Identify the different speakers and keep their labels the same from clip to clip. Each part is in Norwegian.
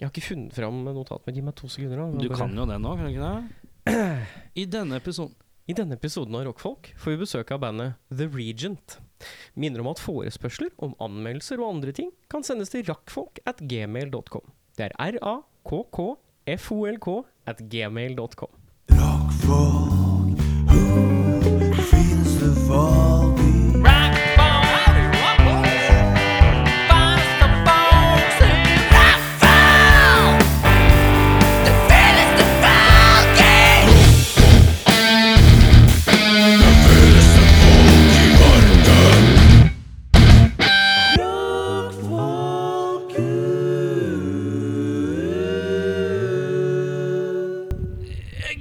Speaker 1: Jeg har ikke funnet fram notat, men gi meg to sekunder. da.
Speaker 2: Du
Speaker 1: Bare-
Speaker 2: kan jo den nå, kan du ikke det? I denne episoden
Speaker 1: I denne episoden av Rockfolk får vi besøk av bandet The Regent. Minner om at forespørsler om anmeldelser og andre ting kan sendes til rakkfolk at gmail.com. Det er r-a-k-k-f-o-l-k at gmail.com.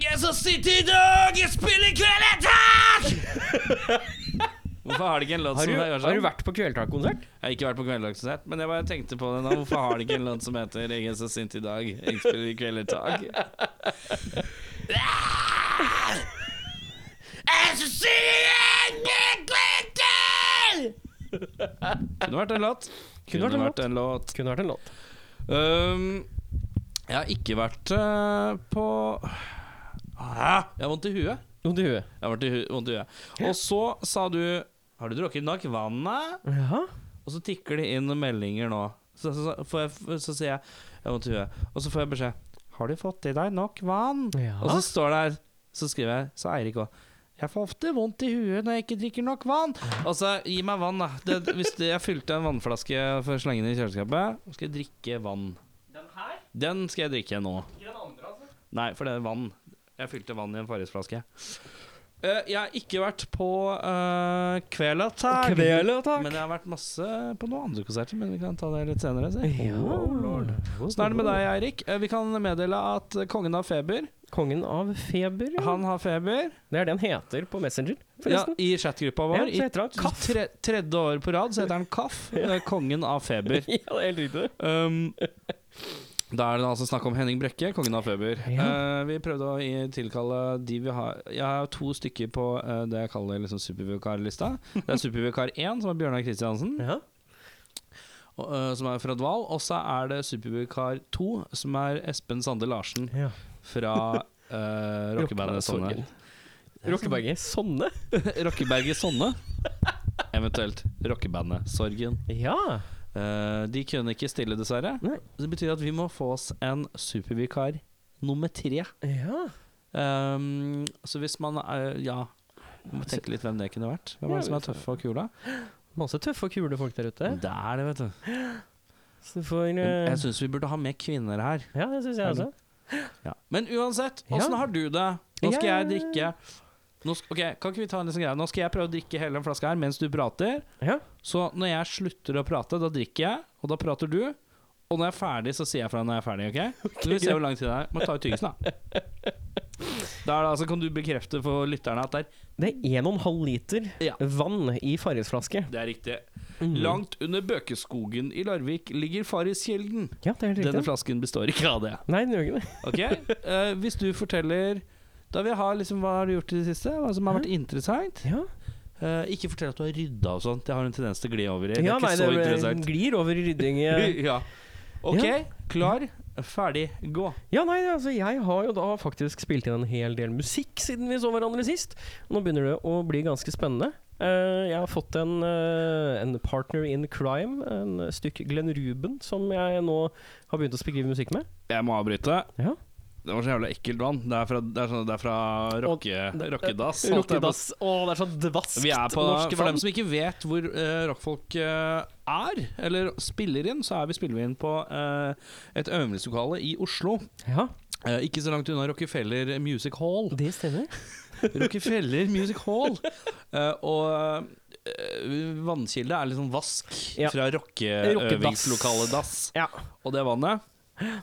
Speaker 2: Jeg som sitter i dag, jeg spiller kvelertak! Hvorfor har det ikke en låt
Speaker 1: Har
Speaker 2: som
Speaker 1: du,
Speaker 2: det gjør
Speaker 1: har du
Speaker 2: sånn?
Speaker 1: vært på kveldtakkonsert?
Speaker 2: Jeg har ikke vært på kveldertakskonsert, men jeg bare tenkte på det nå. Hvorfor har det ikke en låt som heter 'Jeg er så sint i dag, jeg spiller i kvelertak'? Kunne vært en låt.
Speaker 1: Kunne vært en låt.
Speaker 2: en låt.
Speaker 1: Kunne vært en låt.
Speaker 2: Um, jeg har ikke vært eh, på ah, Jeg har vondt i huet.
Speaker 1: Vondt i huet.
Speaker 2: Jeg har vært i hu- vondt i huet. Og så sa du Har du drukket nok vann? da?»
Speaker 1: Ja.
Speaker 2: Og så tikker det inn meldinger nå. Så, så, så, får jeg, så sier jeg Jeg har vondt i huet. Og så får jeg beskjed Har du fått i deg nok vann?
Speaker 1: Ja.
Speaker 2: Og så står det her Så skriver jeg Så Eirik òg. Jeg får ofte vondt i huet når jeg ikke drikker nok vann. Altså, gi meg vann, da. Det, hvis det, jeg fylte en vannflaske for å slenge den i kjøleskapet, så skal jeg drikke vann. Den skal jeg drikke nå. Nei, for det er vann. Jeg fylte vann i en Farris-flaske. Eh, jeg har ikke vært på uh, Kvelertak.
Speaker 1: Kvelertak.
Speaker 2: Men jeg har vært masse på noen andre konserter, men vi kan ta det litt senere. Så.
Speaker 1: Ja.
Speaker 2: Åssen er det med deg, Eirik? Eh, vi kan meddele at kongen har feber.
Speaker 1: Kongen av feber. ja.
Speaker 2: Han har feber.
Speaker 1: Det er det han heter på Messenger,
Speaker 2: Ja,
Speaker 1: forresten.
Speaker 2: I chatgruppa
Speaker 1: Ja,
Speaker 2: vår.
Speaker 1: så
Speaker 2: I
Speaker 1: heter han Kaff.
Speaker 2: tre, tredje år på rad så heter han Kaff. eh, Kongen av feber.
Speaker 1: Ja, det er helt riktig.
Speaker 2: Um, da er det altså snakk om Henning Brekke, kongen av feber. Eh, vi prøvde å i- tilkalle de vi har Jeg har to stykker på eh, det jeg kaller liksom supervikarlista. Det er supervikar 1, som er Bjørnar Kristiansen,
Speaker 1: Ja.
Speaker 2: og, eh, som er fra Dval. Og så er det supervikar 2, som er Espen Sande Larsen
Speaker 1: Ja.
Speaker 2: fra uh, rockebandet Sonne.
Speaker 1: Rockeberget Sonne?
Speaker 2: Rockeberget Sonne. Eventuelt rockebandet Sorgen.
Speaker 1: Ja.
Speaker 2: Eh, de kunne ikke stille, dessverre.
Speaker 1: Nei.
Speaker 2: Så Det betyr at vi må få oss en supervikar nummer tre.
Speaker 1: Ja.
Speaker 2: Ehm, så hvis man er Ja. Vi må tenke litt hvem det kunne vært. Hvem er det som er tøffe og kule?
Speaker 1: Masse tøffe og kule folk der ute.
Speaker 2: Det er det, vet du.
Speaker 1: Så du får
Speaker 2: Mm. Men
Speaker 1: eh,
Speaker 2: Jeg syns vi burde ha med kvinner her.
Speaker 1: Ja, det syns jeg også.
Speaker 2: Ja. Men uansett,
Speaker 1: Ja.
Speaker 2: åssen har du det? Nå skal
Speaker 1: Ja.
Speaker 2: jeg drikke nå, sk- Ok, kan ikke vi ta en liten greie? Nå skal jeg prøve å drikke hele den flaska her mens du prater.
Speaker 1: Ja.
Speaker 2: Så når jeg slutter å prate, da drikker jeg, og da prater du. Og når jeg er ferdig, så sier jeg fra når jeg er ferdig. ok? Så vi ser hvor lang tid det er. Må ta ut tyggisen, da. Da er det altså, Kan du bekrefte for lytterne at det er,
Speaker 1: Det er 1,5 liter
Speaker 2: Ja.
Speaker 1: vann i Farris-flaske.
Speaker 2: det er riktig.
Speaker 1: Mm.
Speaker 2: Langt under Bøkeskogen i Larvik ligger Farriskjelden.
Speaker 1: Ja, det er helt
Speaker 2: Denne
Speaker 1: riktig.
Speaker 2: flasken består ikke av det.
Speaker 1: Nei, den gjør ikke det.
Speaker 2: Ok? Eh, hvis du forteller Da vil jeg ha liksom, hva har du gjort i det siste, hva som har vært interessant.
Speaker 1: Ja,
Speaker 2: Eh, ikke fortell at du har rydda og sånt. Det har en tendens til å gli over i. Det er
Speaker 1: ja
Speaker 2: ikke
Speaker 1: nei,
Speaker 2: så
Speaker 1: det
Speaker 2: interessant.
Speaker 1: glir over i rydding. eh.
Speaker 2: ja. Ok,
Speaker 1: Ja.
Speaker 2: klar, ferdig, gå.
Speaker 1: Ja, nei, altså jeg har jo da faktisk spilt inn en hel del musikk siden vi så hverandre sist. Nå begynner det å bli ganske spennende. Eh, jeg har fått en, eh, en partner in crime, en stykk Glenn Ruben, som jeg nå har begynt å skrive musikk med.
Speaker 2: Jeg må avbryte.
Speaker 1: Ja.
Speaker 2: Det var så jævla ekkelt vann. Det er fra, det er sånn, det er fra rocke, rockedass. holdt jeg på å
Speaker 1: Rockedass. Å, det er så dvaskt
Speaker 2: Vi er på,
Speaker 1: norske
Speaker 2: for
Speaker 1: vann.
Speaker 2: dem som ikke vet hvor eh, rockfolk eh, er, eller spiller inn, så er vi spiller vi inn på eh, et øvingslokale i Oslo.
Speaker 1: Ja,
Speaker 2: Eh, ikke så langt unna Rockefeller Music Hall.
Speaker 1: det stemmer.
Speaker 2: Rockefeller Music Hall Eh, Og eh, vannkilde er liksom vask
Speaker 1: Ja.
Speaker 2: fra
Speaker 1: Rockedass.
Speaker 2: rockeøvingslokalet-dass.
Speaker 1: Ja,
Speaker 2: Og det vannet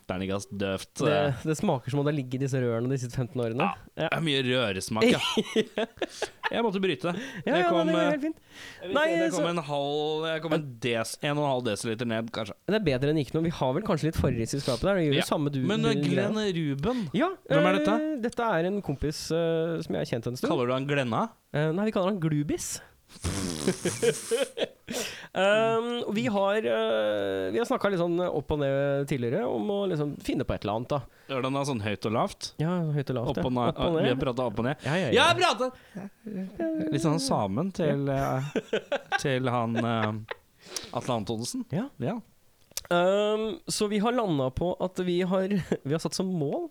Speaker 2: Bernigas døvt.
Speaker 1: det, det smaker som om det har ligget i disse rørene de siste 15 årene.
Speaker 2: Ja. Eh, Det er mye røresmak, ja. Jeg måtte bryte.
Speaker 1: Ja,
Speaker 2: Jeg
Speaker 1: ja,
Speaker 2: kom,
Speaker 1: nei, det
Speaker 2: eh,
Speaker 1: er helt fint. Nei,
Speaker 2: jeg
Speaker 1: så,
Speaker 2: kom en halv Jeg kom en, des, en og en halv desiliter ned, kanskje.
Speaker 1: det er bedre enn ikke noe. Vi har vel kanskje litt forrige i skapet der. Det gjør
Speaker 2: Ja.
Speaker 1: jo samme du.
Speaker 2: Men
Speaker 1: du-
Speaker 2: eh, Glenn Ruben
Speaker 1: Ja,
Speaker 2: Hvem er
Speaker 1: eh,
Speaker 2: dette?
Speaker 1: dette er en kompis eh, som jeg har kjent en stund.
Speaker 2: Kaller du han Glenna?
Speaker 1: Eh, nei, vi kaller han Glubis. Um, og vi har, uh, vi har snakka litt sånn opp og ned tidligere om å liksom finne på et eller annet. da
Speaker 2: Ørland er sånn høyt og lavt.
Speaker 1: Ja, høyt og lavt.
Speaker 2: Opp
Speaker 1: ja.
Speaker 2: og ned.
Speaker 1: Opp og
Speaker 2: Vi har
Speaker 1: ned.
Speaker 2: prata opp og ned.
Speaker 1: Ja, ja,
Speaker 2: Ja,
Speaker 1: ja.
Speaker 2: jeg prata! Litt sånn samen til, eh, til han eh, Atle Antonsen.
Speaker 1: Ja.
Speaker 2: ja.
Speaker 1: Um, så vi har landa på at vi har, vi har satt som mål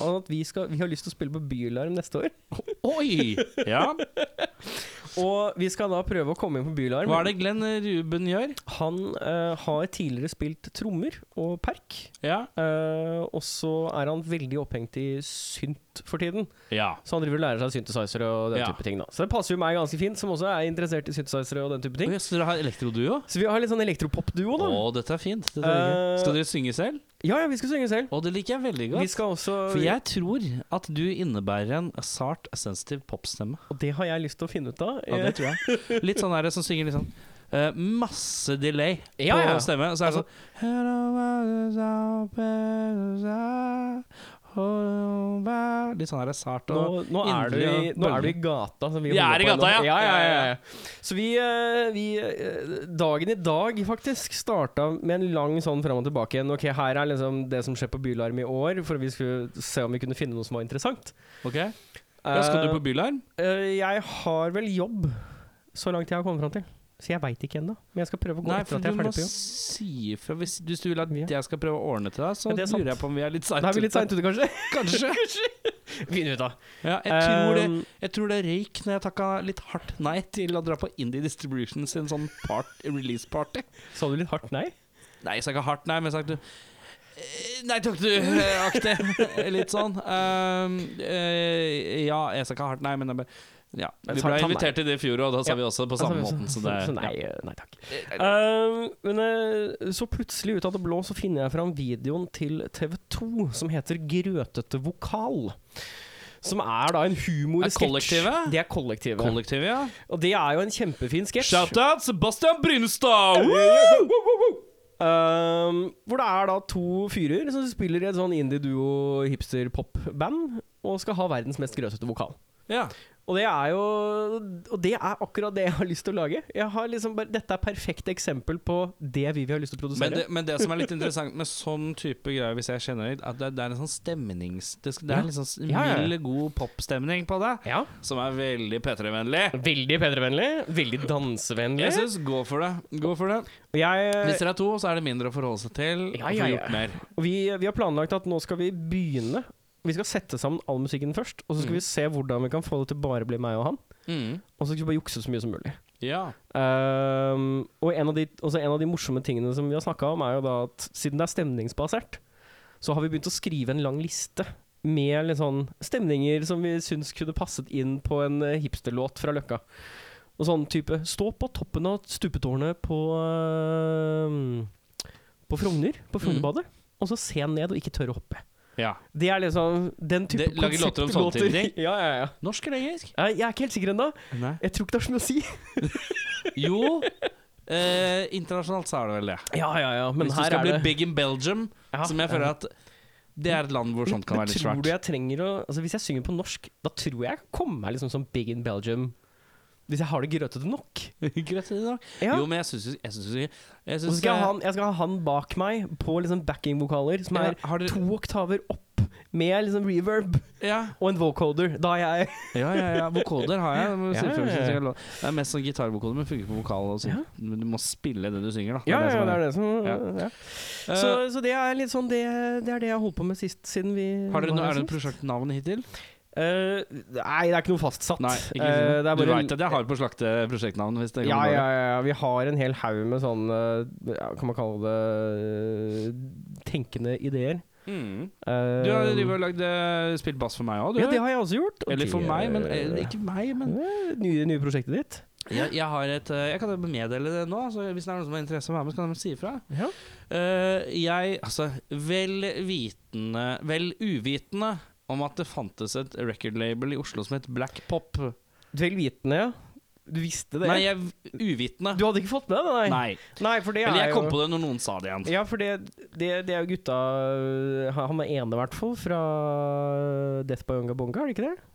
Speaker 1: at vi, skal, vi har lyst til å spille på Bylarm neste år.
Speaker 2: Oi! Ja.
Speaker 1: Og vi skal da prøve å komme inn på Bylarm.
Speaker 2: Hva er det Glenn Ruben gjør?
Speaker 1: Han eh, har tidligere spilt trommer og perk.
Speaker 2: Ja.
Speaker 1: eh, og så er han veldig opphengt i synt for tiden.
Speaker 2: ja.
Speaker 1: Så han driver og lærer seg synthesizer og den
Speaker 2: Ja.
Speaker 1: type ting. da Så det passer jo meg ganske fint, som også er interessert i synthesizere og den type ting.
Speaker 2: Oi, så dere har elektroduo?
Speaker 1: Så vi har litt sånn elektropopduo,
Speaker 2: Å,
Speaker 1: da.
Speaker 2: dette er fint. Dette er
Speaker 1: Eh,
Speaker 2: gøy. Skal dere synge selv?
Speaker 1: Ja, ja, vi skal synge selv.
Speaker 2: Å, det liker jeg veldig
Speaker 1: Vi
Speaker 2: godt.
Speaker 1: skal også
Speaker 2: For jeg tror at du innebærer en sart, sensitiv popstemme.
Speaker 1: Og det har jeg lyst til å finne ut av. Eh,
Speaker 2: Ja, det tror jeg. Litt sånn her som synger litt sånn eh, masse delay
Speaker 1: Ja, ja.
Speaker 2: på stemme. Og så er det
Speaker 1: Altså-
Speaker 2: sånn Litt sånn her sart
Speaker 1: nå,
Speaker 2: og
Speaker 1: nå, er du i,
Speaker 2: Indre
Speaker 1: nå er du i
Speaker 2: bølger.
Speaker 1: gata. Som vi
Speaker 2: Jeg
Speaker 1: holder
Speaker 2: er i
Speaker 1: på
Speaker 2: gata,
Speaker 1: nå.
Speaker 2: ja.
Speaker 1: ja, ja, ja. Så vi, eh, vi eh, Dagen i dag, faktisk, starta med en lang sånn fram og tilbake igjen. Ok, her er liksom det som skjer på Bylarm i år, for vi skulle se om vi kunne finne noe som var interessant.
Speaker 2: Ok, ja, Skal du på bylarm?
Speaker 1: Eh, eh, jeg har vel jobb, så langt jeg har kommet fram til. Så jeg veit ikke ennå. Men jeg skal prøve å gå
Speaker 2: Nei,
Speaker 1: etter
Speaker 2: for
Speaker 1: at jeg
Speaker 2: du
Speaker 1: er
Speaker 2: må
Speaker 1: ferdig på jobb.
Speaker 2: si ifra. Hvis, hvis du vil at
Speaker 1: Ja.
Speaker 2: jeg skal prøve å ordne til deg, så
Speaker 1: Ja, det er sant.
Speaker 2: lurer jeg på om vi er litt seint
Speaker 1: Da er vi litt seint ute, kanskje.
Speaker 2: Kanskje.
Speaker 1: Finner vi ut av.
Speaker 2: Ja, jeg, tror det,
Speaker 1: Um,
Speaker 2: jeg tror det røyk når jeg takka litt hardt nei til å dra på Indie Distribution sin sånn part, release party.
Speaker 1: Sa du litt hardt nei?
Speaker 2: Nei, jeg sa ikke hardt nei, men jeg sa ikke eh, Nei, takk du, eh, aktig. Litt sånn. Um, eh, ja, jeg sa ikke hardt nei, men jeg bare ja,
Speaker 1: Men
Speaker 2: Vi
Speaker 1: sa-
Speaker 2: ble
Speaker 1: sa nei.
Speaker 2: invitert til det i fjor, og da sa
Speaker 1: Ja.
Speaker 2: vi også på
Speaker 1: Altså,
Speaker 2: samme måten. Så det,
Speaker 1: så nei, eh, nei takk.
Speaker 2: ja.
Speaker 1: Um, men eh, så plutselig ut av det blå så finner jeg fram videoen til TV2 som heter 'Grøtete vokal'. Som er da en
Speaker 2: Er
Speaker 1: humorsketsj.
Speaker 2: kollektivet?
Speaker 1: Det er kollektivet.
Speaker 2: Kollektivet, ja.
Speaker 1: og det er jo en kjempefin sketsj.
Speaker 2: Shout-out Sebastian Brynestad! Woo!
Speaker 1: Um, hvor det er da to fyrer som spiller i et sånn indie-duo-hipster-pop-band og skal ha verdens mest grøtete vokal.
Speaker 2: Ja.
Speaker 1: Og det er jo Og det er akkurat det jeg har lyst til å lage. Jeg har liksom bare, dette er perfekt eksempel på det vi, vi har lyst til å produsere.
Speaker 2: Men det, men det som er litt interessant med sånn type greier, hvis jeg kjenner det, at det, det er en sånn stemnings... Det, skal- det
Speaker 1: Ja.
Speaker 2: er en sånn s-
Speaker 1: Ja, ja, ja.
Speaker 2: mild, god popstemning på det,
Speaker 1: Ja.
Speaker 2: som er veldig P3-vennlig.
Speaker 1: Veldig P3-vennlig. Veldig dansevennlig.
Speaker 2: Jeg syns gå for det. Gå for det. Hvis
Speaker 1: Jeg,
Speaker 2: dere er to, så er det mindre å forholde seg til.
Speaker 1: Ja,
Speaker 2: og
Speaker 1: ja,
Speaker 2: få
Speaker 1: ja.
Speaker 2: gjort mer.
Speaker 1: vi, vi har planlagt at nå skal vi begynne. Vi skal sette sammen all musikken først, og så skal
Speaker 2: Mm.
Speaker 1: vi se hvordan vi kan få det til bare å bli meg og han. Og så skal vi bare jukse så mye som mulig.
Speaker 2: Ja.
Speaker 1: Ehm, og en av, de, også en av de morsomme tingene som vi har snakka om, er jo da at siden det er stemningsbasert, så har vi begynt å skrive en lang liste med litt sånn stemninger som vi syns kunne passet inn på en eh, hipsterlåt fra Løkka. Og sånn type Stå på toppen av stupetårnet på ehm, På Frogner, på
Speaker 2: Mm.
Speaker 1: Frognerbadet, og så se ned og ikke tørre å hoppe.
Speaker 2: ja.
Speaker 1: Det er liksom den type
Speaker 2: Det- lager låter om sånne
Speaker 1: konseptlåter.
Speaker 2: type ting?
Speaker 1: Ja, ja, ja.
Speaker 2: Norsk eller engelsk?
Speaker 1: Jeg jeg er ikke helt sikker ennå.
Speaker 2: Nei.
Speaker 1: Jeg tror ikke det har så mye å si.
Speaker 2: Jo. Eh, internasjonalt så er det vel det.
Speaker 1: Ja, ja, ja. Men
Speaker 2: hvis du
Speaker 1: her
Speaker 2: skal
Speaker 1: er
Speaker 2: bli
Speaker 1: det
Speaker 2: big in Belgium,
Speaker 1: Ja,
Speaker 2: som jeg
Speaker 1: ja.
Speaker 2: føler at det er et land hvor sånt kan
Speaker 1: Men
Speaker 2: være litt
Speaker 1: tror
Speaker 2: svært.
Speaker 1: du jeg trenger å altså Hvis jeg synger på norsk, da tror jeg jeg kommer meg liksom som Big in Belgium. Hvis jeg har det grøtete nok.
Speaker 2: Greit i dag.
Speaker 1: Ja.
Speaker 2: Jo, men jeg syns Jeg syns jeg,
Speaker 1: Og så
Speaker 2: syns-
Speaker 1: skal jeg, ha han, jeg skal ha han bak meg på liksom backingvokaler som
Speaker 2: Ja,
Speaker 1: er
Speaker 2: har dere-
Speaker 1: to oktaver opp, med liksom reverb
Speaker 2: ja.
Speaker 1: og en vocoder. Da er jeg
Speaker 2: ja, ja, ja. Vokoder har jeg. men
Speaker 1: Ja, ja, ja.
Speaker 2: selvfølgelig syns jeg det er lov. Det er mest sånn gitarvokoder, men funker på vokal. Og sånn.
Speaker 1: Ja.
Speaker 2: Men Du må spille det du synger, da. som
Speaker 1: det er det som
Speaker 2: Ja. Eh,
Speaker 1: ja. Så, så det er litt sånn det, det er det jeg har holdt på med sist, siden vi
Speaker 2: Eh, har dere noe,
Speaker 1: var her
Speaker 2: er det et
Speaker 1: sist.
Speaker 2: prosjektnavn hittil?
Speaker 1: Eh, nei, det er ikke noe fastsatt.
Speaker 2: Nei. Ikke, liksom.
Speaker 1: Eh, det er
Speaker 2: du
Speaker 1: bare
Speaker 2: veit at jeg har på slakte prosjektnavn? Hvis det
Speaker 1: Ja,
Speaker 2: kommer
Speaker 1: ja, ja, ja. Vi har en hel haug med sånne ja, Kan man kalle det eh, tenkende ideer.
Speaker 2: på det. Mm.
Speaker 1: Eh,
Speaker 2: Du har drivet og lagd, eh, spilt bass for meg òg, du?
Speaker 1: Ja, det har jeg også gjort. og
Speaker 2: Eller for
Speaker 1: det,
Speaker 2: meg, men
Speaker 1: eh,
Speaker 2: eller ikke meg, men
Speaker 1: eh, nye, nye prosjektet ditt.
Speaker 2: jeg, jeg har et eh, Jeg kan meddele det nå, så hvis det er noen som har interesse av å være med, så kan de si ifra.
Speaker 1: Ja.
Speaker 2: Eh, jeg, altså, vel vitende Vel uvitende om at det fantes et record-label i Oslo som het Black Pop.
Speaker 1: Vel vitende, ja. Du visste det?
Speaker 2: Nei, jeg uvitende.
Speaker 1: du hadde ikke fått med deg det? Nei.
Speaker 2: Nei.
Speaker 1: Nei, for det
Speaker 2: Eller
Speaker 1: er
Speaker 2: jeg
Speaker 1: jo
Speaker 2: kom på det når noen sa det igjen.
Speaker 1: Ja, for det, det, det er jo gutta eh, Han er ene, i hvert fall, fra Death by Unga Bonga, er det ikke det?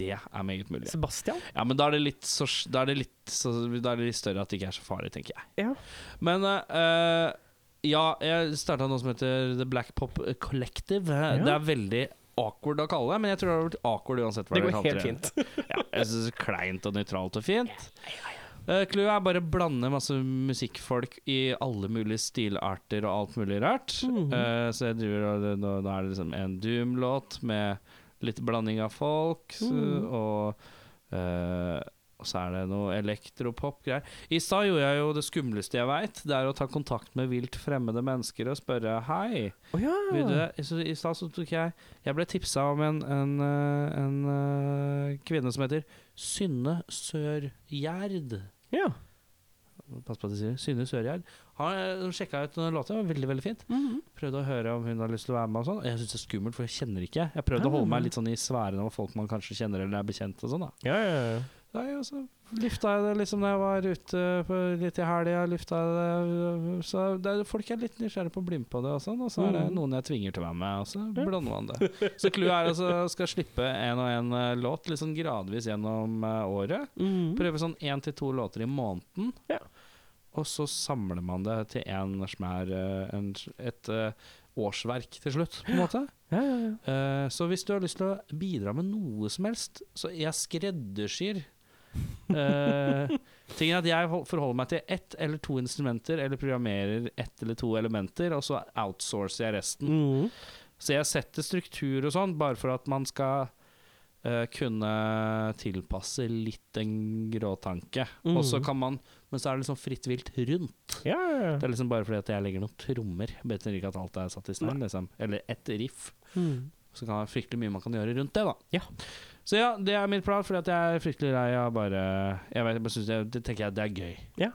Speaker 2: Det er meget mulig.
Speaker 1: Sebastian?
Speaker 2: Ja, men da er det litt, så, da er det litt, så, da er det litt større at det ikke er så farlig, tenker jeg.
Speaker 1: Ja.
Speaker 2: Men eh, ja, jeg starta noe som heter The Black Pop Collective. Det er veldig awkward å kalle det, men jeg tror det har vært awkward uansett. hva
Speaker 1: Det
Speaker 2: dere
Speaker 1: går
Speaker 2: kalte
Speaker 1: helt fint.
Speaker 2: ja, jeg synes det er kleint og nøytralt og fint. Eh, Clouet er bare å blande masse musikkfolk i alle mulige stilarter og alt mulig rart.
Speaker 1: Mhm.
Speaker 2: Eh, så jeg driver og nå, nå er det liksom en Doom-låt med litt blanding av folk, så-
Speaker 1: Mhm.
Speaker 2: og eh, og så er det noe elektropop-greier. I stad gjorde jeg jo det skumleste jeg veit. Det er å ta kontakt med vilt fremmede mennesker og spørre 'hei'.
Speaker 1: Å ja.
Speaker 2: Vil du- så I stad så tok jeg Jeg ble tipsa om en, en, eh, en eh, kvinne som heter Synne Sørgjerd.
Speaker 1: ja.
Speaker 2: Pass på at jeg sier det. Synne Sørgjerd. Han, eh, Hun sjekka ut noen låter, det var veldig veldig fint. Prøvde å høre om hun har lyst til å være med. og sånn Jeg syns det er skummelt, for jeg kjenner ikke. Jeg prøvde å holde meg litt sånn i sfæren av folk man kanskje kjenner eller er bekjent. og sånn da
Speaker 1: ja, ja, ja.
Speaker 2: Nei, og så lufta jeg det liksom da jeg var ute på litt i helga. lufta jeg det, Så det er, folk er litt nysgjerrige på å bli med på det, og sånn Og så er det
Speaker 1: Mhm.
Speaker 2: noen jeg tvinger til å være med, og så blander man det. Så clouet er altså skal slippe en og en eh, låt litt sånn gradvis gjennom eh, året. Prøve sånn én til to låter i måneden.
Speaker 1: Mm. Ja.
Speaker 2: Og så samler man det til en smær, eh, en, et eh, årsverk til slutt, på en måte.
Speaker 1: Ja, ja, ja.
Speaker 2: Eh, Så hvis du har lyst til å bidra med noe som helst, så jeg skreddersyr uh, Tingen er at jeg hol- forholder meg til ett eller to instrumenter, eller programmerer ett eller to elementer, og så outsourcer jeg resten.
Speaker 1: Mhm.
Speaker 2: Så jeg setter struktur og sånn, bare for at man skal eh, kunne tilpasse litt en gråtanke.
Speaker 1: Mhm.
Speaker 2: Og så kan man Men så er det liksom fritt vilt rundt.
Speaker 1: ja, ja, ja.
Speaker 2: Det er liksom bare fordi at jeg legger noen trommer. Betyr ikke at alt er satt i stein, liksom. Eller et riff.
Speaker 1: Mhm.
Speaker 2: Så kan det være fryktelig mye man kan gjøre rundt det, da.
Speaker 1: Ja.
Speaker 2: Så ja, det er min plan, fordi at jeg er fryktelig lei av bare Jeg vet, jeg bare synes det, det tenker jeg det er gøy.
Speaker 1: Ja.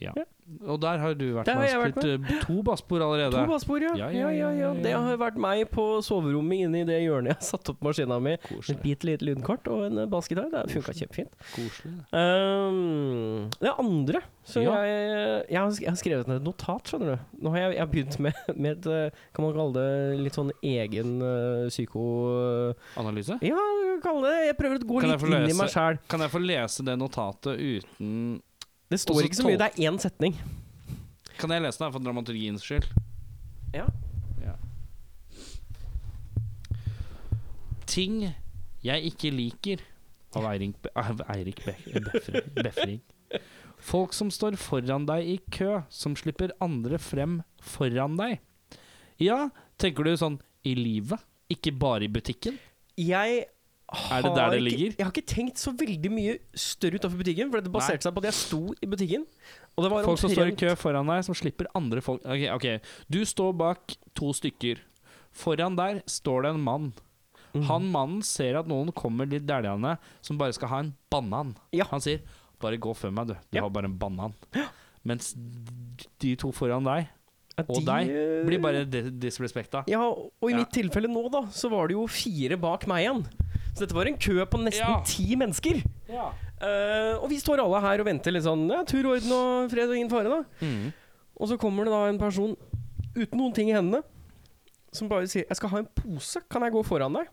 Speaker 2: Ja.
Speaker 1: Ja.
Speaker 2: Og der har du vært
Speaker 1: Der har
Speaker 2: med
Speaker 1: jeg
Speaker 2: og spilt eh, to basspor allerede.
Speaker 1: To basspor, ja. Ja, ja, ja,
Speaker 2: ja.
Speaker 1: Det har vært meg på soverommet inne i det hjørnet jeg har satt opp maskina mi. Et
Speaker 2: Koselig.
Speaker 1: bitte lite lydkort og en eh, bassgitar. Det funka kjempefint.
Speaker 2: Koselig. det.
Speaker 1: Um, det andre Så
Speaker 2: Ja.
Speaker 1: jeg, jeg, har, sk- jeg har skrevet ned et notat, skjønner du. Nå har jeg, jeg har begynt med, med et eh, Kan man kalle det litt sånn egen eh, psyko... eh,
Speaker 2: Analyse?
Speaker 1: Ja, kalle det Jeg prøver å gå
Speaker 2: Kan jeg
Speaker 1: litt
Speaker 2: få
Speaker 1: inn i
Speaker 2: lese?
Speaker 1: meg sjæl.
Speaker 2: Kan jeg få lese det notatet uten
Speaker 1: Det
Speaker 2: Også
Speaker 1: står ikke så mye, det er én setning.
Speaker 2: Kan jeg lese det for dramaturgiens skyld?
Speaker 1: Ja.
Speaker 2: Ja. Ting jeg ikke liker av Eirik, Be av Eirik Be Befre Befring. Folk som står foran deg i kø, som slipper andre frem foran deg. Ja, tenker du sånn i livet, ikke bare i butikken?
Speaker 1: Jeg har
Speaker 2: Er det der det
Speaker 1: ikke,
Speaker 2: ligger?
Speaker 1: Jeg har ikke tenkt så veldig mye større utafor butikken, for det baserte seg på at jeg sto i butikken. Og det var
Speaker 2: Folk som står i
Speaker 1: omtrent-
Speaker 2: kø foran deg, som slipper andre folk Ok, ok. Du står bak to stykker. Foran der står det en mann. Han mannen ser at noen kommer litt dæljende, som bare skal ha en banan.
Speaker 1: Ja.
Speaker 2: Han sier 'bare gå før meg, du. Du
Speaker 1: Ja.
Speaker 2: har bare en banan'. Mens d- de to foran deg
Speaker 1: At
Speaker 2: og
Speaker 1: de,
Speaker 2: deg
Speaker 1: eh,
Speaker 2: blir bare di- disrespekta.
Speaker 1: Ja, og i
Speaker 2: Ja.
Speaker 1: mitt tilfelle nå, da, så var det jo fire bak meg igjen. Så dette var en kø på nesten
Speaker 2: Ja.
Speaker 1: ti mennesker.
Speaker 2: Ja.
Speaker 1: Eh, og vi står alle her og venter litt sånn ja, tur og orden og fred og ingen fare, da.
Speaker 2: Mm.
Speaker 1: Og så kommer det da en person uten noen ting i hendene, som bare sier 'Jeg skal ha en pose, kan jeg gå foran deg?'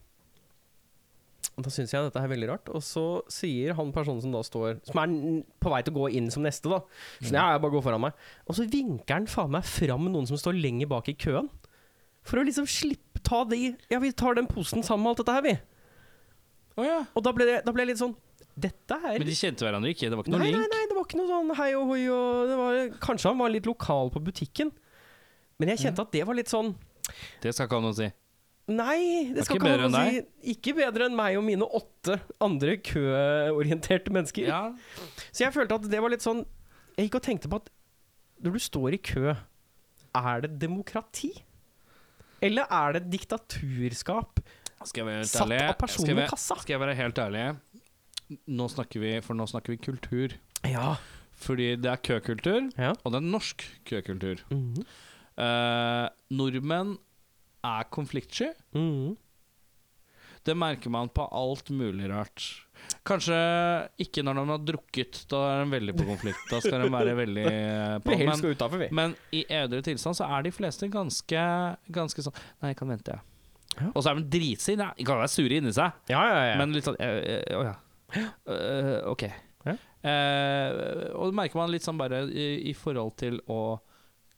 Speaker 1: Og Da syns jeg dette er veldig rart. Og så sier han personen som da står Som er n- på vei til å gå inn som neste, da. Så ja, jeg bare går foran meg. Og så vinker han faen meg fram noen som står lenger bak i køen. For å liksom slippe ta de Ja, vi tar den posen sammen med alt dette her, vi.
Speaker 2: Å ja.
Speaker 1: Og da ble det, da ble jeg litt sånn Dette er
Speaker 2: Men de kjente hverandre ikke? Det var ikke noe
Speaker 1: Nei, nei,
Speaker 2: link?
Speaker 1: nei, det var ikke noe sånn hei og hoi og det var, Kanskje han var litt lokal på butikken. Men jeg kjente at det var litt sånn
Speaker 2: Det skal ikke ha noe å si.
Speaker 1: Nei, det
Speaker 2: Det var
Speaker 1: skal ikke ha
Speaker 2: ikke
Speaker 1: noe
Speaker 2: bedre
Speaker 1: å si.
Speaker 2: enn
Speaker 1: Ikke bedre enn meg og mine åtte andre køorienterte mennesker.
Speaker 2: Ja.
Speaker 1: Så jeg følte at det var litt sånn Jeg gikk og tenkte på at når du står i kø, er det demokrati? Eller er det diktaturskap
Speaker 2: Skal jeg være helt
Speaker 1: satt
Speaker 2: ærlig
Speaker 1: av
Speaker 2: Skal jeg
Speaker 1: personen i
Speaker 2: være-
Speaker 1: kassa?
Speaker 2: Skal jeg være helt ærlig Nå snakker vi For nå snakker vi kultur
Speaker 1: Ja.
Speaker 2: Fordi det er køkultur
Speaker 1: Ja.
Speaker 2: Og det er norsk køkultur
Speaker 1: Mhm.
Speaker 2: Eh, Nordmenn er konfliktsky
Speaker 1: Mhm.
Speaker 2: Det merker man på alt mulig rart Kanskje ikke når de har drukket Da er de veldig på konflikt Da skal de være veldig eh, på
Speaker 1: Vi helst
Speaker 2: Men,
Speaker 1: skal utafor, vi.
Speaker 2: men i edre tilstand så er de fleste ganske Ganske sånn Nei, jeg kan vente jeg
Speaker 1: Ja.
Speaker 2: Og så er de dritsinte. De kan være sure inni seg,
Speaker 1: Ja, ja, ja.
Speaker 2: men litt sånn eh, eh, Å ja. Eh, ok.
Speaker 1: Ja.
Speaker 2: Eh, og det merker man litt sånn bare i, i forhold til å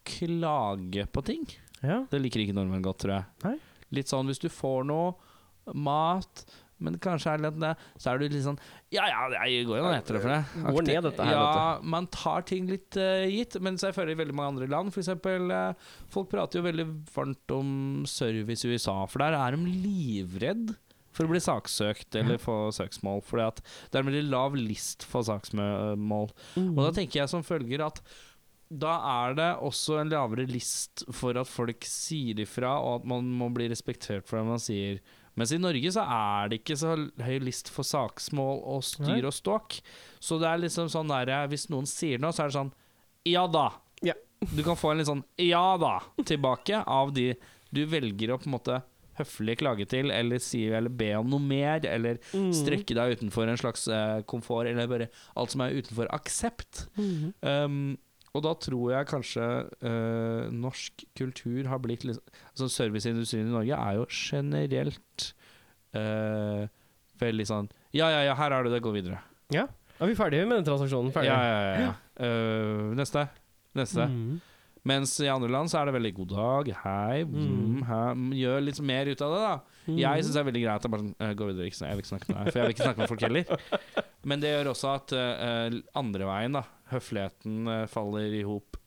Speaker 2: klage på ting.
Speaker 1: ja.
Speaker 2: Det liker ikke nordmenn godt, tror jeg.
Speaker 1: Nei.
Speaker 2: Litt sånn hvis du får noe mat, men kanskje er det litt det, så er du litt sånn Ja ja, jeg går jo og etter det for det.
Speaker 1: Går ned dette her,
Speaker 2: Ja, man tar ting litt eh, gitt. Mens jeg føler i veldig mange andre land, f.eks. Uh, folk prater jo veldig varmt om service i USA, for der er de livredd. For å bli saksøkt eller få søksmål. For det er en veldig lav list for saksmål. Og da tenker jeg som følger at da er det også en lavere list for at folk sier ifra, og at man må bli respektert for det man sier. Mens i Norge så er det ikke så høy list for saksmål og
Speaker 1: Nei.
Speaker 2: styr og ståk. Så det er liksom sånn der Hvis noen sier noe, så er det sånn Ja da.
Speaker 1: Ja.
Speaker 2: Du kan få en litt sånn ja da tilbake av de du velger å på en måte høflig klage til, eller si eller be om noe mer, eller
Speaker 1: Mhm.
Speaker 2: strekke deg utenfor en slags eh, komfort, eller bare alt som er utenfor aksept.
Speaker 1: Mhm.
Speaker 2: Um, og da tror jeg kanskje eh, norsk kultur har blitt litt altså Serviceindustrien i Norge er jo generelt eh, veldig sånn Ja, ja, ja, her er det, det, gå videre.
Speaker 1: ja. Er vi ferdige med den transaksjonen? Ferdig?
Speaker 2: Ja, ja, ja, Mm. ja. Eh, neste. Neste.
Speaker 1: Mhm.
Speaker 2: Mens i andre land så er det veldig god dag, hei, mm,
Speaker 1: Mm.
Speaker 2: hei mm, Gjør litt mer ut av det, da. Jeg syns
Speaker 1: Mhm.
Speaker 2: det er veldig greit å bare sånn, «Eh, gå videre, ikke, snak- jeg vil ikke snakke med deg, for jeg vil ikke snakke med folk heller. Men det gjør også at eh, andre veien, da, høfligheten eh, faller i hop.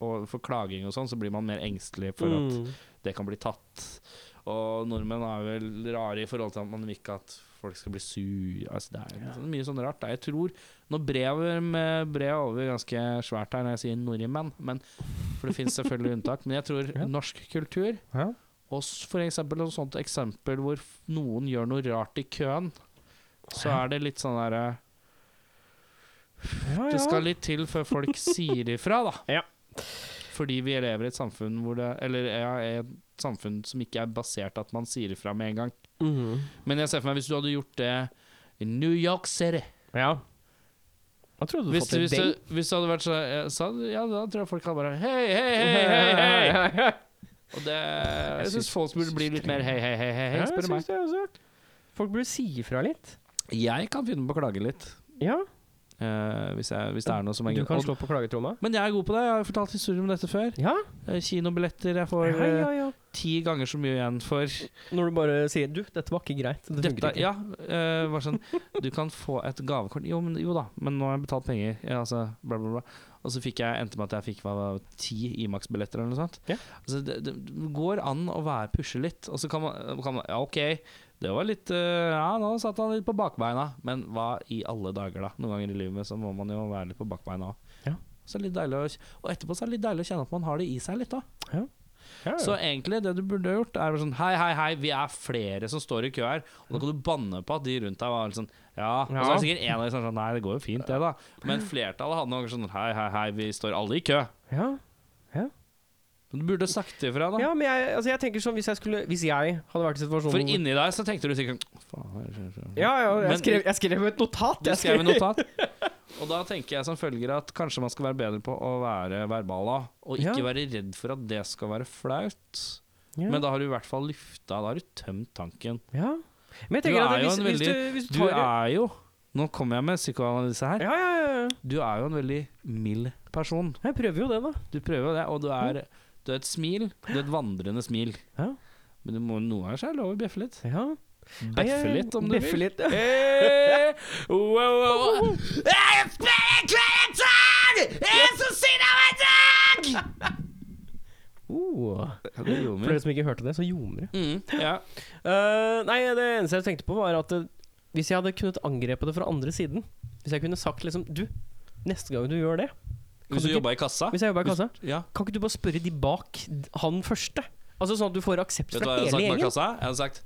Speaker 2: Og for klaging og sånn, så blir man mer engstelig for at
Speaker 1: Mhm.
Speaker 2: det kan bli tatt. Og nordmenn er vel rare i forhold til at man vil ikke at folk skal bli sur. Altså, det er jo sånn, mye sånn rart. da. Jeg tror Nå brever med brev over ganske svært her når jeg sier nordmenn, men, for det finnes selvfølgelig unntak. Men jeg tror
Speaker 1: Ja.
Speaker 2: norsk kultur
Speaker 1: ja.
Speaker 2: og s- for eksempel et sånt eksempel hvor f- noen gjør noe rart i køen, så er det litt sånn derre
Speaker 1: Ja,
Speaker 2: Det
Speaker 1: ja.
Speaker 2: skal litt til før folk sier ifra, da.
Speaker 1: Ja.
Speaker 2: Fordi vi lever i et samfunn hvor det Eller ja, i et samfunn som ikke er basert at man sier ifra med en gang.
Speaker 1: Mhm.
Speaker 2: Men jeg ser for meg hvis du hadde gjort det i New York City
Speaker 1: Ja. Hva trodde du
Speaker 2: Hvis,
Speaker 1: fått til
Speaker 2: hvis,
Speaker 1: den?
Speaker 2: du, hvis det hadde vært så, ja, så hadde- Ja, da tror jeg folk hadde bare Hei, hei, hei, hei, hei! Og det Jeg syns
Speaker 1: syns-
Speaker 2: folk burde bli litt mer hei, hei, hei, hei, hei,
Speaker 1: Ja, jeg
Speaker 2: spør du
Speaker 1: syns
Speaker 2: meg.
Speaker 1: det også. Folk burde si ifra litt.
Speaker 2: Jeg kan finne på å klage litt.
Speaker 1: Ja,
Speaker 2: Eh, hvis, jeg, hvis det er noe som er
Speaker 1: du
Speaker 2: greit.
Speaker 1: kan
Speaker 2: Og-
Speaker 1: slå på klagetromma.
Speaker 2: Men jeg er god på det. Jeg har jo fortalt historier om dette før.
Speaker 1: Ja,
Speaker 2: Eh, Kinobilletter jeg får
Speaker 1: ja,
Speaker 2: eh,
Speaker 1: ja, ja.
Speaker 2: ti ganger så mye igjen for.
Speaker 1: Når du bare sier 'du, dette var ikke greit'. Det funker
Speaker 2: Dette,
Speaker 1: ikke.
Speaker 2: ja, eh, bare sånn Du kan få et gavekort. Jo, men, jo da, men nå har jeg betalt penger. Ja, altså, bla, bla, bla. Og så fikk jeg, endte med at jeg fikk hva, var det, ti Imax-billetter eller noe sånt.
Speaker 1: Ja.
Speaker 2: Altså, det, det går an å være pushe litt. Og så kan man, kan man Ja, OK, det var litt eh, Ja, nå satt han litt på bakbeina. Men hva i alle dager, da? Noen ganger i livet så må man jo være litt på bakbeina òg.
Speaker 1: Ja.
Speaker 2: Så litt deilig å, og etterpå så er det litt deilig å kjenne at man har det i seg litt, da.
Speaker 1: Ja, ja.
Speaker 2: Så egentlig det du burde ha gjort, er bare sånn Hei, hei, hei, vi er flere som står i kø her. Og da kan du banne på at de rundt deg var litt sånn Ja. Og så er det sikkert en av de som er sånn Nei, det går jo fint, det, da. Men flertallet hadde noe sånn Hei, hei, hei, vi står alle i kø.
Speaker 1: ja.
Speaker 2: Men Du burde sagt ifra, da.
Speaker 1: ja, men jeg, altså, jeg tenker sånn hvis jeg, skulle, hvis jeg hadde vært i situasjonen
Speaker 2: For inni deg så tenkte du sikkert Faen, jeg skjønner ikke».
Speaker 1: Ja, ja,
Speaker 2: Men-
Speaker 1: jeg skrev, jeg skrev et notat.
Speaker 2: Du
Speaker 1: jeg
Speaker 2: skrev i notat. Og da tenker jeg som følger at kanskje man skal være bedre på å være verbal da. Og ikke
Speaker 1: Ja.
Speaker 2: være redd for at det skal være flaut.
Speaker 1: Ja.
Speaker 2: Men da har du i hvert fall lufta, da har du tømt tanken.
Speaker 1: ja. Men jeg
Speaker 2: Du
Speaker 1: tenker
Speaker 2: er
Speaker 1: at
Speaker 2: jo
Speaker 1: hvis,
Speaker 2: en
Speaker 1: hvis, du, hvis du
Speaker 2: Du
Speaker 1: tar
Speaker 2: er jo Nå kommer jeg med psykoanalyse her.
Speaker 1: ja, ja, ja.
Speaker 2: Du er jo en veldig mild person.
Speaker 1: Jeg prøver jo det, da.
Speaker 2: Du prøver jo det, og du er Du er et smil. Du er et vandrende smil.
Speaker 1: Ja.
Speaker 2: Men du må noen ganger så er det lov å bjeffe litt.
Speaker 1: Ja.
Speaker 2: Bjeffe litt, om
Speaker 1: Mm.
Speaker 2: du
Speaker 1: Beffe
Speaker 2: vil. Eh,
Speaker 1: litt, ja. Eh,
Speaker 2: Hey, wow,
Speaker 1: oh,
Speaker 2: wow, wow. Jeg spiller kveldsand! Jeg er Eh, så sint av en dag!
Speaker 1: Oh.
Speaker 2: Ja, det gjorde
Speaker 1: For
Speaker 2: vi.
Speaker 1: dere som ikke hørte det, så ljomer det.
Speaker 2: Mm, ja.
Speaker 1: Eh, nei, det eneste jeg tenkte på, var at eh, hvis jeg hadde kunnet angrepe det fra andre siden Hvis jeg kunne sagt liksom Du, neste gang du gjør det Kan
Speaker 2: Hvis
Speaker 1: du
Speaker 2: du
Speaker 1: ikke-
Speaker 2: jobba i kassa?
Speaker 1: Hvis jeg jobber i kassa,
Speaker 2: Ja.
Speaker 1: kan ikke du bare spørre de bak d- han første? Altså Sånn at du får aksept
Speaker 2: Vet du
Speaker 1: fra
Speaker 2: hva
Speaker 1: hele
Speaker 2: jeg hadde sagt bak
Speaker 1: gjengen.
Speaker 2: kassa? Jeg hadde sagt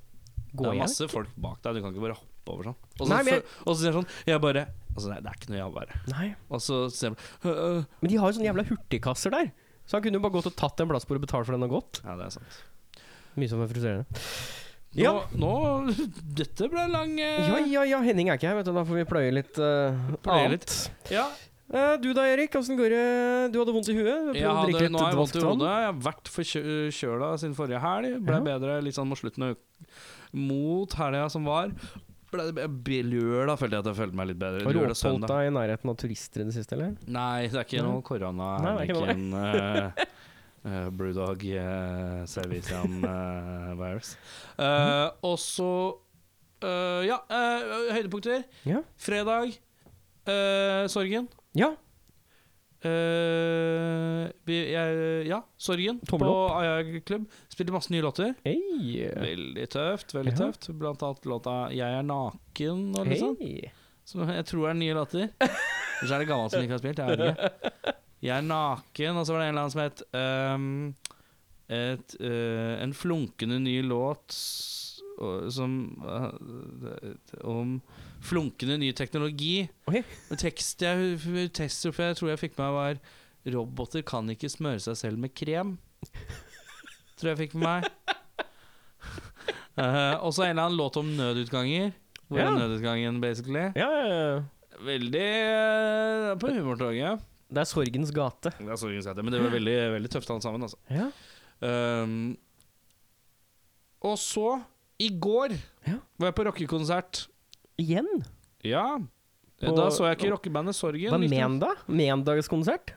Speaker 1: Går
Speaker 2: det er
Speaker 1: jeg?
Speaker 2: masse folk bak deg, du kan ikke bare hoppe over sånn. Og så,
Speaker 1: Nei, men jeg-
Speaker 2: og så sier jeg sånn Jeg bare Altså, nei, det er ikke noe jeg bare
Speaker 1: Nei.
Speaker 2: Og så sier jeg bare «Øh, øh».
Speaker 1: Men de har jo sånne jævla hurtigkasser der. Så han kunne jo bare gått og tatt en plass hvor og betalt for den og gått.
Speaker 2: Ja, det er sant.
Speaker 1: Mye som er frustrerende.
Speaker 2: Nå,
Speaker 1: Ja.
Speaker 2: nå Dette ble lang eh,
Speaker 1: Ja, ja, ja, Henning er ikke her, vet du. Da får vi pløye litt eh,
Speaker 2: Pløye
Speaker 1: annet.
Speaker 2: ja.
Speaker 1: Eh, Du da, Erik. Åssen går det? Du hadde vondt i huet? Prøvde
Speaker 2: Jeg
Speaker 1: å drikke
Speaker 2: hadde,
Speaker 1: litt
Speaker 2: nå har jeg vondt i
Speaker 1: dvaft vann.
Speaker 2: hodet. Jeg har vært forkjøla siden forrige helg. Ble
Speaker 1: Ja.
Speaker 2: bedre litt sånn mot slutten av uka. Mot helga som var. Ble, be- lørdag følte jeg at jeg følte meg litt bedre.
Speaker 1: Har du
Speaker 2: Lørdag,
Speaker 1: oppholdt
Speaker 2: søndag.
Speaker 1: deg i nærheten av turister i det siste, eller?
Speaker 2: Nei, det er ikke
Speaker 1: Nei.
Speaker 2: noe korona.
Speaker 1: Nei, det er ikke
Speaker 2: Heineken, eh, eh, Brewdog uh, Servician eh, virus.
Speaker 1: Mhm.
Speaker 2: Eh, og så eh, Ja, eh, høydepunkter.
Speaker 1: Ja.
Speaker 2: Fredag. eh, sorgen.
Speaker 1: Ja.
Speaker 2: Eh, vi, jeg, ja, Sorgen
Speaker 1: Tommel
Speaker 2: på Aja Klubb. Spilte masse nye låter.
Speaker 1: Hei.
Speaker 2: Veldig tøft. veldig
Speaker 1: Ja.
Speaker 2: tøft Blant annet låta 'Jeg er naken' og litt sånn.
Speaker 1: Hei.
Speaker 2: Som jeg tror er nye låter. Eller så er det gammelt som de ikke har spilt. Jeg vet ikke. Jeg er naken, og så var det en eller annen som het ehm, et, eh, En flunkende ny låt s- og- som eh, det- Om flunkende ny teknologi.
Speaker 1: Ok.
Speaker 2: Og Tekst jeg, hu- tekst jeg tror jeg fikk med meg, var 'Roboter kan ikke smøre seg selv med krem'. Tror jeg fikk med meg. Eh, og så en eller annen låt om nødutganger. Hvor er
Speaker 1: Ja.
Speaker 2: nødutgangen, basically?
Speaker 1: Ja, ja, ja.
Speaker 2: Veldig eh, på humortoget.
Speaker 1: Det er sorgens gate.
Speaker 2: Det er så gøy å si det, men det var veldig, veldig tøft alle sammen, altså.
Speaker 1: Ja.
Speaker 2: Ehm, og så, i går,
Speaker 1: Ja.
Speaker 2: var jeg på rockekonsert.
Speaker 1: Igjen?
Speaker 2: Ja.
Speaker 1: På-
Speaker 2: da så jeg ikke rockebandet Sorgen. liksom.
Speaker 1: Hva er
Speaker 2: riktig.
Speaker 1: mandag? Mandagskonsert?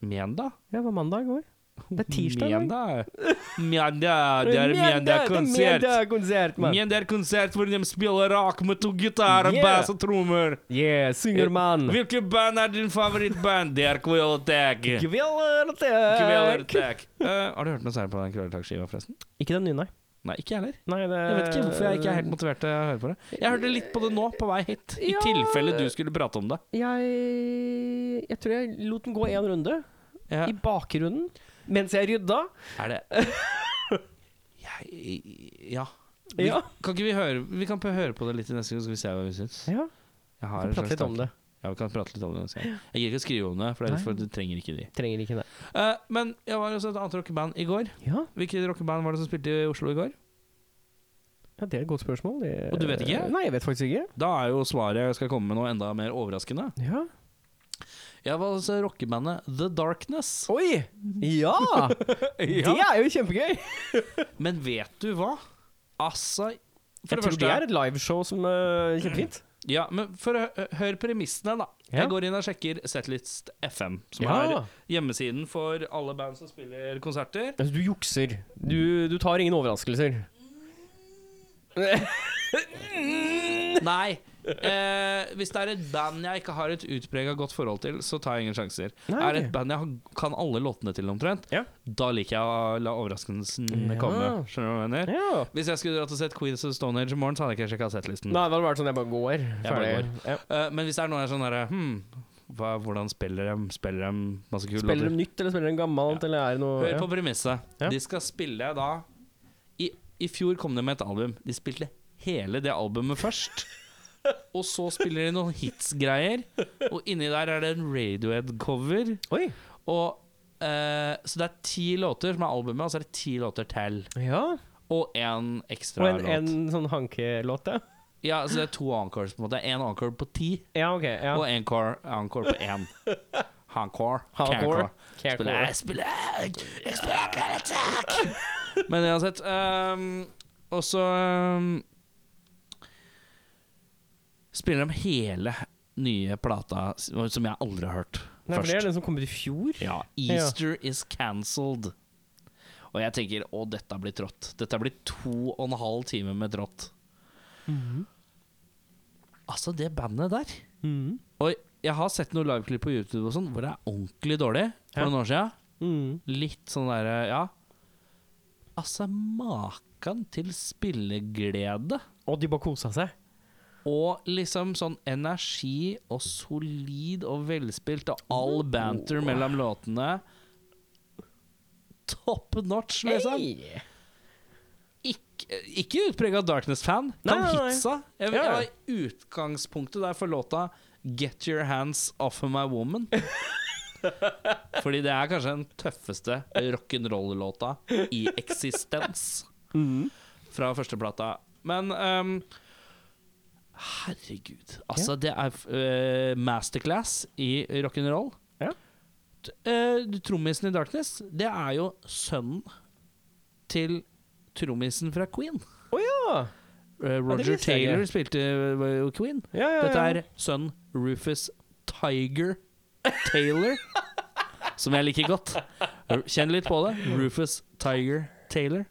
Speaker 2: Menda?
Speaker 1: Ja, det var mandag i går. Det er tirsdag. i dag.
Speaker 2: Menda? Menda, det er
Speaker 1: Det
Speaker 2: Menda-konsert.
Speaker 1: er konsert, mann.
Speaker 2: Menda-konsert hvor de spiller rock med to gitarer,
Speaker 1: Yeah. Mm.
Speaker 2: bass og trommer.
Speaker 1: Yeah,
Speaker 2: Eh,
Speaker 1: synger mann.
Speaker 2: Hvilket band er din favorittband? Det er Kvelertak.
Speaker 1: Kveldertak.
Speaker 2: Kvelertak. Eh, har du hørt noe særlig på den Kvelertak-skiva, forresten?
Speaker 1: Ikke den nye, nei.
Speaker 2: Nei, ikke jeg heller.
Speaker 1: nei det,
Speaker 2: Jeg vet ikke hvorfor jeg ikke er helt motivert til å høre på det. Jeg hørte litt på det nå, på vei hit. I
Speaker 1: Ja.
Speaker 2: tilfelle du skulle prate om det.
Speaker 1: Jeg, jeg tror jeg lot den gå én runde,
Speaker 2: Ja.
Speaker 1: i bakgrunnen, mens jeg rydda.
Speaker 2: Er det jeg, Ja. Vi,
Speaker 1: Ja.
Speaker 2: kan ikke vi høre Vi kan høre på det litt i neste gang, så skal vi se hva vi syns.
Speaker 1: Ja,
Speaker 2: Jeg
Speaker 1: Får prate litt om det.
Speaker 2: Ja, vi kan prate litt om det neste gang. Jeg gidder ikke å skrive om det, for, det er,
Speaker 1: Nei.
Speaker 2: for du trenger ikke de.
Speaker 1: Trenger ikke det.
Speaker 2: Eh, men jeg var også et annet rockeband i går.
Speaker 1: Ja,
Speaker 2: Hvilket rockeband var det som spilte i Oslo i går?
Speaker 1: ja det er et godt spørsmål. Det,
Speaker 2: Og du vet ikke?
Speaker 1: Nei, jeg vet faktisk ikke.
Speaker 2: Da er jo svaret jeg skal komme med noe enda mer overraskende.
Speaker 1: Ja.
Speaker 2: Jeg var altså rockebandet The Darkness.
Speaker 1: Oi! Ja! Det er jo kjempegøy!
Speaker 2: Men vet du hva? Altså For
Speaker 1: Jeg
Speaker 2: det
Speaker 1: tror
Speaker 2: første
Speaker 1: det er et liveshow som eh, kjempefint.
Speaker 2: Ja, men for å hø- hør premissene, da.
Speaker 1: Ja.
Speaker 2: Jeg går inn og sjekker Setlist FM, som
Speaker 1: Ja.
Speaker 2: er hjemmesiden for alle band som spiller konserter.
Speaker 1: Altså, du jukser. Du, du tar ingen overraskelser.
Speaker 2: Nei. Eh, hvis det er et band jeg ikke har et utprega godt forhold til, så tar jeg ingen sjanser.
Speaker 1: Nei,
Speaker 2: Er det
Speaker 1: ok.
Speaker 2: et band jeg har- kan alle låtene til omtrent,
Speaker 1: Ja.
Speaker 2: da liker jeg å la overraskelsen
Speaker 1: Ja.
Speaker 2: komme. Skjønner du hva jeg mener?
Speaker 1: Ja.
Speaker 2: Hvis jeg skulle dratt og sett Queens of Stone Age i morgen, så hadde jeg ikke sjekka settlisten.
Speaker 1: Nei, det hadde vært sånn jeg bare går.
Speaker 2: Jeg bare
Speaker 1: Ferdig. Ja.
Speaker 2: Eh, men hvis det er noen jeg er sånn derre hmm, hva, Hvordan spiller dem? Spiller dem masse kule
Speaker 1: Spiller
Speaker 2: låter?
Speaker 1: de nytt, eller spiller de gammelt, eller er det noe
Speaker 2: Hør på premisset.
Speaker 1: Ja.
Speaker 2: De skal spille da I, I fjor kom de med et album. De spilte hele det albumet først. Og så spiller de noen hitsgreier, og inni der er det en Radiohead-cover.
Speaker 1: ja. Oi!
Speaker 2: Og eh, Så det er ti låter som er albumet, og så er det ti låter til.
Speaker 1: Ja.
Speaker 2: Og én
Speaker 1: Og
Speaker 2: ekstra
Speaker 1: en, en
Speaker 2: låt.
Speaker 1: sånn hankelåt, ja.
Speaker 2: Ja, så det er to encores, på en måte. Én encore på ti,
Speaker 1: Ja, ok. Ja.
Speaker 2: og en encore, encore på én. Encore.
Speaker 1: Hardcore.
Speaker 2: Cancore. Spiller, jeg spiller, jeg spiller Kvelertak! Men uansett ehm, Og så ehm, spiller de hele nye plata s- som jeg aldri har hørt
Speaker 1: Nei, for det er
Speaker 2: først.
Speaker 1: den som kom ut i fjor.
Speaker 2: Ja, Easter is cancelled. Og jeg tenker å, dette blir trått. Dette blir to og en halv time med trått. Altså, det bandet der
Speaker 1: Mhm.
Speaker 2: Og jeg har sett noen liveklipp på YouTube og sånn hvor det er ordentlig dårlig for
Speaker 1: Ja.
Speaker 2: noen år siden.
Speaker 1: Mhm.
Speaker 2: Litt sånn derre, ja. Altså, maken til spilleglede.
Speaker 1: Og de bare kosa seg.
Speaker 2: Og liksom sånn energi og solid og velspilt og all banter mellom låtene. Top notch, liksom.
Speaker 1: Hey.
Speaker 2: Ikke, ikke utprega Darkness-fan. Kan
Speaker 1: Nei, nei, nei.
Speaker 2: hitsa. Jeg,
Speaker 1: Ja,
Speaker 2: jeg
Speaker 1: ja.
Speaker 2: var i utgangspunktet der for låta 'Get Your Hands Off of My Woman'. Fordi det er kanskje den tøffeste rock'n'roll-låta i eksistens. Fra førsteplata. Men ehm, Herregud. Altså, det er øh, masterclass i rock'n'roll.
Speaker 1: Ja.
Speaker 2: T- øh, du- Trommisen i Darkness, det er jo sønnen til trommisen fra Queen.
Speaker 1: Å ja!
Speaker 2: Eh, Roger
Speaker 1: visste jeg
Speaker 2: Taylor
Speaker 1: ikke.
Speaker 2: spilte øh, var jo Queen.
Speaker 1: Ja, ja,
Speaker 2: Dette
Speaker 1: ja.
Speaker 2: er sønnen Rufus Tiger Taylor, som jeg liker godt. Kjenn litt på det. Rufus Tiger Taylor.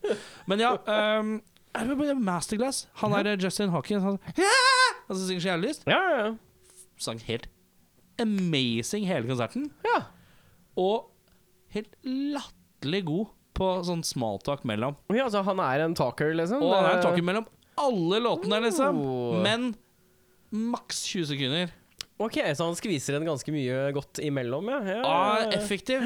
Speaker 2: Men ja ehm, er det bare Masterclass. Han er eh, Justin Hawkins. Han, han som synger så jævlig lyst.
Speaker 1: Ja, ja, ja.
Speaker 2: Sang helt amazing hele konserten.
Speaker 1: Ja.
Speaker 2: Og helt latterlig god på sånn smalltalk mellom.
Speaker 1: Ja, altså, han er en talker, liksom?
Speaker 2: Og han er
Speaker 1: Det-
Speaker 2: en talk mellom alle låtene, liksom.
Speaker 1: Oh.
Speaker 2: Men maks 20 sekunder.
Speaker 1: Ok, så han skviser en ganske mye godt imellom, ja? ja, ja,
Speaker 2: Ah,
Speaker 1: ja.
Speaker 2: effektiv.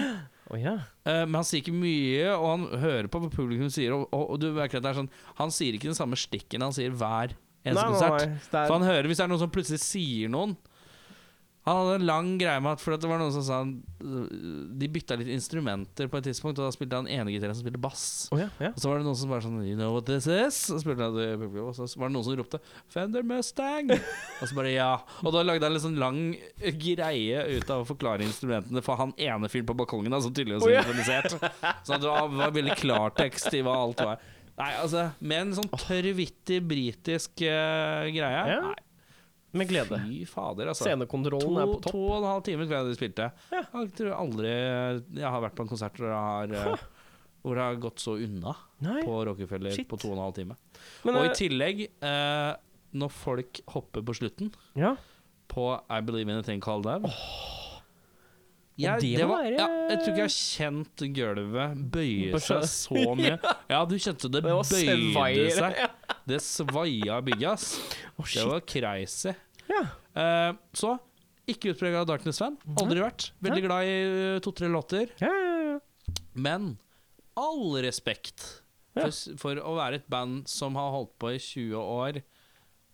Speaker 1: Å, ja.
Speaker 2: Eh, men han sier ikke mye, og han hører på hva publikum sier. Og, og, og du merker at det er sånn Han sier ikke den samme stikken han sier hver eneste
Speaker 1: Nei, nei,
Speaker 2: konsert.
Speaker 1: nei, det er-
Speaker 2: For han hører hvis det er noen som plutselig sier noen. Han hadde en lang greie med at For at det var noen som sa han, øh, De bytta litt instrumenter på et tidspunkt, og da spilte han ene gitaren som spilte bass.
Speaker 1: Å, ja, ja.
Speaker 2: Og så var det noen som bare sånn You know what this is? Og, så spilte han det i publikum, og så var det noen som ropte Fender Mustang! og så bare ja. Og da lagde han en sånn lang greie ut av å forklare instrumentene for han ene fyren på balkongen, da, som tydeligvis
Speaker 1: Å,
Speaker 2: var
Speaker 1: ja.
Speaker 2: improvisert. Så det var, var veldig klartekst i hva alt var. Nei, altså Med en sånn tørrvittig britisk eh, greie.
Speaker 1: Ja,
Speaker 2: Nei,
Speaker 1: Med glede.
Speaker 2: Fy fader, altså. To,
Speaker 1: Scenekontrollen er på topp.
Speaker 2: to og en halv time tror jeg de spilte.
Speaker 1: Ja.
Speaker 2: Jeg tror aldri jeg har vært på en konsert hvor det har, eh, hvor det har gått så unna
Speaker 1: Nei.
Speaker 2: på Rockefeller
Speaker 1: Shit.
Speaker 2: på to og en halv time.
Speaker 1: Men,
Speaker 2: og
Speaker 1: eh,
Speaker 2: i tillegg, eh, når folk hopper på slutten
Speaker 1: ja.
Speaker 2: på I Believe in a Thing Called Love
Speaker 1: Og det
Speaker 2: det
Speaker 1: må
Speaker 2: var,
Speaker 1: være-
Speaker 2: ja, jeg tror ikke jeg har kjent gulvet bøye
Speaker 1: På
Speaker 2: seg så mye. Ja, du kjente det
Speaker 1: Det var
Speaker 2: bøyde
Speaker 1: svaier.
Speaker 2: seg. Det svaia bygget, ass.
Speaker 1: Å,
Speaker 2: Det
Speaker 1: shit.
Speaker 2: var crazy.
Speaker 1: Ja.
Speaker 2: Eh, så ikke utprega Darkness-fan. Aldri vært. Veldig glad i eh, to-tre låter.
Speaker 1: Ja, ja, ja.
Speaker 2: Men all respekt
Speaker 1: Ja.
Speaker 2: for, for å være et band som har holdt på i 20 år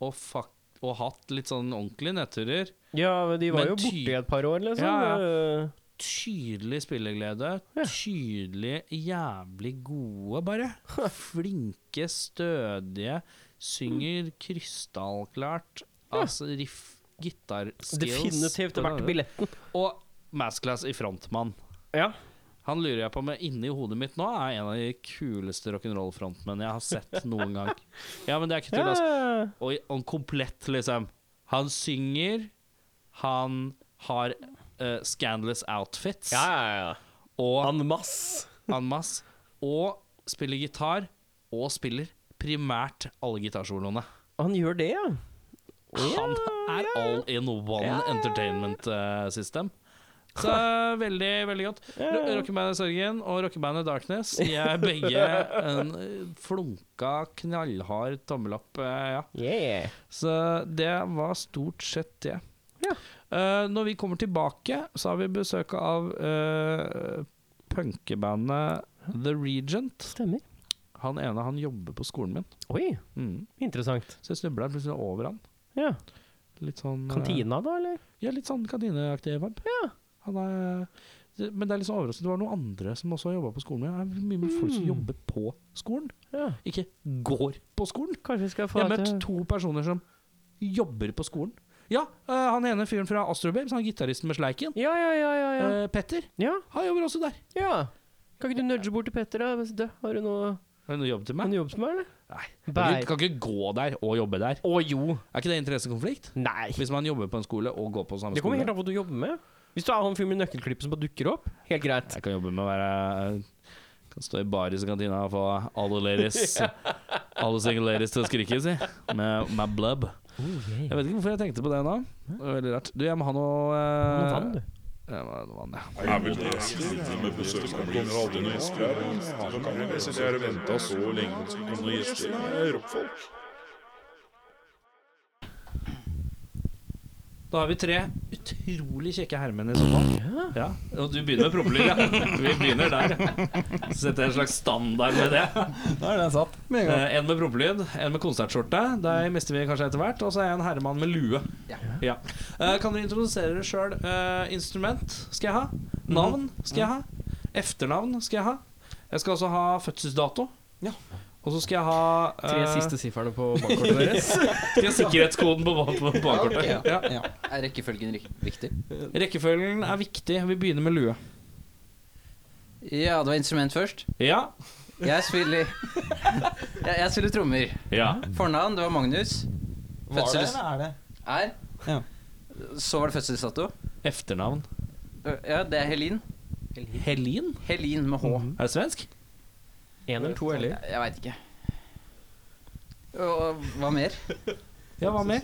Speaker 2: og, fak og hatt litt sånn ordentlige nedturer.
Speaker 1: Ja, men de var
Speaker 2: Men
Speaker 1: jo
Speaker 2: ty-
Speaker 1: borte i et par år, liksom.
Speaker 2: Ja,
Speaker 1: Eh,
Speaker 2: Tydelig spilleglede. Tydelig jævlig gode, bare. Flinke, stødige. Synger krystallklart. Altså riff, gitar skills.
Speaker 1: Definitivt verdt billetten.
Speaker 2: Og Masterclass i frontmann.
Speaker 1: Ja.
Speaker 2: Han lurer jeg på med inni hodet mitt nå er en av de kuleste rock'n'roll-frontmenn jeg har sett noen gang. Ja, men det er ikke tull, altså.
Speaker 1: Ja.
Speaker 2: Og i- og komplett, liksom. Han synger, han har eh, scandalous outfits
Speaker 1: Ja, ja, ja.
Speaker 2: og
Speaker 1: En masse.
Speaker 2: en masse, og spiller gitar, og spiller primært alle gitarsoloene.
Speaker 1: Han gjør det, ja.
Speaker 2: Han er all in one entertainment eh, system. Så veldig, veldig godt.
Speaker 1: Ja, ja.
Speaker 2: Ro- Rockebandet Sørgen og rockebandet Darkness De er begge en eh, flunka, knallhard tommelopp. eh, Ja.
Speaker 1: Yeah.
Speaker 2: Så det var stort sett det.
Speaker 1: Ja.
Speaker 2: Eh, når vi kommer tilbake, så har vi besøk av uh, punkebandet The Regent.
Speaker 1: Stemmer.
Speaker 2: Han ene han jobber på skolen min.
Speaker 1: Oi,
Speaker 2: Mm.
Speaker 1: interessant.
Speaker 2: Så jeg snubla plutselig over han.
Speaker 1: Ja.
Speaker 2: Litt sånn eh,
Speaker 1: Kantina, da, eller?
Speaker 2: Ja, litt sånn kantineaktig vibe.
Speaker 1: Ja.
Speaker 2: Han er, det- men det er litt sånn overraskende. Det var noen andre som også har jobba på skolen. min. Det er mye med folk som
Speaker 1: Mm.
Speaker 2: jobber på skolen,
Speaker 1: Ja.
Speaker 2: ikke går på skolen.
Speaker 1: Kanskje vi skal få eh,
Speaker 2: Jeg har
Speaker 1: et,
Speaker 2: møtt to personer som jobber på skolen. Ja, eh, han ene fyren fra Astrobabes, han gitaristen med sleiken,
Speaker 1: Ja, ja, ja, ja, ja.
Speaker 2: eh, Petter,
Speaker 1: ja.
Speaker 2: han jobber også der.
Speaker 1: ja. Kan ikke du nudge bort til Petter? Da? Hvis du- Har du noe,
Speaker 2: Har du noe jobb til
Speaker 1: har du
Speaker 2: meg?
Speaker 1: noe jobb til meg, eller?
Speaker 2: Nei.
Speaker 1: Bær.
Speaker 2: Kan ikke, kan ikke gå der og jobbe der.
Speaker 1: Å jo.
Speaker 2: Er ikke det interessekonflikt?
Speaker 1: Nei.
Speaker 2: Hvis man jobber på en skole og går på samme
Speaker 1: Det kommer
Speaker 2: skole.
Speaker 1: helt an på hva du jobber med. Hvis du er han fyren med nøkkelklippet som bare dukker opp, helt greit.
Speaker 2: Jeg kan jobbe med å være eh, Kan stå i baris i kantina og få alle ladies Alle single ladies til å skrike, si. Med, med blub. Jeg vet ikke hvorfor jeg tenkte på det nå. Det var veldig rart. Du, jeg må ha noe
Speaker 1: Nå
Speaker 2: eh,
Speaker 1: fant du.
Speaker 2: jeg må ha noe vann, ja.
Speaker 3: Er vel det siste med besøksmålet. Jeg har venta så lenge på noen gjester. Det er rockfolk.
Speaker 2: Da har vi tre utrolig kjekke herremenn i sofaen. Mm. Ja. Og du begynner med prompelyd, ja. Vi begynner der. Så Setter jeg en slags standard med det.
Speaker 4: Da er den satt. Med en gang.
Speaker 2: Eh, en med prompelyd, en med konsertskjorte. Der mister vi kanskje etter hvert. Og så er jeg en herremann med lue. Ja. Eh, kan dere introdusere dere sjøl? Eh, instrument skal jeg ha. Navn skal jeg ha. Efternavn skal jeg ha. Jeg skal også ha fødselsdato.
Speaker 4: Ja.
Speaker 2: Og så skal jeg ha
Speaker 1: Tre
Speaker 2: eh,
Speaker 1: siste sifferne på bankkortet deres.
Speaker 2: Skal jeg ha sikkerhetskoden på, på, på bakkortet.
Speaker 5: Ja,
Speaker 2: Ja.
Speaker 4: Ja.
Speaker 5: Er rekkefølgen rik- viktig?
Speaker 2: Rekkefølgen er viktig. Vi begynner med lue.
Speaker 5: Ja, det var instrument først.
Speaker 2: Ja.
Speaker 5: Jeg spiller Jeg, jeg spiller trommer.
Speaker 2: ja.
Speaker 5: Fornavn, det var Magnus.
Speaker 4: Var det,
Speaker 5: Fødsels-
Speaker 4: eller er det?
Speaker 5: Er.
Speaker 4: Ja.
Speaker 5: Så var det fødselsdato.
Speaker 2: Efternavn.
Speaker 5: Ja, det er Helin.
Speaker 2: Helin?
Speaker 5: Helin med H.
Speaker 4: Mhm.
Speaker 2: Er det svensk?
Speaker 1: Én eller to eller?
Speaker 5: Jeg, jeg veit ikke. Og hva mer?
Speaker 2: Ja, hva mer?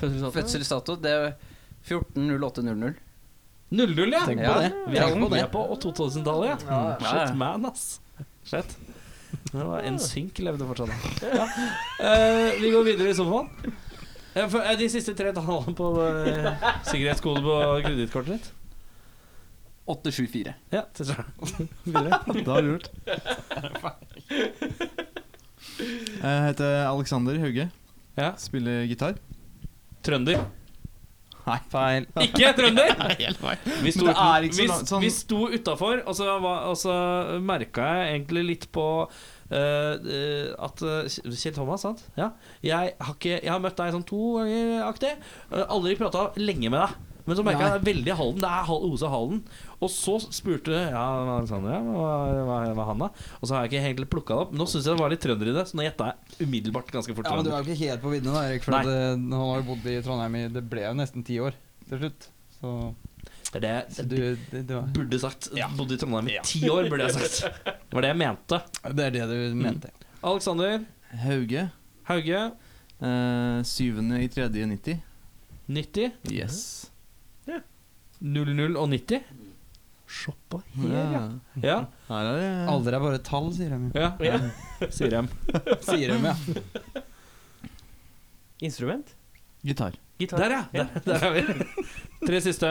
Speaker 1: Fødselsdato?
Speaker 5: Fødselsdato, det er 14.08.00.
Speaker 2: 00, ja.
Speaker 4: Tenk på
Speaker 5: Ja.
Speaker 4: det.
Speaker 2: Vi er
Speaker 5: Tenk
Speaker 2: på,
Speaker 5: på
Speaker 2: vi
Speaker 5: det.
Speaker 2: er på 2000-tallet, ja.
Speaker 5: Ja, ja.
Speaker 2: Shit, man, ass. Shit. Det var en synk levde fortsatt. Ja. Eh, vi går videre i sofaen. Eh, for, eh, de siste tre tallene på eh, sikkerhetskoden på kredittkortet ditt.
Speaker 5: 874.
Speaker 2: Ja, til slutt. Videre. Da har du gjort.
Speaker 6: Jeg heter Alexander Hauge.
Speaker 2: Ja.
Speaker 6: Spiller gitar.
Speaker 2: Trønder.
Speaker 6: Nei.
Speaker 4: Feil.
Speaker 2: Ikke trønder! Vi sto,
Speaker 6: Men det er ikke så
Speaker 2: vi,
Speaker 6: langt, sånn-
Speaker 2: vi sto utafor, og så, var- og så merka jeg egentlig litt på eh, eh, at eh, Kjell Thomas, sant? Ja. Jeg har, ikke, jeg har møtt deg sånn to ganger aktig. Eh, Aldri prata lenge med deg. Men så merka jeg det er veldig Halden. Det er Hal- Osa Halden. Og så spurte jeg ja, Alexander, ja, hva, hva, hva han da? Og så har jeg ikke egentlig plukka det opp. Nå syns jeg det var litt trønder i det, så nå gjetta jeg umiddelbart ganske fort.
Speaker 4: Ja, men du
Speaker 2: trønder.
Speaker 4: er jo ikke helt på viddene, da, Erik. For
Speaker 2: Nei.
Speaker 4: at, eh, han har jo bodd i Trondheim i Det ble jo nesten ti år til slutt. Så,
Speaker 2: Det er
Speaker 4: så
Speaker 2: det
Speaker 4: du det, det, var,
Speaker 2: burde sagt. Bodde i Trondheim i ti år, burde jeg sagt. Det var det jeg mente.
Speaker 4: det er det du mente.
Speaker 2: Alexander
Speaker 6: Hauge.
Speaker 2: Hauge,
Speaker 6: eh, Syvende i tredje 90.
Speaker 2: 90.
Speaker 6: Yes.
Speaker 2: 00 og 90. Shoppa
Speaker 6: Ja.
Speaker 2: Ja,
Speaker 6: Her er det
Speaker 4: Alder er bare tall, sier de.
Speaker 2: ja, sier de.
Speaker 4: Sier de, ja.
Speaker 1: Instrument?
Speaker 6: gitar.
Speaker 1: Gitar?
Speaker 2: Der, ja! Der, der er vi. Tre siste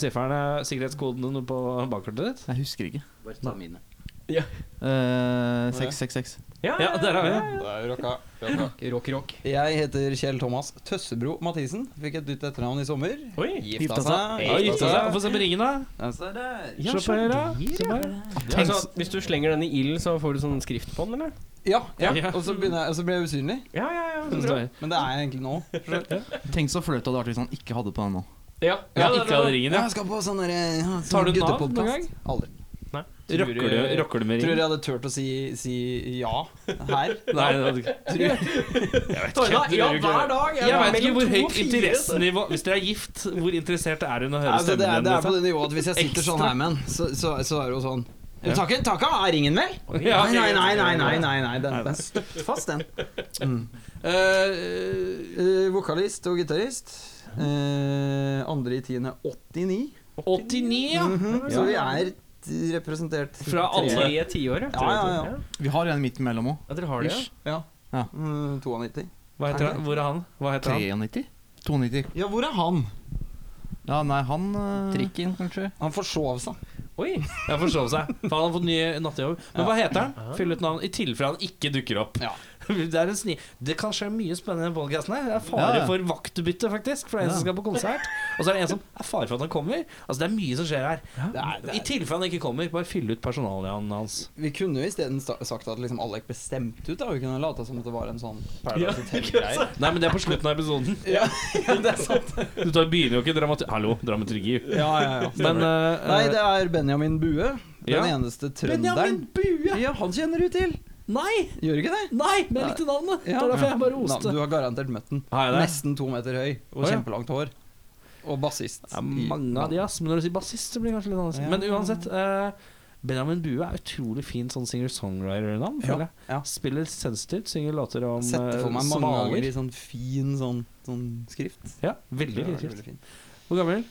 Speaker 2: sifferne, sikkerhetskodene på bakkortet ditt.
Speaker 6: Jeg husker ikke.
Speaker 5: Bare ta mine.
Speaker 6: Eh, 666.
Speaker 2: Ja, der er vi.
Speaker 4: Da er vi rocka.
Speaker 1: Rock, rock.
Speaker 4: Jeg heter Kjell Thomas Tøssebro Mathisen. Fikk et nytt etternavn i sommer.
Speaker 1: Oi!
Speaker 4: Gifta seg.
Speaker 2: Ja, gifta seg. Få se på ringen, da.
Speaker 4: Ja, se der.
Speaker 1: Ja,
Speaker 2: Se på her, da.
Speaker 1: så
Speaker 2: Se på her.
Speaker 1: Tenk,
Speaker 2: Altså-
Speaker 1: så, hvis du slenger den i ilden, så får du sånn skrift på den, eller?
Speaker 4: Ja, ja.
Speaker 2: Ja.
Speaker 4: Og så, begynner jeg, og så blir jeg usynlig.
Speaker 1: Ja, ja, ja.
Speaker 2: Sånn står det.
Speaker 4: Men det er jeg egentlig nå.
Speaker 6: Tenk så flaut det hadde vært hvis han ikke hadde på den nå.
Speaker 1: Ja,
Speaker 2: Ja, ikke hadde ringen, ja.
Speaker 4: Jeg skal på sånn derre ja, sånn
Speaker 2: Tar du den av noen
Speaker 4: guttepodcast.
Speaker 2: gang?
Speaker 4: Aldri.
Speaker 2: Rocker du, rocker du med
Speaker 4: Tror
Speaker 2: ringen?
Speaker 4: jeg hadde turt å si, si ja her.
Speaker 2: Nei, det hadde ikke
Speaker 4: Tror jeg.
Speaker 1: ja, hver dag!
Speaker 2: Jeg veit ikke hvor høyt interessenivå Hvis dere er gift, hvor interessert er hun i å høre
Speaker 4: Altså, det, er,
Speaker 2: stemmen
Speaker 4: det er på
Speaker 2: din?
Speaker 4: det nivået at hvis jeg sitter sånn
Speaker 2: Ekstra.
Speaker 4: her med den, så, så, så er det jo sånn
Speaker 2: Ja.
Speaker 4: Takk, takk, er ringen vel?
Speaker 2: liksom?
Speaker 4: Nei,
Speaker 2: Ja, ok,
Speaker 4: nei,
Speaker 2: greit.
Speaker 4: nei, nei, nei, nei, nei. Mm. Den, den er støpt fast, den.
Speaker 2: liksom? Eh,
Speaker 4: Eh, vokalist og gitarist. Eh, andre i tiende 89.
Speaker 2: 89, Eh, ja.
Speaker 1: Mm,
Speaker 4: Mhm, Så vi er t- representert
Speaker 2: Fra
Speaker 4: tre.
Speaker 2: alle.
Speaker 1: Tre tiår, ja.
Speaker 4: Ja, ja, ja.
Speaker 6: Vi har en midt imellom òg.
Speaker 1: Ja, Dere har det, ja?
Speaker 4: Ja.
Speaker 6: Ja.
Speaker 4: Mm, 92.
Speaker 2: Hva heter han? Hvor er han? Hva heter han?
Speaker 6: 93? 92.
Speaker 4: Ja, hvor er han?
Speaker 6: Ja, nei, han eh,
Speaker 5: Trikken, kanskje?
Speaker 4: Han forsov seg.
Speaker 1: Oi!
Speaker 2: Jeg forstår seg. For han har fått ny nattejobb. Men hva heter han? Fyll ut navn i tilfelle han ikke dukker opp.
Speaker 4: Ja.
Speaker 2: Det er en sni Det kan skje mye spennende i podkasten her. Det er
Speaker 6: Ja,
Speaker 2: fare
Speaker 6: ja.
Speaker 2: for vaktbytte, faktisk. For det er en som skal på konsert. Og så er det en som er fare for at han kommer. Altså Det er mye som skjer her.
Speaker 4: Det er, det
Speaker 2: I tilfelle han ikke kommer, bare fyll ut personaliaen hans.
Speaker 4: Vi kunne jo isteden sta- sagt at liksom Alek bestemte ut. da Vi kunne lata som at det var en sånn
Speaker 1: Ja,
Speaker 4: Paradise Hotel-greie.
Speaker 2: Nei, men det er på slutten av episoden.
Speaker 4: Ja, det er sant.
Speaker 2: Du tar, begynner jo ikke dramaturgi Hallo, dramaturgi.
Speaker 4: Ja, ja, ja.
Speaker 2: Men eh,
Speaker 4: Nei, det er Benjamin Bue. Den
Speaker 2: Ja.
Speaker 4: eneste
Speaker 2: Benjamin
Speaker 4: trønderen.
Speaker 2: Bue!
Speaker 4: Ja, han kjenner du til.
Speaker 2: Nei!
Speaker 4: Gjør du ikke det?
Speaker 2: Nei, men jeg likte navnet. Det
Speaker 4: Ja.
Speaker 2: var derfor jeg bare
Speaker 4: Nei,
Speaker 2: oste.
Speaker 4: du har garantert møtt den.
Speaker 2: Har jeg det?
Speaker 4: Nesten to meter høy og
Speaker 2: Å, ja.
Speaker 4: kjempelangt hår. Og bassist.
Speaker 2: Det er mange av de, ass. Men når du sier bassist, så blir det kanskje litt annerledes.
Speaker 4: Ja.
Speaker 2: Men uansett. eh, Benjamin Bue er utrolig fint sånn singer-songwriter-navn.
Speaker 4: Ja,
Speaker 2: føler jeg.
Speaker 4: ja.
Speaker 2: Spiller sensitivt, synger låter om
Speaker 4: Setter for
Speaker 2: eh,
Speaker 4: meg mange ganger
Speaker 2: svaler.
Speaker 4: i sånn fin sånn, sånn skrift.
Speaker 2: Ja, veldig
Speaker 4: Det var
Speaker 2: fint.
Speaker 4: veldig fint.
Speaker 2: Hvor gammel?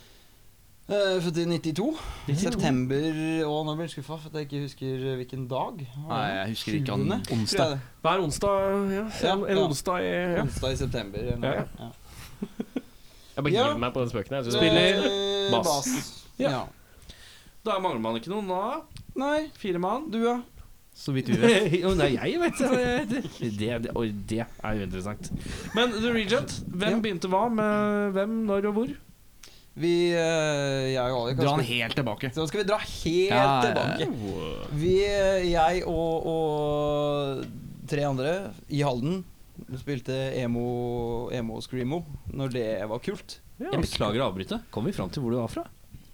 Speaker 4: Eh, født i 92.
Speaker 2: 92.
Speaker 4: September Å, nå blir jeg skuffa for at jeg ikke husker eh, hvilken dag. Hva
Speaker 6: Nei,
Speaker 4: var det?
Speaker 6: jeg husker ikke. Han
Speaker 4: Sjuende, tror jeg
Speaker 6: onsdag.
Speaker 4: det.
Speaker 1: Hver onsdag, ja.
Speaker 4: Ja,
Speaker 1: En, en
Speaker 4: ja.
Speaker 1: onsdag i ja.
Speaker 4: Onsdag i september. eller noe.
Speaker 2: Ja.
Speaker 4: Ja.
Speaker 1: Jeg bare
Speaker 4: Ja.
Speaker 1: hiver meg på den spøken. her, så-
Speaker 4: Spiller
Speaker 2: bass. Ja.
Speaker 4: Eh, Ja.
Speaker 2: Da mangler man ikke noen, da.
Speaker 4: Nei,
Speaker 2: Fire mann.
Speaker 4: du, ja.
Speaker 6: Så vidt vi vet.
Speaker 2: Jo, Nei, jeg vet det. Det, det. Oi, det er jo interessant. Men The Regent, hvem
Speaker 4: Ja.
Speaker 2: begynte hva med hvem, når og hvor?
Speaker 4: Vi, eh, jeg og Alek
Speaker 6: Dra han helt tilbake.
Speaker 4: Så skal vi dra helt
Speaker 6: Ja, ja, ja.
Speaker 4: tilbake. Vi, jeg og, og tre andre i Halden. Du spilte emo, emo og screamo når det var kult.
Speaker 2: Jeg beklager å avbryte. Kom vi fram til hvor du var fra?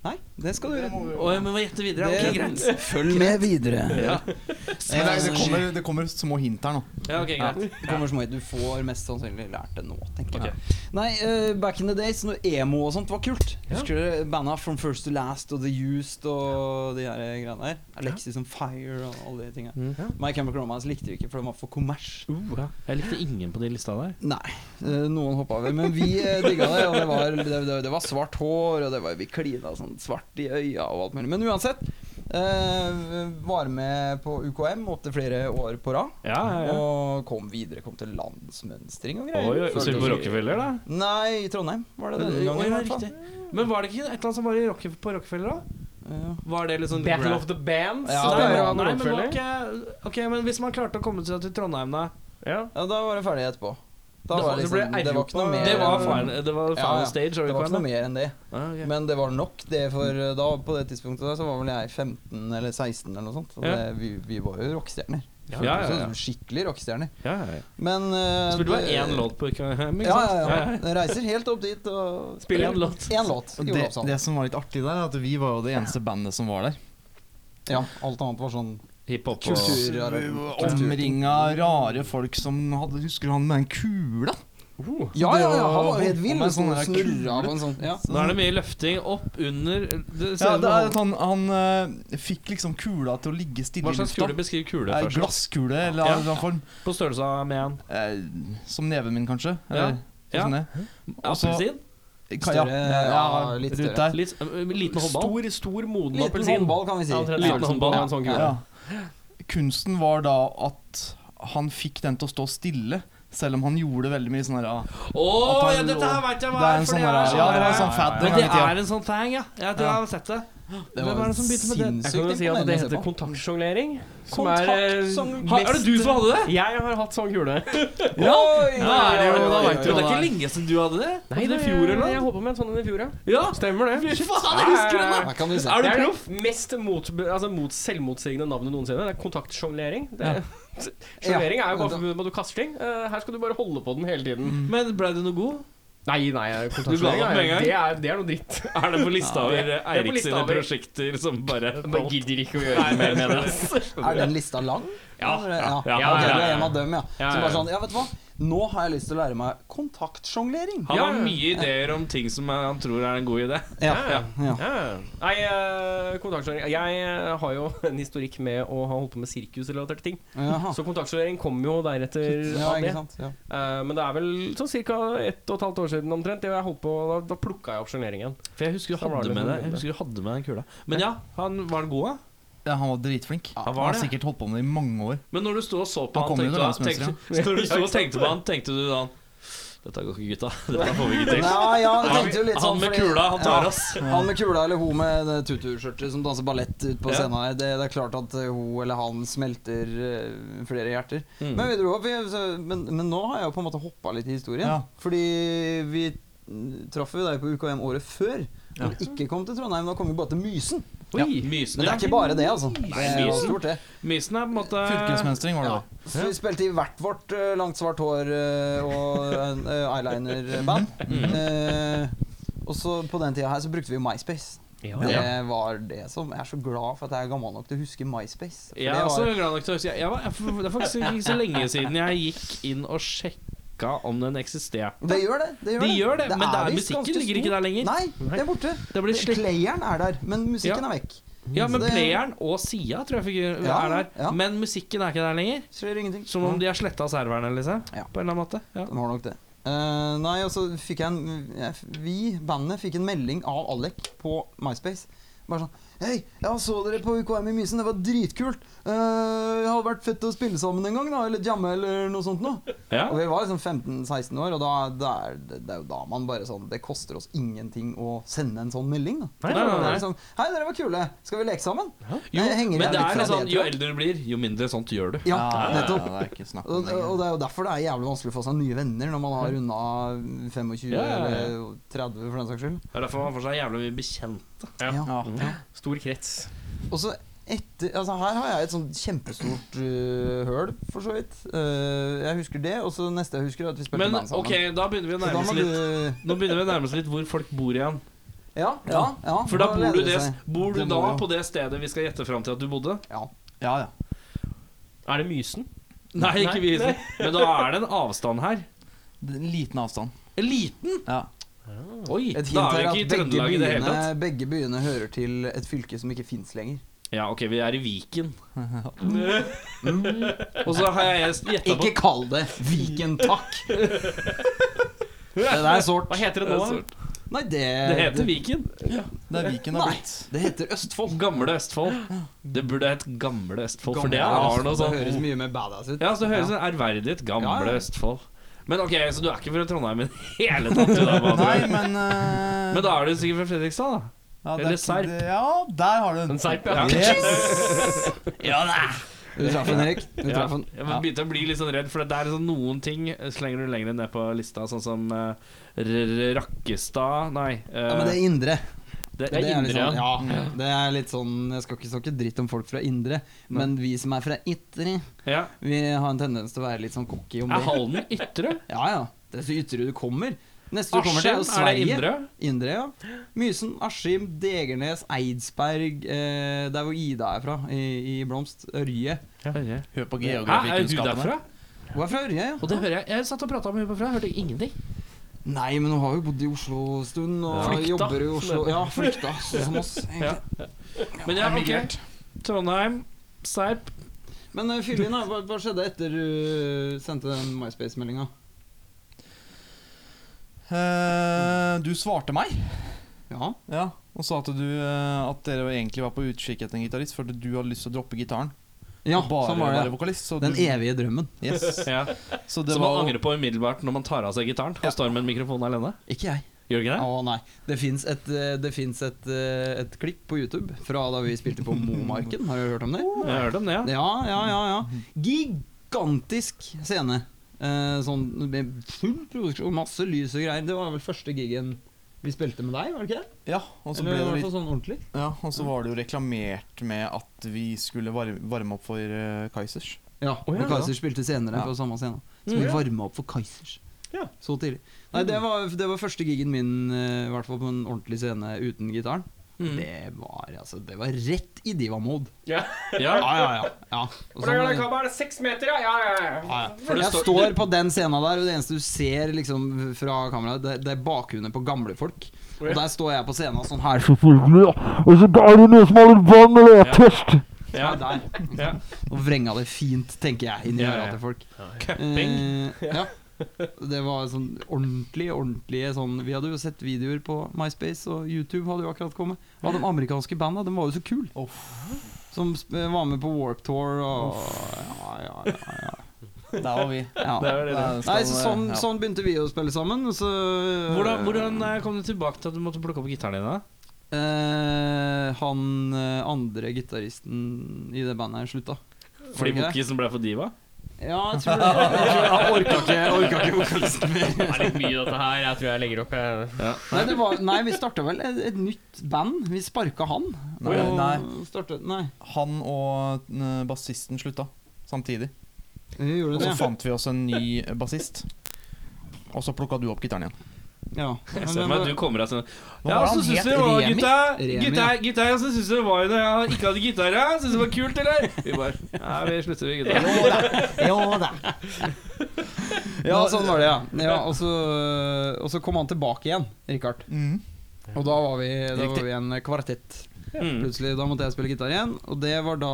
Speaker 4: Nei, det skal du
Speaker 2: Å, jeg må gjette videre.
Speaker 4: Det-
Speaker 2: ok, greit.
Speaker 4: Følg med videre. Eh,
Speaker 2: Ja.
Speaker 6: Men det, er- det, kommer, det kommer små hint her nå.
Speaker 2: Ja, ok,
Speaker 4: Ja,
Speaker 2: greit.
Speaker 4: det kommer som hit. Du får mest sannsynlig lært det nå, tenker jeg. Nei, eh, back in the days, når emo og sånt var kult Husker dere banda From First to Last og The Used og de her greiene der? Alexis on Fire og alle de tinga.
Speaker 2: Mm.
Speaker 4: My Chemical Romance likte vi ikke, for den var for kommers.
Speaker 2: Uh, ja. Jeg likte ingen på de lista der.
Speaker 4: Nei, eh, noen hoppa over. Men vi eh, digga det, og det var, det, det, det var svart hår, og det var, vi klina sånn svart i øya og alt mulig. Men uansett. eh, var med på UKM opptil flere år på rad.
Speaker 2: Ja, ja, ja.
Speaker 4: Og kom videre, kom til landsmønstring og greier.
Speaker 2: Oi, oi,
Speaker 4: Følte
Speaker 2: så vi på
Speaker 4: oss-
Speaker 2: Rockefeller, da?
Speaker 4: Nei, i Trondheim var det denne gangen. i hvert fall.
Speaker 2: Men var det ikke et eller annet som var i Rocke, på Rockefeller, da?
Speaker 4: Ja.
Speaker 2: Var det litt sånn
Speaker 1: Battle of the Bands.
Speaker 4: Ja,
Speaker 1: det
Speaker 4: det
Speaker 1: er jo
Speaker 4: var-
Speaker 1: han
Speaker 2: nei, men var
Speaker 1: Rockefeller.
Speaker 2: ikke, ok, men hvis man klarte å komme seg til Trondheim, da?
Speaker 1: Ja.
Speaker 4: ja, da var det ferdig etterpå. Da
Speaker 1: Da-
Speaker 4: var det,
Speaker 1: det ble
Speaker 4: liksom, det var ikke
Speaker 1: Europa-
Speaker 4: noe mer
Speaker 2: Det var final, det var
Speaker 4: Ja,
Speaker 2: final
Speaker 4: ja.
Speaker 2: stage.
Speaker 4: Det var ikke noe mer enn det.
Speaker 2: Ah, ok.
Speaker 4: Men det var nok det, for eh, da, på det tidspunktet der, så var vel jeg 15 eller 16 eller noe sånt. Og
Speaker 2: Ja.
Speaker 4: det, vi, vi var jo rockestjerner.
Speaker 2: Ja,
Speaker 4: Følte
Speaker 2: ja,
Speaker 4: oss
Speaker 2: ja, ja.
Speaker 4: som Skikkelig rockestjerner.
Speaker 2: ja, ja, ja.
Speaker 4: Men eh,
Speaker 2: Spilte bare
Speaker 4: det-
Speaker 2: én låt på Ukehjem?
Speaker 4: Ja, ja, ja. Jeg Reiser helt opp dit og
Speaker 1: Spiller
Speaker 2: en låt.
Speaker 4: Én låt i
Speaker 6: Det,
Speaker 4: Olavshallen.
Speaker 6: det som var litt artig der, er at vi var jo det eneste bandet som var der.
Speaker 4: Ja, alt annet var sånn
Speaker 2: Hiphop og
Speaker 4: kulturarbeid.
Speaker 6: Omringa rare folk som hadde, Husker du han med den kula?
Speaker 4: Ja, ja, ja, han var jo helt vill.
Speaker 6: Og med sånn
Speaker 4: og
Speaker 6: der
Speaker 4: Snurra
Speaker 6: kule.
Speaker 4: på en sånn ja.
Speaker 2: Nå er det mye løfting opp under det ser
Speaker 6: Ja,
Speaker 2: ut
Speaker 6: det
Speaker 2: som
Speaker 6: er at han, han eh, fikk liksom kula til å ligge stille
Speaker 2: Hva
Speaker 6: i
Speaker 2: slags
Speaker 6: lufta.
Speaker 2: kule beskriver kule
Speaker 6: Ei
Speaker 2: først? da?
Speaker 6: glasskule eller
Speaker 2: Ja.
Speaker 6: av en eller annen form.
Speaker 2: På størrelse med en
Speaker 6: Eh, som neven min, kanskje.
Speaker 2: Ja.
Speaker 6: Eller,
Speaker 2: Ja.
Speaker 6: sånn det. Og
Speaker 4: Altså,
Speaker 6: så-
Speaker 2: appelsin?
Speaker 6: Ka- ja.
Speaker 4: Større-
Speaker 6: ja,
Speaker 4: ja, litt
Speaker 6: litt
Speaker 4: større.
Speaker 6: rundt der.
Speaker 2: Litt, øh, liten håndball?
Speaker 1: Stor, stor, moden
Speaker 4: Liten
Speaker 1: appelsin.
Speaker 4: håndball, kan vi
Speaker 1: sånn-
Speaker 4: si.
Speaker 1: Ja, omtrent
Speaker 2: Liten
Speaker 1: størrelsen på
Speaker 2: håndball.
Speaker 1: en sånn kule.
Speaker 6: Ja. Kunsten var da at han fikk den til å stå stille, selv om han gjorde veldig mye sånn her ah,
Speaker 2: Å,
Speaker 6: At han
Speaker 2: ja, dette her vet jeg hva
Speaker 6: Det er
Speaker 2: er!
Speaker 6: en
Speaker 2: for
Speaker 6: sånn
Speaker 2: det er
Speaker 6: der-
Speaker 2: sånn
Speaker 6: ja, det var en
Speaker 2: der-
Speaker 6: sånn fat
Speaker 2: Men
Speaker 6: en
Speaker 2: det
Speaker 6: gang i tida.
Speaker 2: er en sånn thing, ja. Jeg tror jeg har sett det.
Speaker 4: Det
Speaker 2: Hvem
Speaker 4: var
Speaker 2: er det som begynte med det?
Speaker 1: Jeg kan jo si at det heter kontaktsjonglering. Som er, eh,
Speaker 4: Kontaktsjonglering.
Speaker 2: Ha, er det du som hadde det?
Speaker 1: Jeg har hatt sånn kule.
Speaker 4: Ja,
Speaker 2: Da er det jo, da
Speaker 4: oi,
Speaker 2: vet du,
Speaker 4: oi,
Speaker 2: det er
Speaker 4: oi.
Speaker 2: ikke lenge siden du hadde det.
Speaker 1: Nei,
Speaker 2: det
Speaker 1: det
Speaker 2: er i fjor eller
Speaker 1: Jeg
Speaker 2: noe?
Speaker 1: håpa med en sånn en i fjor, ja.
Speaker 2: Ja!
Speaker 1: Stemmer det. Eh,
Speaker 2: Fy faen, jeg husker den! da.
Speaker 4: Her kan du se.
Speaker 2: Er du
Speaker 1: Det er
Speaker 2: proff?
Speaker 1: det mest mot, altså mot selvmotsigende navnet noensinne. Det er kontaktsjonglering. Det-
Speaker 6: Ja.
Speaker 1: Sjonglering er jo
Speaker 4: Ja,
Speaker 1: bare forbundet med at du kaster ting. Eh, her skal du bare holde på den hele tiden.
Speaker 2: Men ble du noe god?
Speaker 1: Nei, nei,
Speaker 2: Mm. Du ga opp med en
Speaker 1: kontaktsjonglering er,
Speaker 2: gang.
Speaker 1: det er, det er noe dritt.
Speaker 2: Er det på lista
Speaker 1: Ja, det-
Speaker 2: over
Speaker 1: det er på
Speaker 2: Eirik
Speaker 1: lista
Speaker 2: sine
Speaker 1: over-
Speaker 2: prosjekter som bare
Speaker 1: Jeg bare gidder ikke å gjøre mer med det.
Speaker 4: Er den lista lang?
Speaker 1: Ja,
Speaker 4: Eller- ja.
Speaker 2: ja,
Speaker 4: ja, ok,
Speaker 1: ja, ja.
Speaker 4: Du er en av dem, ja.
Speaker 1: Ja,
Speaker 4: Som
Speaker 1: ja,
Speaker 4: bare
Speaker 1: ja.
Speaker 4: sånn Ja, vet du hva, nå har jeg lyst til å lære meg kontaktsjonglering.
Speaker 2: Han
Speaker 1: Ja,
Speaker 2: har
Speaker 1: ja.
Speaker 2: mye ideer om ting som han tror er en god idé.
Speaker 4: Ja,
Speaker 1: Ja,
Speaker 4: ja.
Speaker 1: Ja. Nei, eh, kontaktsjonglering Jeg eh, har jo en historikk med å ha holdt på med sirkusrelaterte ting.
Speaker 4: Jaha.
Speaker 1: Så kontaktsjonering kom jo deretter
Speaker 4: Ja,
Speaker 1: av
Speaker 4: ikke
Speaker 1: det.
Speaker 4: sant. Ja.
Speaker 1: Eh, men det er vel sånn ca. ett og et halvt år siden omtrent. Jeg holdt på, da da plukka jeg opp sjongleringen.
Speaker 2: For jeg husker du
Speaker 1: Da var
Speaker 2: hadde
Speaker 1: det
Speaker 2: med
Speaker 1: sånn
Speaker 2: deg Jeg
Speaker 1: bilde.
Speaker 2: husker du hadde med den kula. Men ja, han var den gode.
Speaker 6: ja, Han var dritflink.
Speaker 2: Han
Speaker 6: Han
Speaker 2: var
Speaker 6: har
Speaker 2: det.
Speaker 6: sikkert holdt på med det i mange år.
Speaker 2: Men når du sto og så på
Speaker 6: Han
Speaker 2: han,
Speaker 6: kom jo
Speaker 2: tenkte,
Speaker 6: til
Speaker 2: han-
Speaker 6: landsmønsteret.
Speaker 2: tenkte, når du sto og tenkte på han, tenkte du sånn Dette går ikke, gutta. Dette får vi ikke til.
Speaker 4: Nei, ja, jeg tenkte jo litt sånn
Speaker 2: Han med
Speaker 4: fordi-
Speaker 2: kula, han
Speaker 4: Ja.
Speaker 2: tar oss.
Speaker 4: Han med kula eller hun med det tutu-skjørtet som danser ballett ut på
Speaker 2: Ja.
Speaker 4: scenen her, det, det er klart at eh, hun eller han smelter eh, flere hjerter.
Speaker 2: Mm.
Speaker 4: Men vi dro opp, vi, så- men, men nå har jeg jo på en måte hoppa litt i historien.
Speaker 6: Ja.
Speaker 4: Fordi vi mm, traff jo deg på UKM året før.
Speaker 6: Ja.
Speaker 4: Men ikke kom til Trondheim, da kom vi bare til Mysen.
Speaker 2: Ja. Mysen,
Speaker 4: Men det
Speaker 2: ja.
Speaker 4: er ikke bare det, altså. Nei, det var
Speaker 2: Mysen.
Speaker 4: stort, det.
Speaker 2: Mysen er på en måte
Speaker 6: Fylkesmønstring var det.
Speaker 4: Ja.
Speaker 6: da.
Speaker 4: Så vi spilte i hvert vårt eh, langt svart hår eh, og en, eh, eyeliner-band.
Speaker 2: Mm.
Speaker 4: Eh, og så på den tida her så brukte vi jo MySpace. Det var det som Jeg er så glad for at jeg er gammel nok til å huske MySpace. For
Speaker 2: Jeg
Speaker 4: det
Speaker 2: er
Speaker 4: var,
Speaker 2: også glad nok til å huske jeg, jeg var, jeg, Det er faktisk ikke så lenge siden jeg gikk inn og sjekka om den eksisterte.
Speaker 4: det gjør det. Det gjør
Speaker 2: De gjør det, men det er,
Speaker 4: visst ganske
Speaker 2: musikken ligger ikke
Speaker 4: stort.
Speaker 2: der lenger.
Speaker 4: Nei, det er borte.
Speaker 2: Det blir slik
Speaker 4: Playeren er der, men musikken er vekk.
Speaker 2: Ja, men
Speaker 4: Så det-
Speaker 2: playeren og sida tror jeg fikk,
Speaker 4: Ja,
Speaker 2: er der.
Speaker 4: ja.
Speaker 2: Men musikken er ikke der lenger.
Speaker 4: Skjer ingenting.
Speaker 2: Som om de har sletta serverne, liksom.
Speaker 4: Ja.
Speaker 2: På en eller annen måte. Ja.
Speaker 4: Den har nok det. Eh, nei, og så fikk jeg en jeg, Vi, bandet, fikk en melding av Alec på MySpace. Bare sånn Hei, jeg så dere på UKM i Mysen. Det var dritkult. Eh, det hadde vært fett å spille sammen en gang, da. Eller jamme, eller noe sånt noe.
Speaker 2: Ja.
Speaker 4: Og vi var liksom 15-16 år, og da, da er, det, det er jo da man bare sånn Det koster oss ingenting å sende en sånn melding, da.
Speaker 2: Nei, nei, nei,
Speaker 4: Det
Speaker 2: nei.
Speaker 4: er liksom Hei, dere var kule. Skal vi leke sammen?
Speaker 2: Jo,
Speaker 4: Jeg henger
Speaker 2: men
Speaker 4: her
Speaker 2: det
Speaker 4: litt
Speaker 2: er
Speaker 4: fra
Speaker 2: en sånn,
Speaker 4: det,
Speaker 2: jo
Speaker 4: tror jeg.
Speaker 2: eldre du blir, jo mindre sånt gjør du.
Speaker 4: Ja,
Speaker 6: Ja, ja,
Speaker 4: nettopp.
Speaker 6: ja, det er ikke snakk om
Speaker 4: Og,
Speaker 6: det.
Speaker 4: og det er jo derfor det er jævlig vanskelig å få seg nye venner når man har runda 25
Speaker 2: Mm. Ja, ja, ja.
Speaker 4: eller 30 for den saks skyld.
Speaker 2: Det er derfor man får seg jævlig mye bekjent.
Speaker 1: Ja.
Speaker 4: Ja.
Speaker 6: Ja.
Speaker 1: Stor krets.
Speaker 4: Og så etter, altså her har jeg et sånn kjempestort øh, høl, for så vidt. Øh, jeg husker det, og så neste jeg husker, er at vi spilte
Speaker 2: Men
Speaker 4: band sammen.
Speaker 2: ok, da begynner vi å
Speaker 4: så da
Speaker 2: nærme
Speaker 4: må
Speaker 2: oss
Speaker 4: du
Speaker 2: litt Nå begynner vi å nærme oss litt hvor folk bor igjen.
Speaker 4: Ja, ja, ja.
Speaker 2: For da bor
Speaker 4: leder
Speaker 2: du,
Speaker 4: det
Speaker 2: det,
Speaker 4: seg.
Speaker 2: bor du
Speaker 6: Det må
Speaker 2: da
Speaker 6: vi jo.
Speaker 2: på det stedet vi skal gjette fram til at du bodde?
Speaker 4: Ja.
Speaker 6: Ja, ja.
Speaker 1: Er det Mysen?
Speaker 2: Nei, ikke vi. Men da er det en avstand her.
Speaker 6: Det er En liten avstand.
Speaker 2: En liten?
Speaker 6: Ja.
Speaker 2: Oi, da
Speaker 4: Et hint
Speaker 2: er
Speaker 4: er
Speaker 2: vi
Speaker 4: at
Speaker 2: ikke i
Speaker 4: begge
Speaker 2: Trøndelag i det hele
Speaker 4: byene,
Speaker 2: tatt.
Speaker 4: begge byene hører til et fylke som ikke fins lenger.
Speaker 2: Ja, ok, vi er i Viken. Og så har jeg gjetta på
Speaker 4: Ikke kall det Viken, takk! det der er sårt.
Speaker 1: Hva heter det
Speaker 2: Det er
Speaker 1: nå?
Speaker 2: sårt.
Speaker 4: Nei, det
Speaker 2: Det heter Viken.
Speaker 6: Det er Viken har
Speaker 4: Nei,
Speaker 6: blitt.
Speaker 4: det heter Østfold.
Speaker 2: Gamle Østfold. Det burde hett Gamle Østfold, for det
Speaker 4: Gamle
Speaker 2: har
Speaker 4: Østfold,
Speaker 2: noe
Speaker 4: Det høres
Speaker 2: sånn
Speaker 4: mye mer badass ut.
Speaker 2: Ja, så høres det ærverdig ut. Gamle
Speaker 4: Ja, ja.
Speaker 2: Østfold. Men ok, så du er ikke fra Trondheim i det hele tatt? du da, med andre
Speaker 6: Nei,
Speaker 2: ord.
Speaker 6: men eh,
Speaker 2: Men da er du sikkert fra Fredrikstad, da?
Speaker 6: ja, det er
Speaker 2: eller
Speaker 6: ikke
Speaker 2: Serp.
Speaker 6: det- Ja, der har du den.
Speaker 1: En serp, ja.
Speaker 2: Ja.
Speaker 6: Yes! ja, da.
Speaker 4: Du traff den, Erik. Du
Speaker 2: Ja,
Speaker 4: traff den.
Speaker 2: jeg begynte å bli litt sånn redd, for det er sånn noen ting slenger du lenger ned på lista, sånn som eh, R- Rakkestad Nei. eh,
Speaker 4: Ja, men det er indre.
Speaker 2: det,
Speaker 4: Det er litt
Speaker 2: Indre.
Speaker 4: sånn, ja, det er litt sånn Jeg skal ikke snakke dritt om folk fra indre, men vi som er fra ytre,
Speaker 2: ja.
Speaker 4: vi har en tendens til å være litt sånn cocky om
Speaker 2: Er
Speaker 4: det.
Speaker 2: Halden ytre?
Speaker 4: Ja, ja. Det er så ytre du kommer. Neste du kommer til,
Speaker 2: Askim,
Speaker 4: er jo
Speaker 2: er det
Speaker 4: Sverige.
Speaker 2: indre?
Speaker 4: Indre, ja. Mysen, Askim, Degernes, Eidsberg eh, Der hvor Ida er fra, i, i Blomst. Ørje.
Speaker 2: Hører jeg.
Speaker 6: Hør på
Speaker 2: Hæ, er du
Speaker 6: geografikunnskapene.
Speaker 2: derfra?
Speaker 4: Hun er fra Ørje, ja.
Speaker 2: Og det hører jeg. Jeg satt og prata med henne på fra, hørte ingenting.
Speaker 4: Nei, men hun har jo bodd i Oslo en stund, og
Speaker 2: Flykta,
Speaker 4: jobber i
Speaker 2: som
Speaker 4: Oslo.
Speaker 2: det heter.
Speaker 4: Ja, flykta, sånn som oss. egentlig.
Speaker 2: Ja. Men ja, ok. Trondheim, Serp.
Speaker 4: Men uh, fyll inn, da. Hva, hva skjedde etter du eh, sendte den MySpace-meldinga?
Speaker 6: Eh, du svarte meg
Speaker 4: Ja.
Speaker 6: ja, og sa at, du, eh, at dere egentlig var på utkikk etter en gitarist fordi du hadde lyst til å droppe gitaren.
Speaker 4: ja,
Speaker 6: og bare
Speaker 4: sånn var
Speaker 6: være
Speaker 4: det.
Speaker 6: vokalist. Så
Speaker 4: Den
Speaker 6: du,
Speaker 4: evige drømmen.
Speaker 6: yes.
Speaker 2: Ja.
Speaker 6: Så det
Speaker 2: Som
Speaker 6: var
Speaker 2: man angrer på umiddelbart når man tar av seg gitaren og står med en mikrofon alene.
Speaker 4: Ikke jeg.
Speaker 2: Gjør du ikke
Speaker 4: Å
Speaker 2: det?
Speaker 4: nei. Det fins et, eh, det finnes et, eh, et klipp på YouTube fra da vi spilte på Momarken. Har du hørt om det?
Speaker 2: Jeg har hørt om det, ja.
Speaker 4: Ja, ja, ja. ja. Gigantisk scene. Eh, sånn med full produksjon, masse lys og greier. Det var vel første gigen vi spilte med deg, var det ikke? det?
Speaker 6: Ja, og så ble
Speaker 4: Eller i
Speaker 6: det
Speaker 4: hvert
Speaker 6: litt
Speaker 4: fall sånn ordentlig.
Speaker 6: Ja, og så var det jo reklamert med at vi skulle varme, varme opp for eh, Kaizers.
Speaker 4: Ja, og
Speaker 1: ja.
Speaker 4: Kaizers spilte senere
Speaker 6: Ja.
Speaker 4: på samme scene. Så vi varma opp for Kaizers.
Speaker 1: Ja.
Speaker 4: Så tidlig. Nei, det var, det var første gigen min, eh, i hvert fall på en ordentlig scene uten gitaren. Det var altså Det var rett i diva-mode. Sånn,
Speaker 2: ja.
Speaker 4: Ja, ja, ja. ja. Og sånn-
Speaker 1: er det seks meter, ja? Ja, ja,
Speaker 4: ja, ja.
Speaker 2: For det
Speaker 4: Jeg
Speaker 2: står-
Speaker 4: står på den scena der, og det eneste du ser liksom fra kameraet, det, det er bakgrunnen på gamle folk. Og der står jeg på scena sånn her.
Speaker 2: ja.
Speaker 4: Der.
Speaker 2: Ja.
Speaker 4: Og vrenga det fint, tenker jeg, inn i
Speaker 2: Ja,
Speaker 4: øra
Speaker 2: ja.
Speaker 4: til folk.
Speaker 2: Cupping.
Speaker 4: Eh, ja. Det var sånn ordentlig, ordentlige sånn Vi hadde jo sett videoer på MySpace, og YouTube hadde jo akkurat kommet. Av de amerikanske banda. De var jo så kule. Som sp- eh, var med på Warp Tour og ja, ja, ja,
Speaker 6: Der var vi.
Speaker 4: ja.
Speaker 2: Det er det.
Speaker 6: Der skal,
Speaker 4: Nei, så sånn,
Speaker 6: ja.
Speaker 4: sånn begynte vi å spille sammen. og Så,
Speaker 2: eh, Hvordan, hvordan eh, kom du tilbake til at du måtte plukke opp gitaren din? da?
Speaker 4: Eh, han eh, andre gitaristen i det bandet her slutta. Var
Speaker 2: Fordi
Speaker 4: det ikke det?
Speaker 2: Mokkisen ble for diva?
Speaker 4: Ja, jeg tror det. Jeg tror jeg orka ikke, jeg orka ikke vokalisten mer.
Speaker 1: Det er litt mye, dette her. Jeg tror jeg legger opp. eh, Jeg.
Speaker 4: Nei, det var, nei vi starta vel et, et nytt band. Vi sparka han.
Speaker 6: Nei,
Speaker 4: og
Speaker 6: nei,
Speaker 4: Startet, nei.
Speaker 6: han og eh, bassisten slutta samtidig.
Speaker 4: Vi
Speaker 6: Og
Speaker 4: gjorde
Speaker 6: så
Speaker 4: det.
Speaker 6: fant vi oss en ny bassist. Og så plukka du opp gitaren igjen.
Speaker 4: Ja.
Speaker 2: Jeg ser for meg at du kommer av sånn
Speaker 6: var
Speaker 2: Ja,
Speaker 6: det
Speaker 2: så
Speaker 6: han
Speaker 2: syns
Speaker 6: het?
Speaker 2: du det var
Speaker 4: Remi?
Speaker 2: gutta
Speaker 4: Remi,
Speaker 2: Gutta,
Speaker 4: ja.
Speaker 2: gutta, ja, så syns du det var jo det Jeg ikke hadde gitar, ja Syns du det var kult, eller? Vi bare Ja, vi slutter med gitar
Speaker 4: Jo da. Ja, sånn var det, ja. ja og, så, og så kom han tilbake igjen, Richard.
Speaker 6: Mm.
Speaker 4: Og da var vi, da
Speaker 6: Riktig.
Speaker 4: var vi en kvartett.
Speaker 2: Mm.
Speaker 4: Plutselig, Da måtte jeg spille gitar igjen. Og det var da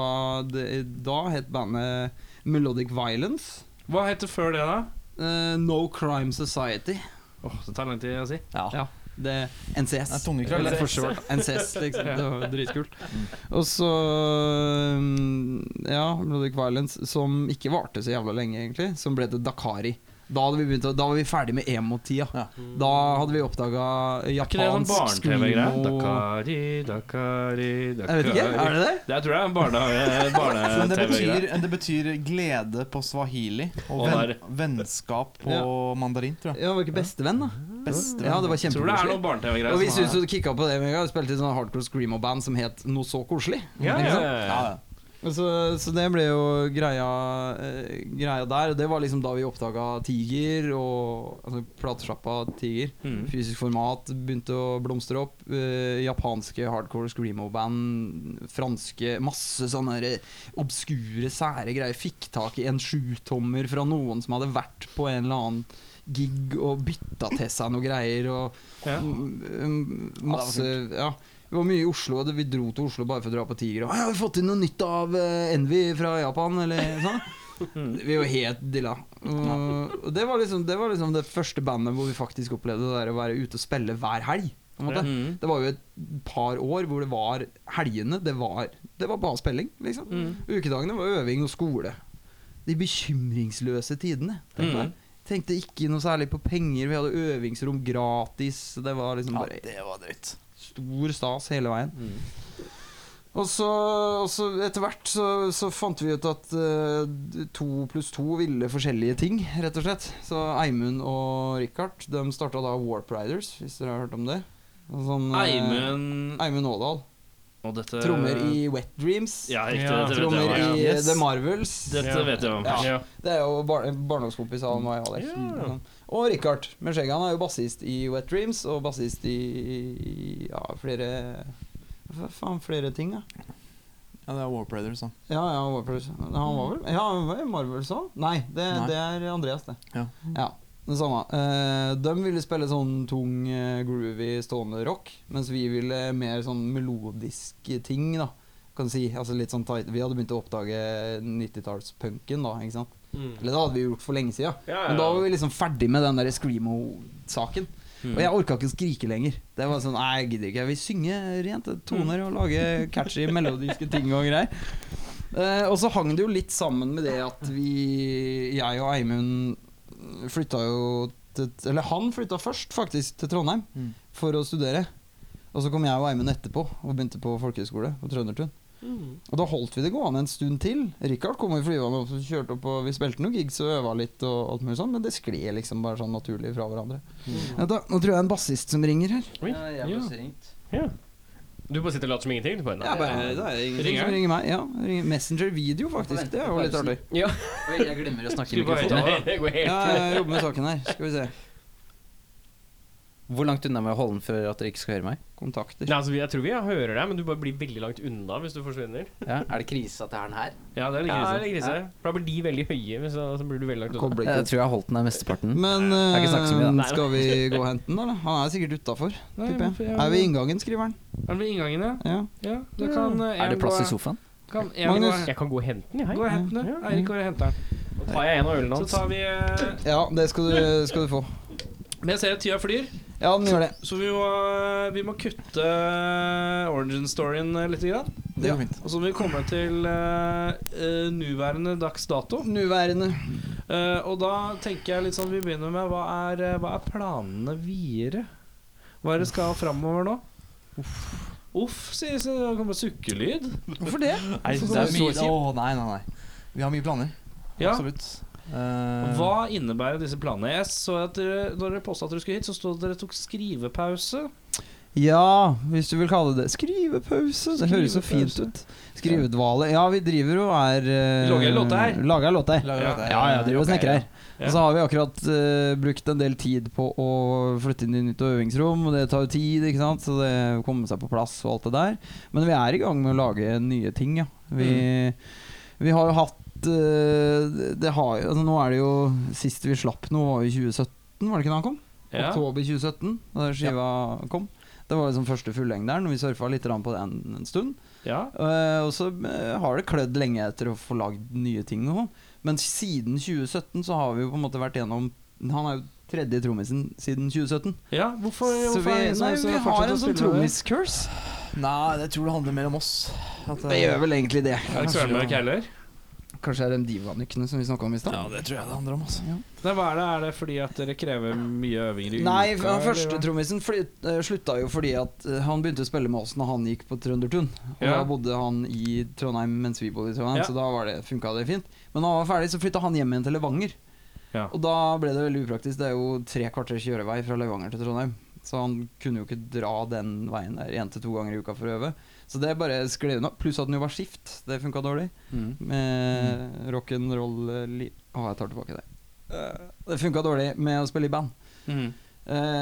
Speaker 4: det, Da het bandet Melodic Violence.
Speaker 2: Hva het det før det, da?
Speaker 4: eh, no Crime Society.
Speaker 2: Åh, det tar lang tid å si
Speaker 6: Ja.
Speaker 4: Ja. Det, NCS.
Speaker 6: Det er tungekrøll, det.
Speaker 4: Eller forsvar. NCS, liksom. Det var dritkult. Og så eh, mm, Ja, Melodic Violence, som ikke varte så jævla lenge, egentlig. Som ble til Dakari. Da, hadde vi begynt, å- da var vi ferdig med emo-tida.
Speaker 6: Ja.
Speaker 4: Da hadde vi oppdaga
Speaker 2: Ikke det er sånn
Speaker 4: japansk
Speaker 2: barne-TV-greie?
Speaker 4: screamo
Speaker 2: Dakari, dakari, dakari
Speaker 4: Jeg vet ikke, er det det?
Speaker 2: Det jeg tror jeg er en barne-TV-greie.
Speaker 6: Men det betyr,
Speaker 2: Barne
Speaker 6: det betyr glede på swahili og
Speaker 2: Og
Speaker 6: ven,
Speaker 2: der-
Speaker 6: vennskap på mandarin, tror jeg.
Speaker 4: Ja, var ikke bestevenn, da?
Speaker 6: Bestevenn.
Speaker 4: Ja, det var
Speaker 2: tror det er noen
Speaker 4: kjempekoselig.
Speaker 2: barne-TV-greier.
Speaker 4: Og vi syntes jo det kicka på det med en gang. Vi spilte i sånn hardcore screamo-band som het Noe så koselig.
Speaker 2: ja,
Speaker 4: Ikke
Speaker 2: ja,
Speaker 4: sant?
Speaker 2: ja.
Speaker 6: Ja, ja.
Speaker 4: Og Så, så det ble jo greia, eh, greia der. Og Det var liksom da vi oppdaga Tiger, og altså, platesjappa Tiger.
Speaker 2: Mm.
Speaker 4: Fysisk format begynte å blomstre opp. Eh, japanske hardcore screamo-band. Franske Masse sånne der obskure, sære greier. Fikk tak i en sjutommer fra noen som hadde vært på en eller annen gig og bytta til seg noe greier. Og
Speaker 2: Ja.
Speaker 4: Mm, mm, Masse Ja. Vi var mye i Oslo, og det- vi dro til Oslo bare for å dra på Tiger. Og «Å, 'Har vi fått inn noe nytt av eh, Envy fra Japan?' Eller sånn. Vi var helt dilla. Og, og det, var liksom, det var liksom det første bandet hvor vi faktisk opplevde det der å være ute og spille hver helg. På en måte.
Speaker 2: Mm.
Speaker 4: Det var jo et par år hvor det var helgene. Det var, det var bare spilling, liksom. Ukedagene var øving og skole. De bekymringsløse tidene. Tenkte,
Speaker 2: Mm.
Speaker 4: jeg. tenkte ikke noe særlig på penger. Vi hadde øvingsrom gratis. Det var liksom
Speaker 6: Ja,
Speaker 4: bare
Speaker 6: det var dritt.
Speaker 4: stor stas hele veien.
Speaker 2: Mm.
Speaker 4: Og så, og så etter hvert så, så fant vi ut at eh, to pluss to ville forskjellige ting, rett og slett. Så Eimund og Richard de starta da Warp Riders, hvis dere har hørt om det. Og Sånn, eh,
Speaker 2: Eimund
Speaker 4: Eimund Aadal.
Speaker 2: og dette
Speaker 4: Trommer i Wet Dreams.
Speaker 2: Ja, riktig.
Speaker 7: Ja.
Speaker 2: Dette vet
Speaker 4: Trommer
Speaker 2: jeg om.
Speaker 4: i eh,
Speaker 6: Yes.
Speaker 4: The Marvels.
Speaker 2: Dette vet jeg om.
Speaker 4: Ja.
Speaker 7: Ja.
Speaker 4: Det er jo bar barndomskompis av meg og Alex. Mm, sånn. Og Richard med skjegget. Han er jo bassist i Wet Dreams og bassist i, i ja, flere Hva faen, flere ting, da?
Speaker 6: Ja, det er Warp Raiders, da.
Speaker 4: Ja, ja, han var vel Han var vel Ja, han var i Marvels òg? Nei, det,
Speaker 6: Nei.
Speaker 4: det er Andreas, det.
Speaker 6: Ja.
Speaker 4: ja det samme. Eh, de ville spille sånn tung, eh, groovy, stående rock, mens vi ville mer sånn melodisk ting, da. Kan du si. Altså litt sånn tight. Vi hadde begynt å oppdage 90-tallspunken, da. Ikke sant?
Speaker 1: Mm.
Speaker 4: Eller det hadde vi gjort for lenge siden.
Speaker 7: Mm. Ja, ja.
Speaker 4: Men da var vi liksom ferdig med den der screamo-saken.
Speaker 7: Mm.
Speaker 4: Og jeg orka ikke å skrike lenger. Det var sånn, nei, jeg gidder ikke. Jeg vil synge rent eh, toner og lage
Speaker 7: Mm.
Speaker 4: catchy melodiske ting og greier. Eh, og så hang det jo litt sammen med det at vi Jeg og Eimund flytta jo til Eller han flytta først, faktisk, til Trondheim
Speaker 6: Mm.
Speaker 4: for å studere. Og så kom jeg og Eimund etterpå og begynte på folkehøyskole på Trøndertun.
Speaker 5: Mm.
Speaker 4: Og da holdt vi det gående en stund til. Richard kom i flyvende og kjørte opp, og vi spilte noen gigs og øva litt, og alt mulig sånn, men det skled liksom bare sånn naturlig fra hverandre.
Speaker 5: Mm.
Speaker 4: Ja, da, nå tror jeg det er en bassist som ringer her.
Speaker 5: Ja, jeg ble
Speaker 7: Ja.
Speaker 5: så ringt.
Speaker 7: Du bare sitter og later som ingenting? Du bare, nei.
Speaker 4: det er ingenting
Speaker 2: Ringer
Speaker 4: som
Speaker 2: han?
Speaker 4: ringer meg. Ja, ringer Messenger video, faktisk. Det er jo litt artig.
Speaker 5: Oi, jeg glemmer å snakke i
Speaker 2: Skulle bare
Speaker 5: mikrofonen.
Speaker 2: høyttaler, da.
Speaker 7: det går helt
Speaker 4: Ja, jeg jobber med saken her. Skal vi se.
Speaker 5: Hvor langt unna må jeg holde den for at dere ikke skal høre meg?
Speaker 4: Kontakter.
Speaker 7: Nei, altså, Jeg tror vi hører deg, men du bare blir veldig langt unna hvis du forsvinner.
Speaker 5: Ja, er det krise at det er den her?
Speaker 2: Ja, det er litt
Speaker 7: Ja,
Speaker 2: krise.
Speaker 7: det er krise. For da blir de veldig høye, men så, så blir du veldig langt unna.
Speaker 4: Kobler
Speaker 5: Jeg
Speaker 4: ikke.
Speaker 5: tror jeg har holdt den der mesteparten.
Speaker 4: Men
Speaker 5: Mm. har ikke snakket så mye, da.
Speaker 4: eh, skal vi gå og hente den, da? eller? Han er sikkert utafor,
Speaker 2: Nei,
Speaker 4: tipper
Speaker 2: hvorfor-
Speaker 4: jeg.
Speaker 2: ja,
Speaker 4: Er vi i inngangen, skriver han.
Speaker 2: Er det ved inngangen, ja?
Speaker 4: Ja.
Speaker 2: ja da kan, eh, en
Speaker 5: Er det plass
Speaker 2: gå-
Speaker 5: i sofaen?
Speaker 2: Kan en
Speaker 4: Magnus.
Speaker 2: gå-
Speaker 7: Mm. Jeg kan gå og hente den, jeg.
Speaker 2: Gå og hent den, du.
Speaker 7: Ja.
Speaker 2: Eirik går og henter den.
Speaker 7: Så tar jeg en av ølene
Speaker 2: Så
Speaker 7: hans.
Speaker 2: tar vi eh,
Speaker 4: ja, det skal du, skal du få.
Speaker 2: Men jeg ser at tida flyr,
Speaker 4: Ja, den gjør det.
Speaker 2: så vi må, eh, vi må kutte origin storyen eh, litt. Grann.
Speaker 6: Det går fint.
Speaker 2: Og så må vi komme til eh, eh, nuværende dags dato.
Speaker 4: Nuværende.
Speaker 2: Eh, og da tenker jeg litt sånn Vi begynner med hva er, eh, hva er planene videre? Hva er det skal framover nå? Uff, sier så det kommer sukkelyd.
Speaker 4: Hvorfor det?
Speaker 6: Nei, det er mye Å, nei, nei, nei. Vi har mye planer.
Speaker 2: Ja.
Speaker 6: Absolutt. Eh,
Speaker 2: Hva innebærer disse planene? Jeg så at dere, Når dere påstod at dere skulle hit, så sto det at dere tok skrivepause.
Speaker 4: Ja, hvis du vil kalle det skrivepause. Det høres så fint ut. Skrivedvale. Ja, vi driver og er eh,
Speaker 2: Lager låter her.
Speaker 4: Lager låter.
Speaker 6: Lager
Speaker 2: Ja.
Speaker 6: dette her.
Speaker 4: Ja, ja, driver og snekrer her.
Speaker 2: Ja.
Speaker 4: Og så har vi akkurat eh, brukt en del tid på å flytte inn i nytt øvingsrom, og det tar jo tid, ikke sant, så det å komme seg på plass og alt det der. Men vi er i gang med å lage nye ting, ja. Vi, vi har jo hatt eh, det har, jo- altså, Nå er det jo Sist vi slapp noe, var jo i 2017, var det ikke da han kom?
Speaker 2: Ja.
Speaker 4: Oktober 2017, da skiva kom. Det var liksom første fullengderen, og vi surfa litt grann på det en, en stund.
Speaker 2: Ja.
Speaker 4: Eh, og så eh, har det klødd lenge etter å få lagd nye ting nå. Men siden 2017 så har vi jo på en måte vært gjennom Han er jo tredje trommisen siden 2017.
Speaker 2: ja. Hvorfor,
Speaker 4: så
Speaker 2: hvorfor
Speaker 4: vi,
Speaker 2: er det ingen som
Speaker 4: nei,
Speaker 2: har lyst til
Speaker 4: vi
Speaker 2: å
Speaker 4: har
Speaker 2: fortsette å
Speaker 4: en sånn
Speaker 2: spille med det?
Speaker 4: trommis-curse.
Speaker 6: Nei, jeg tror det handler mer om oss. At,
Speaker 4: Det gjør vel egentlig det.
Speaker 2: Er det ikke Svelmark heller?
Speaker 4: Kanskje det er de divanukene som vi snakka om i stad?
Speaker 2: det tror
Speaker 6: det handler om, altså.
Speaker 2: Nei, hva er, det? er det fordi at dere krever mye øvinger i
Speaker 4: Nei,
Speaker 2: uka?
Speaker 4: han
Speaker 2: eller
Speaker 4: første
Speaker 2: hva?
Speaker 4: trommisen flyt- eh, slutta jo fordi at eh, han begynte å spille med oss når han gikk på Trøndertun. Og
Speaker 2: Ja.
Speaker 4: da bodde han i Trondheim mens vi bodde i Trondheim,
Speaker 2: Ja.
Speaker 4: så da var det, funka det fint. Men når han var ferdig, så flytta han hjem igjen til Levanger.
Speaker 2: Ja.
Speaker 4: Og da ble det veldig upraktisk. Det er jo tre kvarters kjørevei fra Levanger til Trondheim. Så han kunne jo ikke dra den veien der én til to ganger i uka for å øve. Så det bare skled unna. Pluss at den jo var skift. Det funka dårlig.
Speaker 2: Mm.
Speaker 4: Med rock'n'roll eh, li... Å, jeg tar tilbake det. Eh, Det funka dårlig med å spille i band.
Speaker 2: Mm.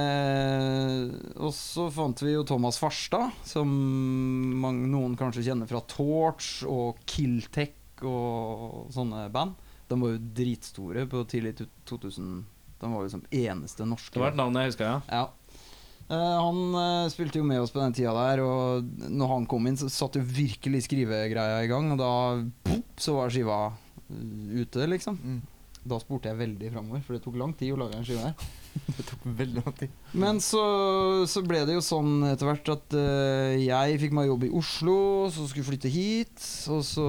Speaker 4: Eh, og så fant vi jo Thomas Farstad, som mang- noen kanskje kjenner fra Torch og Killtech og sånne band. De var jo dritstore på tidlig tu- 2000. De var jo som eneste norske.
Speaker 2: Det var et navn jeg huska, ja.
Speaker 4: Ja. Eh, han eh, spilte jo med oss på den tida der, og når han kom inn, så satt jo virkelig skrivegreia i gang, og da boop, så var skiva eh, ute, liksom.
Speaker 6: Mm.
Speaker 4: Da spurte jeg veldig framover, for det tok lang tid å lage en skive her.
Speaker 6: Det tok veldig lang tid.
Speaker 4: Men så, så ble det jo sånn etter hvert at eh, jeg fikk meg jobb i Oslo, så skulle jeg flytte hit, og så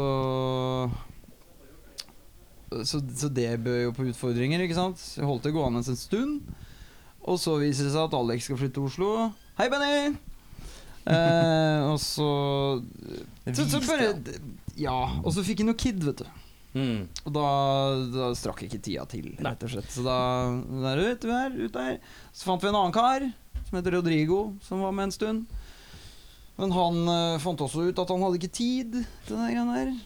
Speaker 4: så, så det bød jo på utfordringer, ikke sant? Jeg holdt det gående en stund. Og så viser det seg at Alex skal flytte til Oslo. Hei, Benny! Eh, og så
Speaker 6: Det
Speaker 4: så,
Speaker 6: viste
Speaker 4: så bare,
Speaker 6: han.
Speaker 4: Ja. Og så fikk han jo kid, vet du.
Speaker 2: Mm.
Speaker 4: Og da, da strakk ikke tida til, rett og slett. Så da der, ut der, ut der. Så fant vi en annen kar som heter Rodrigo, som var med en stund. Men han eh, fant også ut at han hadde ikke tid til det greiene der.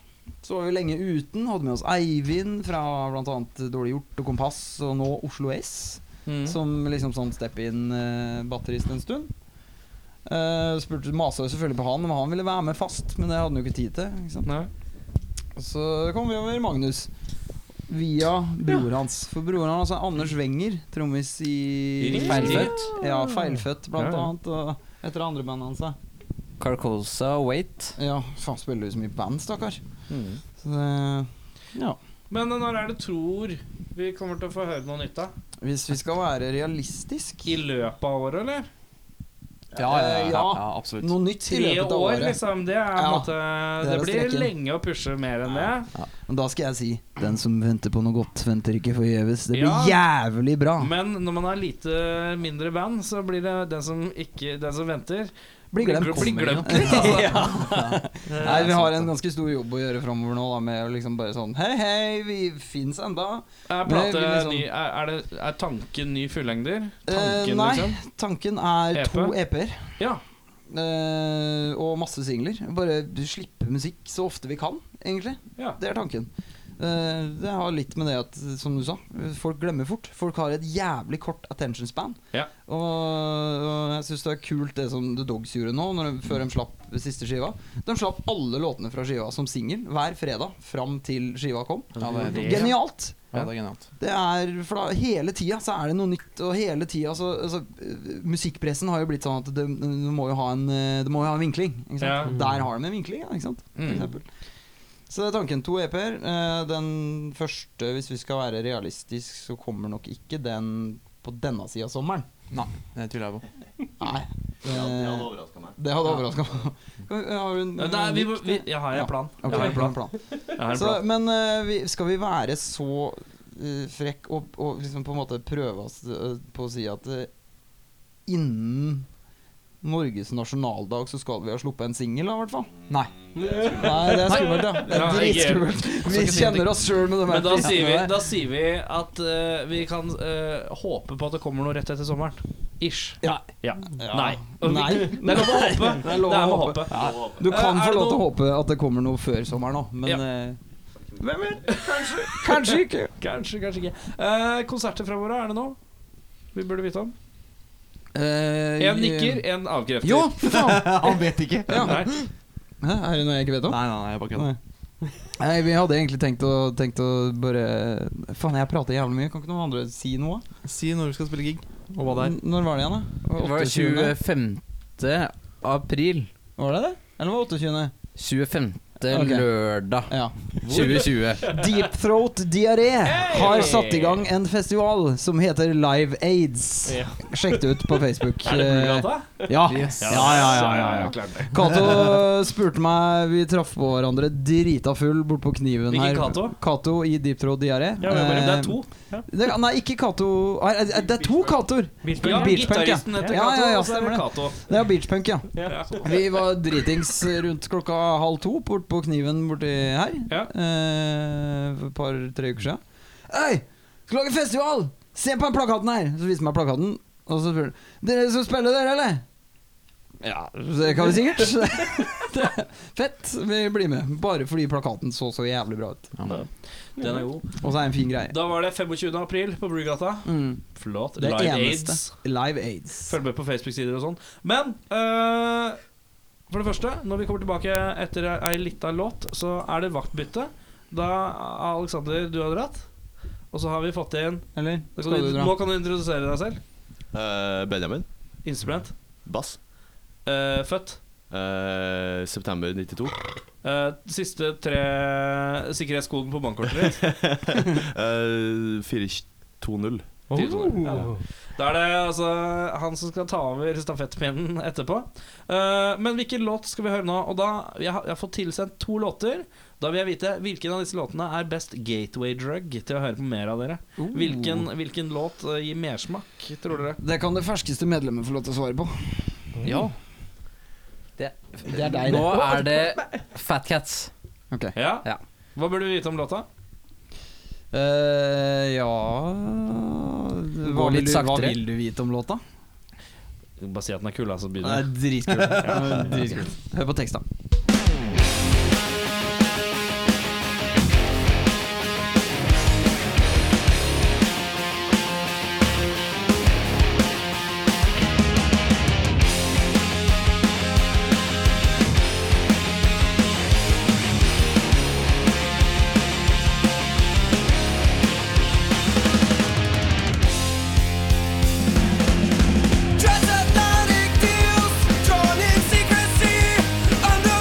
Speaker 4: Så var vi lenge uten. Hadde med oss Eivind fra bl.a. Dårlig gjort og Kompass, og nå Oslo S.
Speaker 2: Mm.
Speaker 4: Som liksom sånn step-in-batterist en stund. Uh, spurte Masa jo selvfølgelig på han om han ville være med fast, men det hadde han jo ikke tid til. Ikke sant?
Speaker 2: Nei.
Speaker 4: Og Så kom vi over Magnus via bror hans. For broren hans er Anders Wenger, trommis i
Speaker 2: Riktig.
Speaker 4: Feilfødt. Ja, Feilfødt, blant
Speaker 2: Ja, ja.
Speaker 4: annet. Og etter det andre bandet hans. da.
Speaker 5: Carcosa Wait.
Speaker 4: Ja, faen, spiller du så mye band, stakkar?
Speaker 2: Mm.
Speaker 4: Så det Ja.
Speaker 2: Men eh, når er det tror vi kommer til å få høre noe nytt av?
Speaker 4: Hvis vi skal være realistisk
Speaker 2: I løpet av året, eller?
Speaker 6: Ja, ja, ja,
Speaker 4: Eh,
Speaker 6: ja,
Speaker 4: ja.
Speaker 6: absolutt.
Speaker 4: Noe nytt i
Speaker 2: Tre
Speaker 4: løpet av
Speaker 2: år,
Speaker 4: året.
Speaker 2: liksom. Det, er, på en
Speaker 4: Ja,
Speaker 2: måte,
Speaker 4: det
Speaker 2: det,
Speaker 4: er
Speaker 2: blir
Speaker 4: streken.
Speaker 2: lenge å pushe mer enn det.
Speaker 4: Men da skal jeg si den som venter på noe godt, venter ikke forgjeves. Det blir jævlig bra.
Speaker 2: Men når man har lite mindre band, så blir det den som, ikke, den som venter
Speaker 4: Blir glemt.
Speaker 2: gl- blir glemt
Speaker 4: kommer,
Speaker 2: litt. Altså.
Speaker 4: Nei, vi har en ganske stor jobb å gjøre framover nå, da, med å liksom bare sånn Hei, hei, vi fins enda.
Speaker 2: Er,
Speaker 4: Men jeg
Speaker 2: plate,
Speaker 4: vil liksom-
Speaker 2: ny, er, er, det, er tanken ny fullengder?
Speaker 4: Eh,
Speaker 2: Tanken,
Speaker 4: nei.
Speaker 2: liksom?
Speaker 4: Tanken er
Speaker 2: EP?
Speaker 4: to EP-er
Speaker 2: E Ja.
Speaker 4: eh, og masse singler. Bare slippe musikk så ofte vi kan, egentlig.
Speaker 2: Ja.
Speaker 4: Det er tanken. Eh, det har litt med det at, som du sa, folk glemmer fort. Folk har et jævlig kort attention span.
Speaker 2: Ja.
Speaker 4: Og, og jeg syns det er kult det som The Dogs gjorde nå, når de, før de slapp siste skiva. De slapp alle låtene fra skiva som singel hver fredag fram til skiva kom.
Speaker 6: Ja, det er, helt-
Speaker 4: Genialt!
Speaker 6: ja, det er genialt.
Speaker 4: Det er, for da, Hele tida så er det noe nytt. Og hele tida så altså, øh, Musikkpressen har jo blitt sånn at det, det, må, jo ha en, øh, det må jo ha en vinkling. Ikke
Speaker 2: Ja.
Speaker 4: sant? Og Der har de en vinkling, ja, ikke sant? For
Speaker 2: Mm.
Speaker 4: eksempel. Så det er tanken. To EP-er. Eh, Den første, hvis vi skal være realistisk, så kommer nok ikke den på denne sida av sommeren.
Speaker 6: Det tviler jeg på.
Speaker 4: Nei. Det hadde overraska meg. Det hadde overraska meg. Har du en
Speaker 2: Nei, vi, må- vi, jeg har
Speaker 4: Ja.
Speaker 2: en plan.
Speaker 4: Ok,
Speaker 2: Jeg har en plan.
Speaker 4: plan.
Speaker 2: Jeg har en
Speaker 4: Så,
Speaker 2: plan.
Speaker 4: men eh, vi, skal vi være så eh, frekk og, og liksom på en måte prøve oss eh, på å si at eh, innen Norges nasjonaldag så skal vi ha sluppet en singel, da, i hvert fall? Nei. Nei, det er skummelt, ja. Det er
Speaker 2: Nei, ikke-
Speaker 4: dritskummelt. Vi
Speaker 2: ikke si at det-
Speaker 4: kjenner oss sjøl med de her
Speaker 2: Men da sier vi,
Speaker 4: fristene der.
Speaker 2: da sier vi at eh, vi kan eh, håpe på at det kommer noe rett etter sommeren. Ish.
Speaker 4: Ja.
Speaker 2: Ja.
Speaker 4: Ja.
Speaker 2: Nei.
Speaker 4: Nei.
Speaker 2: Det er lov å håpe. Det
Speaker 4: Det er
Speaker 2: er
Speaker 4: lov å
Speaker 2: med å
Speaker 4: håpe.
Speaker 2: håpe.
Speaker 4: Du
Speaker 2: Eh,
Speaker 4: kan
Speaker 2: er
Speaker 4: få
Speaker 2: det
Speaker 4: lov til å
Speaker 2: noe-
Speaker 4: håpe at det kommer noe før sommeren òg, men
Speaker 2: Ja.
Speaker 4: eh, Hvem vet? Kanskje ikke.
Speaker 2: Kanskje, kanskje ikke. Eh, konserter framover, er det noe vi burde vite om?
Speaker 4: Eh,
Speaker 2: Én nikker, én avkrefter.
Speaker 4: Jo, for faen!
Speaker 6: Han vet ikke.
Speaker 4: Ja.
Speaker 2: Nei.
Speaker 4: Hæ, Er det noe jeg ikke vet om?
Speaker 6: Nei, nei, nei, jeg bare kødder.
Speaker 4: Nei. Nei, vi hadde egentlig tenkt å, tenkt å bare Faen, jeg prater jævlig mye. Kan ikke noen andre si noe?
Speaker 6: Si når du skal spille gig, og hva det er.
Speaker 4: N- Når var det igjen, da?
Speaker 5: Det var
Speaker 4: 28.?
Speaker 5: 25. april.
Speaker 4: Var det det? Eller var det 28.?
Speaker 5: 25.
Speaker 4: Ok.
Speaker 5: lørdag.
Speaker 4: Ja.
Speaker 5: 2020.
Speaker 4: Deepthroat Diaré har satt i gang en festival som heter Live Aids.
Speaker 7: Ja.
Speaker 4: Sjekk det ut på Facebook.
Speaker 7: Er det Bluegata?
Speaker 4: Ja. Ja, ja, ja, ja, ja. Cato spurte meg Vi traff på hverandre drita full bortpå kniven
Speaker 2: Hvilken
Speaker 4: her.
Speaker 2: Cato?
Speaker 4: Kato i Deepthroat Diaré. Eh,
Speaker 7: Ja, men bare- det er to.
Speaker 4: Det- nei, ikke Cato Nei, eh, Det er- det er to Catoer!
Speaker 7: Ja,
Speaker 4: Beach Punk, ja.
Speaker 2: gitaristen heter
Speaker 4: Ja, ja, ja,
Speaker 2: Cato, og så er det
Speaker 4: stemmer
Speaker 2: Cato.
Speaker 4: Det er Beachpunk, ja.
Speaker 7: Ja.
Speaker 4: Vi var dritings rundt klokka halv to bort på kniven borti her.
Speaker 2: Ja.
Speaker 4: Eh, for et par-tre uker siden. Hei! Skal lage festival! Se på den plakaten her! Så viser han meg plakaten. Og så spør han Dere som spiller, dere, eller? Ja, det kan vi sikkert. Det er Fett. Vi blir med. Bare fordi plakaten så så jævlig bra ut.
Speaker 2: Den er god.
Speaker 4: Og så er det en fin greie.
Speaker 2: Da var det 25. april på Brugata.
Speaker 4: Mm.
Speaker 2: Flott.
Speaker 4: Det
Speaker 2: Live
Speaker 4: eneste.
Speaker 2: Aids.
Speaker 4: Live Aids.
Speaker 2: Følg med på Facebook-sider og sånn. Men eh, for det første, når vi kommer tilbake etter ei lita låt, så er det vaktbytte. Da Alexander, du har dratt. Og så har vi fått inn
Speaker 4: Eller?
Speaker 2: da kan
Speaker 4: Skal
Speaker 2: du,
Speaker 4: du dra?
Speaker 2: Nå kan du introdusere deg selv.
Speaker 8: Eh, Benjamin.
Speaker 2: Instrument.
Speaker 8: Bass.
Speaker 2: Eh, født.
Speaker 8: Eh, september 92.
Speaker 2: Eh, siste tre sikkerhetskoden på bankkortet ditt.
Speaker 8: Eh, 420.
Speaker 2: Oh. Da er det altså han som skal ta over stafettpinnen etterpå. Eh, men hvilken låt skal vi høre nå? Og da, jeg, har, jeg har fått tilsendt to låter. Da vil jeg vite hvilken av disse låtene er best gateway drug til å høre på mer av dere. Hvilken, hvilken låt eh, gir mersmak, tror dere?
Speaker 4: Det kan det ferskeste medlemmet få lov til å svare på.
Speaker 5: Ja. Det, det er deg, det. Nå er det Fat Cats.
Speaker 2: Ja?
Speaker 5: Ja.
Speaker 2: Hva burde vi vite om låta?
Speaker 4: Eh, ja hva vil,
Speaker 5: litt
Speaker 4: du, hva
Speaker 5: saktere.
Speaker 4: vil du vite om låta?
Speaker 2: Bare si at den er kul, altså.
Speaker 4: Det er dritkult. Ja, dritkult. Hør på teksta.
Speaker 9: Transatlantic deals drawn in secrecy under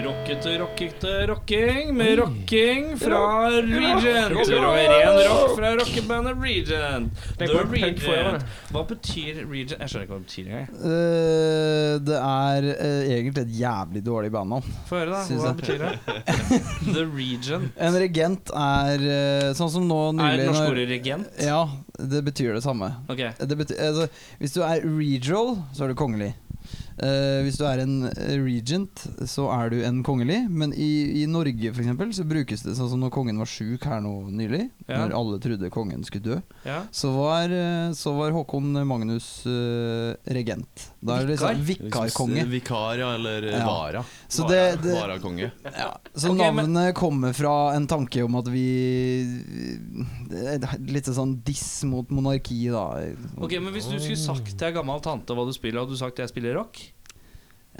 Speaker 2: Rockete, rockete rocking med rocking fra Regent. Og ren rock fra rockebandet Regent.
Speaker 7: Det
Speaker 2: The
Speaker 7: går punk forover, det.
Speaker 2: Regent. Hva betyr Regent? Jeg skjønner ikke hva det betyr engang.
Speaker 4: Eh, det er eh, egentlig et jævlig dårlig bandnavn.
Speaker 2: Få høre, da.
Speaker 4: Syns
Speaker 2: Hva
Speaker 4: jeg.
Speaker 2: betyr det? The Regent.
Speaker 4: En regent er eh, sånn som nå
Speaker 2: Er
Speaker 4: nylig
Speaker 2: det norske
Speaker 4: når-
Speaker 2: ordet regent?
Speaker 4: Ja, det betyr det samme.
Speaker 2: Ok.
Speaker 4: Det bety altså, hvis du er regal, så er du kongelig. Eh, hvis du er en eh, regent, så er du en kongelig. Men i, i Norge for eksempel, så brukes det sånn som når kongen var sjuk her nå nylig.
Speaker 2: Ja.
Speaker 4: Når alle trodde kongen skulle dø.
Speaker 2: Ja.
Speaker 4: Så var, eh, så var Håkon Magnus eh, regent. Da er det liksom vikarkonge.
Speaker 8: Vikar, ja, eller eh,
Speaker 4: Ja.
Speaker 8: vara.
Speaker 4: Så
Speaker 8: Vara-
Speaker 4: det- det-
Speaker 8: Varakonge.
Speaker 4: Ja, så
Speaker 2: Ok, men-
Speaker 4: navnet kommer fra en tanke om at vi det er Litt sånn diss mot monarki, da.
Speaker 2: Ok, men Hvis du skulle sagt til ei gammel tante hva du spiller, hadde du sagt jeg spiller rock?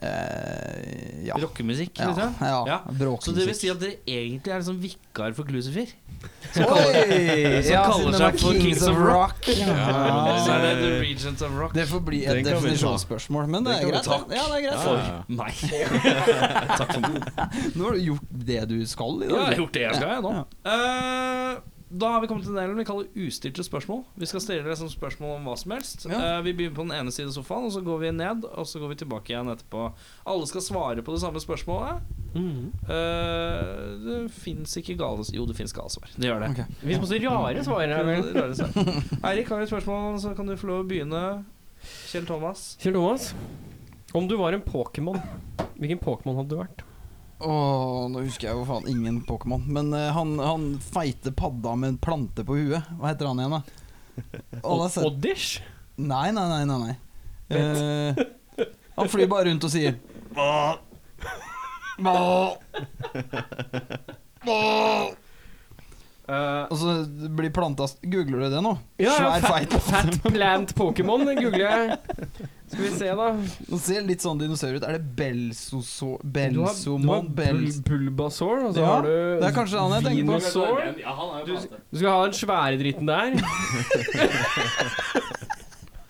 Speaker 4: Eh, ja.
Speaker 2: Rockemusikk?
Speaker 4: Ja,
Speaker 2: liksom?
Speaker 4: ja.
Speaker 2: Ja. Så det vil si
Speaker 4: Bråkmusikk.
Speaker 2: at dere egentlig er liksom vikar for Glucifer?
Speaker 4: Som kaller,
Speaker 2: som kaller seg for Kings of
Speaker 4: Rock.
Speaker 2: Ah. Så er
Speaker 4: Ja.
Speaker 2: det The Regents of Rock?
Speaker 4: Det får bli
Speaker 8: Den kan
Speaker 4: et
Speaker 8: vi ta.
Speaker 4: definisjonsspørsmål, men det er
Speaker 8: Den kan vi
Speaker 4: greit. det. Ja, det er greit.
Speaker 8: Ja, ja,
Speaker 2: Nei.
Speaker 4: Nå har du gjort det du skal i
Speaker 2: Ja, jeg
Speaker 4: dag.
Speaker 2: har gjort det jeg skal, jeg nå. Eh, da har vi kommet til den delen vi kaller ustilte spørsmål. Vi skal stille dere som spørsmål om hva som helst. Eh, vi begynner på den ene siden av sofaen, og så går vi ned, og så går vi tilbake igjen etterpå. Alle skal svare på det samme spørsmålet.
Speaker 4: Mm.
Speaker 2: Eh, det fins ikke gale Jo, det fins gale svar. Det gjør det.
Speaker 4: Ok.
Speaker 7: Vi er masse rare svar her.
Speaker 2: Det er det som er. Eirik, har du et spørsmål, så kan du få lov å begynne. Kjell Thomas.
Speaker 7: Kjell Thomas, om du var en Pokémon, hvilken Pokémon hadde du vært?
Speaker 4: Åh, nå husker jeg jo faen ingen Pokémon. Men eh, han, han feite padda med en plante på huet. Hva heter han igjen, da? Alle har sett
Speaker 7: Oddish?
Speaker 4: Nei, nei, nei. nei, nei. Eh, han flyr bare rundt og sier Hva? Og så blir planta Googler du det nå?
Speaker 7: Eh, Ja, ja,
Speaker 4: Svær, feit
Speaker 7: Fat Plant Pokémon den googler jeg. Skal vi se, da.
Speaker 4: Nå ser litt sånn dinosaur ut. Er det Belsoso...
Speaker 7: Du har, du har
Speaker 4: Belsomon
Speaker 7: bul
Speaker 4: Bels...
Speaker 7: Bulbasaur, og så
Speaker 4: Ja,
Speaker 7: har du
Speaker 4: det er kanskje han jeg tenker på.
Speaker 7: Venusaur. Du skal ha den svære dritten der.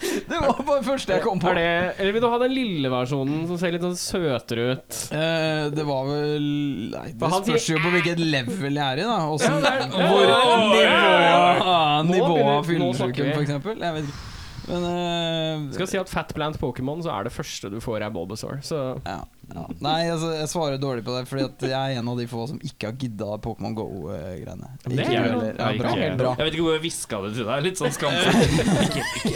Speaker 4: Det var bare det første jeg kom på.
Speaker 7: Er det, eller vil du ha den lille versjonen som ser litt sånn søtere ut?
Speaker 4: Eh, det var vel Nei, det
Speaker 7: For han
Speaker 4: spørs jo på hvilket level jeg er i, da. Og så
Speaker 7: ja, ja, ja,
Speaker 4: hvor
Speaker 7: ja,
Speaker 4: nivået ah, nivået
Speaker 7: begynner-
Speaker 4: av
Speaker 7: nå snakker
Speaker 4: fyllesyken,
Speaker 7: vi.
Speaker 4: for eksempel. Jeg vet ikke. Men eh,
Speaker 7: Du skal si at Fat Plant Pokémon, så er det første du får, er Bulbasaur. Så
Speaker 4: ja, ja. Nei, altså, jeg svarer dårlig på det, fordi at jeg er en av de få som ikke har gidda Pokémon Go-greiene.
Speaker 7: Men det
Speaker 4: Ikke
Speaker 7: er
Speaker 4: du
Speaker 7: jo-
Speaker 4: heller.
Speaker 2: Nei, ikke
Speaker 4: Ja,
Speaker 2: jeg.
Speaker 4: bra. bra.
Speaker 2: Jeg vet ikke hvor jeg hviska det til deg. Litt sånn skamfull.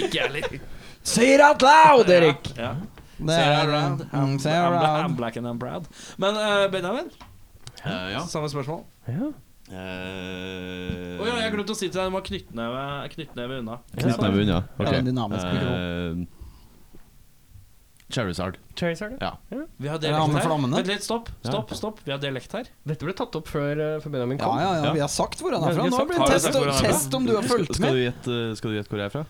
Speaker 2: ikke jeg heller.
Speaker 4: Say it out loud, Erik!
Speaker 2: Ja.
Speaker 4: Det
Speaker 2: Say it
Speaker 4: er-
Speaker 2: out loud.
Speaker 4: Mm, say it
Speaker 2: I'm,
Speaker 4: out
Speaker 2: bla-
Speaker 4: loud.
Speaker 2: I'm black and I'm proud. Men eh, Benjamin,
Speaker 8: Eh, ja.
Speaker 2: samme spørsmål.
Speaker 8: Eh,
Speaker 2: Å ja, jeg glemte å si til deg, du må ha knyttneve, knyttneve unna.
Speaker 8: Knyttneven, ja.
Speaker 4: Ja, en dynamisk
Speaker 7: Eh,
Speaker 8: Eh, Charizard.
Speaker 7: Charizard, ja.
Speaker 8: Ja.
Speaker 2: Vi har
Speaker 4: Er det han
Speaker 2: dialekt
Speaker 4: med
Speaker 2: her.
Speaker 4: flammene?
Speaker 2: Vent litt, stopp. Stopp, stopp. Vi har dialekt her.
Speaker 7: Dette ble tatt opp før, eh, før Benjamin
Speaker 4: Ja,
Speaker 7: kom.
Speaker 4: ja, ja,
Speaker 8: Ja.
Speaker 4: vi har sagt hvor han
Speaker 7: Ja,
Speaker 4: er
Speaker 7: vi
Speaker 4: fra.
Speaker 7: har
Speaker 4: Nå
Speaker 7: sagt
Speaker 4: blir
Speaker 2: hvor han er
Speaker 4: det test,
Speaker 2: fra.
Speaker 4: om- test om du har fulgt
Speaker 8: Skal
Speaker 4: med.
Speaker 8: du gjette skal du gjette hvor jeg er fra?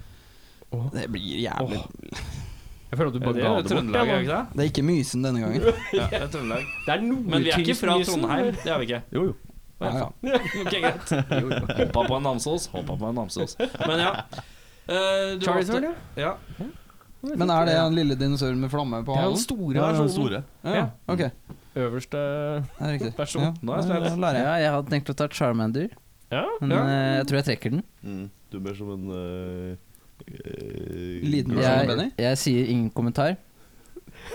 Speaker 4: Det blir jævlig
Speaker 7: Jeg føler at du bare
Speaker 2: Ja, Det
Speaker 7: ga
Speaker 2: er
Speaker 7: det bort.
Speaker 2: Trøndelag, er det
Speaker 7: ja, nå.
Speaker 2: ikke det?
Speaker 4: Det er ikke Mysen denne gangen.
Speaker 2: Ja, det er Trøndelag.
Speaker 7: Det er nordtysk
Speaker 2: Men vi er ikke fra
Speaker 7: mysen,
Speaker 2: Trondheim.
Speaker 7: eller?
Speaker 2: Det er vi ikke.
Speaker 8: Jo, jo.
Speaker 4: Ja, ja.
Speaker 2: Ok, greit. Hoppa på en Namsos, hoppa på en Namsos. Men ja. Eh, du
Speaker 7: Charizard,
Speaker 2: valgte-
Speaker 7: ja.
Speaker 2: ja.
Speaker 4: Men er det den lille dinosauren med flamme på
Speaker 7: Det er den
Speaker 4: halen?
Speaker 7: store
Speaker 8: Ja, den
Speaker 7: versjonen.
Speaker 8: store.
Speaker 4: Ja, ok,
Speaker 7: Øverste
Speaker 4: det er riktig.
Speaker 7: Versjon.
Speaker 4: Ja,
Speaker 2: Nå er jeg
Speaker 4: da
Speaker 2: spent.
Speaker 4: lærer jeg.
Speaker 5: Ja, jeg hadde tenkt å ta Charmander,
Speaker 7: Ja.
Speaker 5: men
Speaker 2: Ja.
Speaker 5: eh, jeg tror jeg trekker den.
Speaker 8: Du er mer som en eh, eh,
Speaker 4: Liten
Speaker 8: gul-
Speaker 4: versjon av
Speaker 5: Jeg,
Speaker 4: Benny?
Speaker 5: jeg sier ingen kommentar.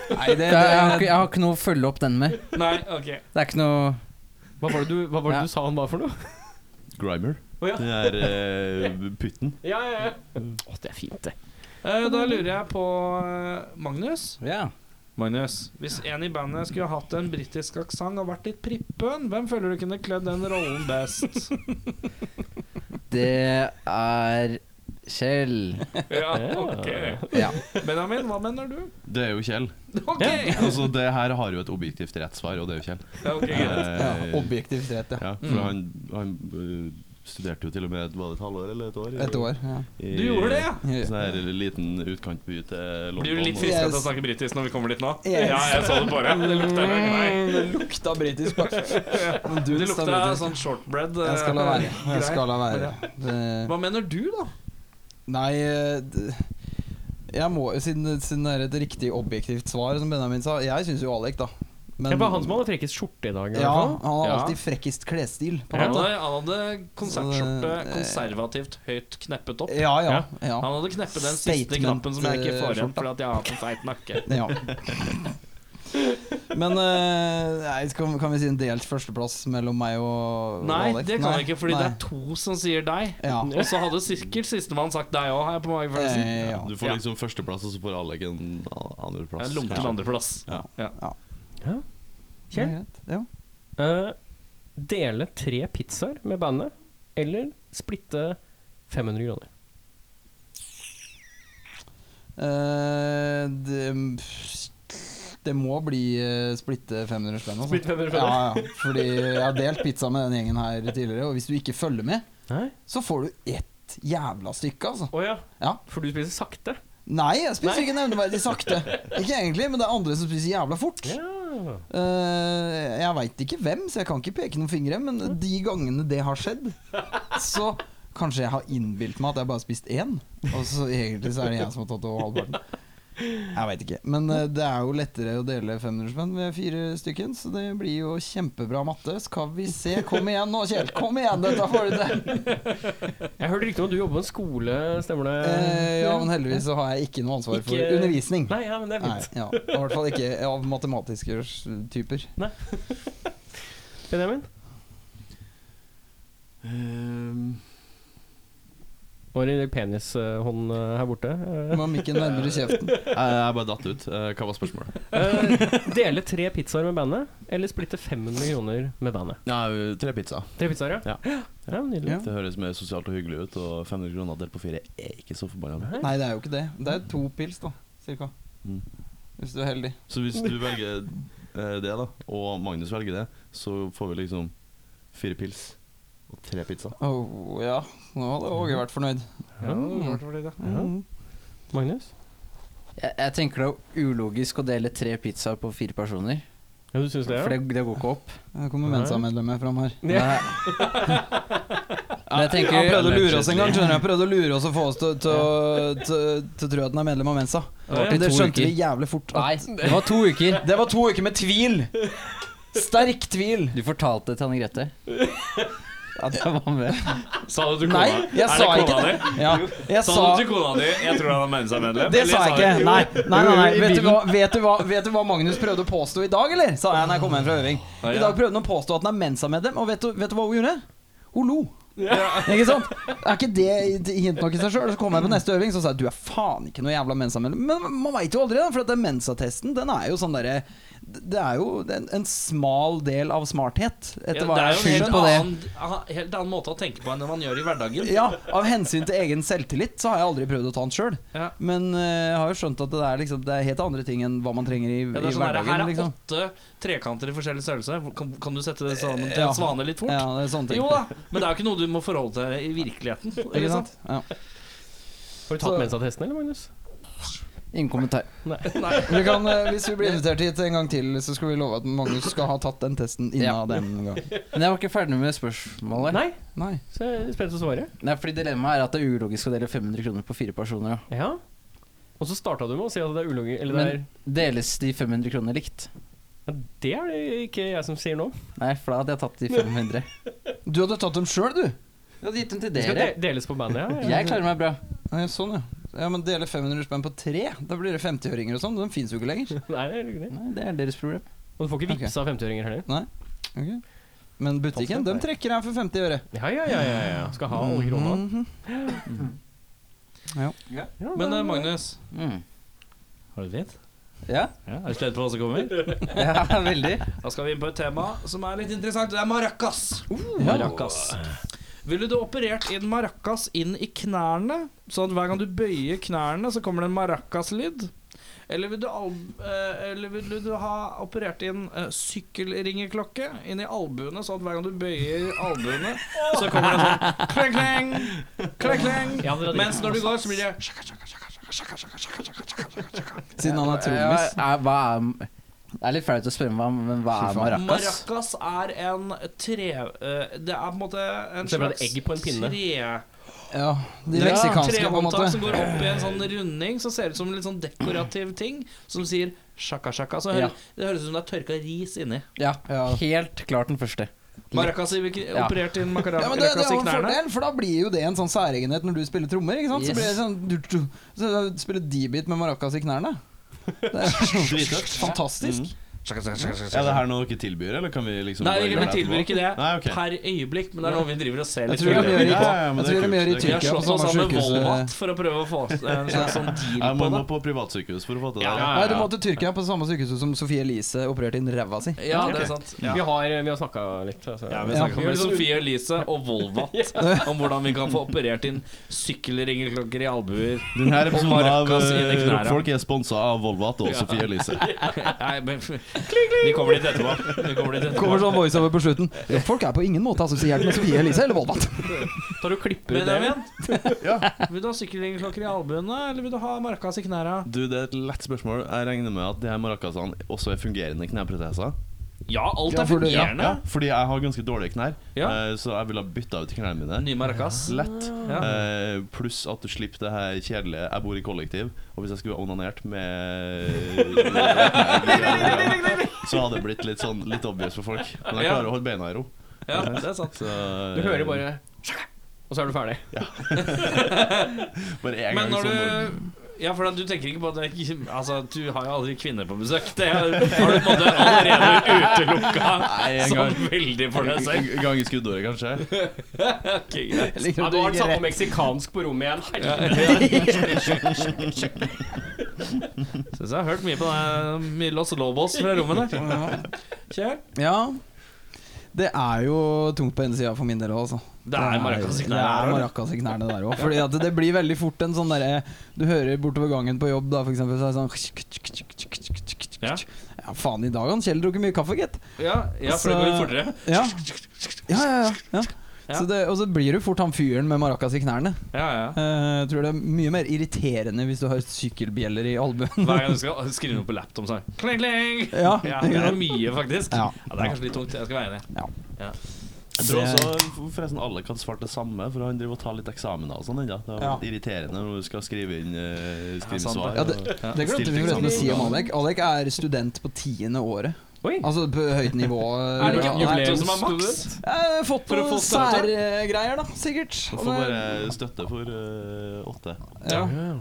Speaker 4: Nei, det,
Speaker 5: For Jeg, jeg, har, ikke, jeg har ikke noe å følge opp den med.
Speaker 2: Nei, ok.
Speaker 5: Det er ikke noe
Speaker 7: Hva var det, du, hva var det
Speaker 5: Ja.
Speaker 7: du sa han var for noe?
Speaker 8: Grimer.
Speaker 7: Å, ja.
Speaker 8: Det er eh, pytten.
Speaker 7: Ja, ja, ja. Å, det er fint, det.
Speaker 2: Eh, da lurer jeg på eh, Magnus.
Speaker 5: Ja.
Speaker 2: Magnus, Hvis en i bandet skulle hatt en britisk aksent og vært litt prippen, hvem føler du kunne kledd den rollen best?
Speaker 5: Det er Kjell.
Speaker 2: ja,
Speaker 7: Ja.
Speaker 2: ok
Speaker 5: Ja.
Speaker 2: Benjamin, hva mener du?
Speaker 8: Det er jo Kjell.
Speaker 2: Ok,
Speaker 8: Altså, det her har jo et objektivt rett svar, og det er jo Kjell.
Speaker 2: ja, ok, greit.
Speaker 8: Eh,
Speaker 4: ja, objektivt rett, ja.
Speaker 8: ja, for han, han eh, studerte jo til og med var det et halvår eller et år? i-
Speaker 4: Et år. Ja.
Speaker 8: i-
Speaker 2: Du gjorde det, ja?
Speaker 4: Ja.
Speaker 8: Sånn her liten utkantby til London.
Speaker 2: Blir du litt
Speaker 8: og-
Speaker 2: friskere til å
Speaker 4: Yes.
Speaker 2: snakke britisk når vi kommer dit nå?
Speaker 4: Yes.
Speaker 2: Ja, jeg så det bare. Det lukta Nei.
Speaker 4: Det lukta britisk, faktisk. Men du
Speaker 2: Det lukta
Speaker 4: britisk.
Speaker 2: sånn shortbread. eh,
Speaker 4: Jeg skal la være.
Speaker 2: grei.
Speaker 4: Jeg skal la være. Det,
Speaker 2: Hva mener du, da?
Speaker 4: nei eh, det- jeg må, siden, siden det er et riktig objektivt svar, som Benjamin sa Jeg syns jo Alek, da. Men,
Speaker 7: Det var han som hadde frekkest skjorte i dag. i
Speaker 4: Ja,
Speaker 7: hvert fall.
Speaker 4: han har
Speaker 2: Ja.
Speaker 4: alltid frekkest klesstil. På en
Speaker 2: Han
Speaker 4: måte.
Speaker 2: hadde, han hadde konsertskjorte
Speaker 4: Så, eh,
Speaker 2: konservativt høyt kneppet opp.
Speaker 4: Ja, ja, ja.
Speaker 2: Han hadde kneppet den siste
Speaker 4: Statement,
Speaker 2: knappen som jeg ikke får igjen
Speaker 4: eh, skjorta.
Speaker 2: fordi at jeg har så feit nakke.
Speaker 4: ja. Men eh, nei, kan, kan vi si en delt førsteplass mellom meg og
Speaker 2: Nei,
Speaker 4: Alex?
Speaker 2: det kan
Speaker 4: Nei,
Speaker 2: jeg ikke, fordi
Speaker 4: nei.
Speaker 2: det er to som sier deg.
Speaker 4: Ja.
Speaker 2: Og så hadde sikkert sistemann sagt deg òg, har jeg på magefølelsen.
Speaker 4: Eh, ja.
Speaker 8: Du
Speaker 2: Ja.
Speaker 8: får liksom førsteplass, og så får Alek en a- andreplass.
Speaker 2: Jeg lunket
Speaker 8: Ja.
Speaker 2: andreplass.
Speaker 8: Ja.
Speaker 1: Kjell?
Speaker 4: Det er greit,
Speaker 1: Eh, dele tre pizzaer med bandet, eller splitte 500 kroner.
Speaker 4: Ja. Eh, det, det må bli eh, splitte 500 spenn. Altså.
Speaker 1: Splitte 500 spenn,
Speaker 4: ja, ja. Fordi jeg har delt pizza med den gjengen her tidligere, og hvis du ikke følger med,
Speaker 1: Nei.
Speaker 4: så får du ett jævla stykke, altså.
Speaker 1: Å ja.
Speaker 4: Ja.
Speaker 1: For du spiser sakte?
Speaker 4: Nei, jeg spiser ikke nevneverdig sakte. Ikke egentlig, men det er andre som spiser jævla fort.
Speaker 1: Ja.
Speaker 4: Eh, jeg veit ikke hvem, så jeg kan ikke peke noen fingre, men de gangene det har skjedd, så kanskje jeg har innbilt meg at jeg bare har spist én, og så egentlig så er det jeg som har tatt over halvparten. Jeg veit ikke. Men eh, det er jo lettere å dele 500-spenn med fire stykken, så det blir jo kjempebra matte. Skal vi se. Kom igjen nå, Kjell. Kom igjen, dette får du til.
Speaker 1: Jeg hørte rykter om at du jobber på en skole, stemmer det?
Speaker 4: Eh, ja, men heldigvis så har jeg ikke noe ansvar for
Speaker 1: Ikke-
Speaker 4: undervisning.
Speaker 1: Nei, ja, men det er
Speaker 4: Nei,
Speaker 1: fint.
Speaker 4: ja. Og I hvert fall ikke av matematiske typer.
Speaker 1: Benjamin?
Speaker 8: Ehm,
Speaker 1: Var det penishånd eh, her borte? Eh,
Speaker 4: Må ha mikken nærmere kjeften.
Speaker 8: jeg, jeg bare datt ut. Eh, Hva var spørsmålet?
Speaker 1: eh, dele tre pizzaer med bandet, eller splitte 500 kroner med bandet?
Speaker 8: Nei, tre pizza.
Speaker 1: Tre pizzaer, ja?
Speaker 8: Ja.
Speaker 1: ja nydelig.
Speaker 4: Ja.
Speaker 8: Det høres mer sosialt og hyggelig ut, og 500 kroner delt på fire er ikke så forbanna.
Speaker 1: Nei.
Speaker 4: Nei, det er jo ikke det. Det er to pils, da. Cirka.
Speaker 8: Mm.
Speaker 4: Hvis du er heldig.
Speaker 8: Så hvis du velger eh, det, da, og Magnus velger det, så får vi liksom fire pils og tre pizza.
Speaker 4: Oh, ja. Nå hadde Åge vært fornøyd.
Speaker 1: Ja.
Speaker 4: Mm.
Speaker 1: Magnus?
Speaker 5: Jeg, jeg tenker det er ulogisk å dele tre pizzaer på fire personer.
Speaker 1: Ja, du syns det,
Speaker 5: For
Speaker 1: ja?
Speaker 5: det, det går ikke opp.
Speaker 4: Her kommer Mensa-medlemmet fram her.
Speaker 1: Ja.
Speaker 5: Men jeg tenker
Speaker 4: Han prøvde å lure oss en gang. skjønner du? Han prøvde å lure oss og få oss til, til, å- til, til å tro at han er medlem av Mensa.
Speaker 5: var til
Speaker 4: Men det
Speaker 5: to
Speaker 4: skjønte
Speaker 5: uker.
Speaker 4: vi jævlig fort. at-
Speaker 5: Nei, det var to uker.
Speaker 4: Det var to uker med tvil! Sterk tvil.
Speaker 5: Du fortalte det til Anne Grete. At jeg var med.
Speaker 2: Sa du til kona
Speaker 4: Nei, jeg sa
Speaker 2: Er det
Speaker 4: ikke
Speaker 2: kona
Speaker 4: det.
Speaker 2: di?
Speaker 4: Ja, jeg
Speaker 2: Sa
Speaker 4: sa
Speaker 2: du til kona di Jeg tror han har Mensa-medlem.
Speaker 4: Det
Speaker 2: Eller
Speaker 4: sa jeg
Speaker 2: du-
Speaker 4: ikke. Nei, nei, nei, nei. Vet, du hva, vet, du hva, vet du hva Magnus prøvde å påstå i dag, eller? Sa jeg når jeg kom hjem fra øving. I dag prøvde han å påstå at han er Mensa-medlem, og vet du, vet du hva hun gjorde? Hun lo. Ikke sant? Er ikke det hint nok i seg sjøl? Så kom jeg på neste øving Så sa jeg du er faen ikke noe jævla Mensa-medlem. Men man veit jo aldri, da. For at den Mensa-testen, den er jo sånn derre Det er jo en, en smal del av smarthet,
Speaker 2: Ja,
Speaker 4: etter
Speaker 2: det
Speaker 4: hva
Speaker 2: er
Speaker 4: jeg
Speaker 2: jo
Speaker 4: har
Speaker 2: en helt
Speaker 4: skjønt på det.
Speaker 2: annen, aha, helt annen måte å tenke på enn det man gjør i hverdagen.
Speaker 4: Ja, av hensyn til egen selvtillit så har jeg aldri prøvd å ta den sjøl.
Speaker 2: Ja.
Speaker 4: Men eh, jeg har jo skjønt at det er, liksom, det er helt andre ting enn hva man trenger i,
Speaker 2: Ja, det
Speaker 4: i
Speaker 2: er sånn her,
Speaker 4: hverdagen.
Speaker 2: her er
Speaker 4: liksom.
Speaker 2: åtte trekanter i forskjellig størrelse. Hvor- Kan, kan du sette det sammen til
Speaker 4: Ja.
Speaker 2: en svane litt fort?
Speaker 4: Ja, det er sånne ting.
Speaker 2: Jo da, men det er jo ikke noe du må forholde deg i virkeligheten.
Speaker 4: Ikke sant? Ja.
Speaker 1: Har du tatt mensatesten, eller, Magnus?
Speaker 5: Ingen kommentar.
Speaker 4: Vi kan, eh, hvis vi blir invitert hit en gang til, så skal vi love at Magnus skal ha tatt den testen innen
Speaker 5: Ja.
Speaker 4: den gang.
Speaker 5: Men jeg var ikke ferdig med spørsmålet.
Speaker 1: Nei,
Speaker 4: Nei.
Speaker 1: så jeg er spent på svaret.
Speaker 5: Nei, fordi Dilemmaet er at det er ulogisk å dele 500 kroner på fire personer. ja.
Speaker 1: Ja. Og så starta du med å si at det er ulogisk Eller det er
Speaker 5: Men deles de 500 kroner likt?
Speaker 1: Ja, Det er det ikke jeg som sier nå.
Speaker 5: Nei, for da hadde jeg tatt de 500.
Speaker 4: Du hadde tatt dem sjøl, du.
Speaker 5: Du hadde gitt dem til
Speaker 1: Det skal
Speaker 5: dere.
Speaker 1: de- deles på bandet, ja.
Speaker 5: Jeg klarer meg bra.
Speaker 4: Ja, sånn, ja. Ja, Men dele 500 spenn på tre? Da blir det 50-øringer og sånn. De fins jo ikke lenger.
Speaker 1: Nei, det er ikke det.
Speaker 5: Nei, det er deres problem.
Speaker 1: Og du får ikke
Speaker 4: Ok.
Speaker 1: vippsa 50-åringer heller.
Speaker 4: Ok. Men butikken, de trekker her for 50 øre.
Speaker 1: Ja, ja, ja, ja, ja. Skal ha alle kronene.
Speaker 4: Mhm.
Speaker 1: Ja,
Speaker 2: Men eh, Magnus,
Speaker 5: Mm.
Speaker 2: har du det fint?
Speaker 5: Ja,
Speaker 2: Ja, er du spent på hva som kommer?
Speaker 5: ja, veldig.
Speaker 2: Da skal vi inn på et tema som er litt interessant. Det er maracas. Maracas. Ville du operert en maracas inn i knærne, sånn at hver gang du bøyer knærne, så kommer det en maracas-lyd? Eller vil, du al eh, eller vil du ha operert inn eh, sykkelringeklokke inn i albuene, sånn at hver gang du bøyer albuene, så kommer det en sånn klang-klang,
Speaker 1: Ja, dere
Speaker 2: klang-klang.
Speaker 1: hadde
Speaker 2: Mens når du går, så blir det
Speaker 4: Siden han er trommis.
Speaker 5: Ja, er- hva er Det er litt flaut å spørre meg om men hva er maracas.
Speaker 2: Maracas er en tre... eh, Det er på en måte en
Speaker 7: Ser bare et egg på en pinne.
Speaker 2: tre...
Speaker 4: Ja, de leksikanske, på en
Speaker 2: Trehåndtak som
Speaker 4: måte.
Speaker 2: går opp i en sånn runding, som ser ut som en litt sånn dekorativ ting, som sier sjakka, sjakka. Så hører,
Speaker 5: Ja.
Speaker 2: Det høres ut som det er tørka ris inni.
Speaker 5: Ja,
Speaker 4: Ja.
Speaker 5: helt klart den første.
Speaker 2: Maracas i hvilke-
Speaker 5: Ja.
Speaker 2: operert inn macara-
Speaker 4: Ja, men det, det
Speaker 2: maracas i
Speaker 4: er jo en
Speaker 2: knærne.
Speaker 4: fordel, for da blir jo det en sånn særegenhet når du spiller trommer. ikke sant?
Speaker 5: Yes.
Speaker 4: Så blir det sånn du, du, så da Spiller D-beat med maracas i knærne. Det er
Speaker 8: Dritfett.
Speaker 4: fantastisk.
Speaker 2: Sjakka, sjakka, sjakka, sjakka.
Speaker 8: Er det her noe dere tilbyr, eller kan vi liksom
Speaker 2: Nei,
Speaker 8: bare
Speaker 2: vi
Speaker 8: gjøre det
Speaker 2: tilbyr
Speaker 8: etterpå?
Speaker 2: ikke det
Speaker 8: Nei, ok.
Speaker 2: per øyeblikk, men det er noe vi driver og ser
Speaker 4: Jeg
Speaker 2: litt
Speaker 4: tror de gjør
Speaker 2: på.
Speaker 4: det i,
Speaker 8: Ja, ja, men det er
Speaker 4: jeg tror de
Speaker 8: kult, det er
Speaker 4: gjør det i
Speaker 8: kult.
Speaker 2: Vi har
Speaker 4: Tyrkia på
Speaker 2: slått oss
Speaker 4: samme
Speaker 2: sammen med
Speaker 4: sykehus. eh.
Speaker 2: Volvat for å prøve å få en slags sånn
Speaker 8: Nei,
Speaker 2: deal
Speaker 8: man
Speaker 2: på
Speaker 8: må
Speaker 2: det.
Speaker 8: på privatsykehus for å få til det.
Speaker 2: Ja,
Speaker 4: Nei, du må til Tyrkia på samme sykehus som Sofie Elise opererte inn ræva si.
Speaker 2: Ja, det er sant. Ja.
Speaker 7: Vi har, vi har snakka litt. Altså.
Speaker 2: Ja, vi
Speaker 4: Ja.
Speaker 2: snakker med Sofie Elise og Volvat om hvordan vi kan få operert inn sykkelringelklokker i albuer.
Speaker 8: Denne
Speaker 2: Og
Speaker 8: episoden av eh,
Speaker 2: maracas inn i knærne.
Speaker 8: Rockfolk er sponsa av Volvat og Sofie Elise.
Speaker 2: Nei, men Vi kommer dit etterpå. Vi kommer dit etterpå.
Speaker 4: Kommer sånn voiceover på slutten. Jo, folk er på ingen måte assosiert med Sofie Elise eller Volvat.
Speaker 7: Tar du klipper ut det?
Speaker 2: Benjamin, vil du ha sykkelringeklokker i albuene, eller vil du ha markas i knærne?
Speaker 8: Du, det er et lett spørsmål. Jeg regner med at de her maracasene også er fungerende kneproteser.
Speaker 2: Ja, alt
Speaker 4: Ja,
Speaker 2: er
Speaker 4: for du- ja,
Speaker 2: fungerende.
Speaker 8: Fordi jeg har ganske dårlige knær,
Speaker 2: Ja.
Speaker 8: eh, så jeg ville ha bytta ut knærne mine.
Speaker 2: Ny markas.
Speaker 8: Lett.
Speaker 2: Ja.
Speaker 8: Eh, Pluss at du slipper det her kjedelige Jeg bor i kollektiv, og hvis jeg skulle ha onanert med Så hadde det blitt litt sånn litt obvious for folk. Men jeg
Speaker 2: Ja.
Speaker 8: klarer å holde beina i ro.
Speaker 2: Ja, det er sant.
Speaker 8: Så,
Speaker 7: Du hører bare Og så er du ferdig.
Speaker 8: Bare
Speaker 2: Men
Speaker 8: en gang
Speaker 2: når
Speaker 8: sånn. og-
Speaker 2: du Ja, for da, du tenker ikke på at det er- Altså, du har jo aldri kvinner på besøk. Det har har du på en måte allerede utelukka som veldig for deg selv.
Speaker 8: En gang i skuddåret, kanskje.
Speaker 2: Ok, greit.
Speaker 4: Jeg liker
Speaker 7: Ja,
Speaker 4: at
Speaker 7: du
Speaker 4: du
Speaker 7: har den
Speaker 4: gikk
Speaker 7: satt på
Speaker 4: rett-
Speaker 7: meksikansk på rommet igjen. Herregud.
Speaker 2: Syns jeg har hørt mye på den mye Los Lobos fra rommet der. Kjør.
Speaker 4: Ja. Det er jo tungt på en side for min del òg, altså.
Speaker 2: Det er markas i
Speaker 4: Det er
Speaker 2: knærne.
Speaker 4: maracas i knærne der òg. Fordi at det blir veldig fort en sånn derre Du hører bortover gangen på jobb, da, for eksempel, så er det sånn
Speaker 2: Ja.
Speaker 4: Ja, faen, i dag har Kjell drukket mye kaffe, gitt.
Speaker 2: Ja, ja, for det går litt
Speaker 4: Altså-
Speaker 2: fortere.
Speaker 4: Ja. Ja, ja, ja. ja.
Speaker 2: Ja.
Speaker 4: Så det, og så blir du fort han fyren med maracas i knærne.
Speaker 2: Ja, ja.
Speaker 4: Eh, jeg tror det er mye mer irriterende hvis du har sykkelbjeller i albuen.
Speaker 2: Hver gang du skal skrive noe på laptop, så er det kling, kling.
Speaker 4: Ja,
Speaker 2: Ja,
Speaker 4: ikke
Speaker 2: det er
Speaker 4: sant?
Speaker 2: mye, faktisk.
Speaker 4: Ja.
Speaker 2: Ja. Det er kanskje litt tungt. Jeg skal være enig.
Speaker 8: Jeg tror også forresten alle kan svare det samme, for han driver og tar litt eksamener og sånn ennå. Det er jo
Speaker 4: Ja.
Speaker 8: irriterende når du skal skrive inn eh,
Speaker 2: Ja,
Speaker 8: skrive
Speaker 2: sant
Speaker 8: svar.
Speaker 2: det.
Speaker 4: Ja, det, det glemte vi forresten å si
Speaker 2: sånn.
Speaker 4: om Alek. Alek er student på tiende året.
Speaker 7: Oi.
Speaker 4: Altså på høyt nivå.
Speaker 2: Er det ikke
Speaker 4: Ja, nei.
Speaker 2: jubileum som er maks?
Speaker 4: Jeg har fått
Speaker 2: For å
Speaker 4: noen
Speaker 2: få støtte?
Speaker 4: særgreier, da. Sikkert.
Speaker 8: Du får bare støtte for eh, åtte.
Speaker 4: Ja.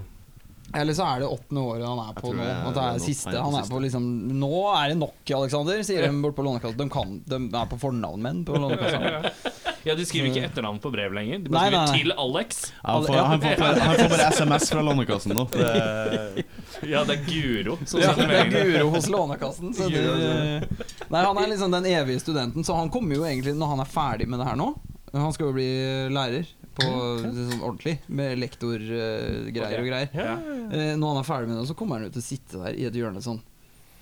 Speaker 4: Eller så er det åttende året han er på
Speaker 8: tror
Speaker 4: nå.
Speaker 8: det er-
Speaker 4: At det
Speaker 8: nå-
Speaker 4: er siste.
Speaker 8: han er på
Speaker 4: Han er på liksom Nå er det nok, Aleksander, sier de bort på Lånekassa. De, kan, de er på fornavn med den på Lånekassa.
Speaker 2: Ja, De skriver ikke etternavn på brev lenger. De
Speaker 4: Mm.
Speaker 2: bare
Speaker 4: Nei, nei, nei.
Speaker 2: skriver 'til Alex'.
Speaker 8: Han får, han, får bare, han får bare SMS fra Lånekassen nå. Det,
Speaker 2: Ja, det er Guro som
Speaker 4: Ja,
Speaker 2: sender
Speaker 4: det er
Speaker 2: meldingene.
Speaker 4: Guro hos Lånekassen. Så det, nei, han er liksom den evige studenten, så han kommer jo egentlig når han er ferdig med det her nå. Han skal jo bli lærer på sånn ordentlig, med lektorgreier og greier.
Speaker 2: Ja.
Speaker 4: Eh, når han er ferdig med det, så kommer han jo til å sitte der i et hjørne sånn.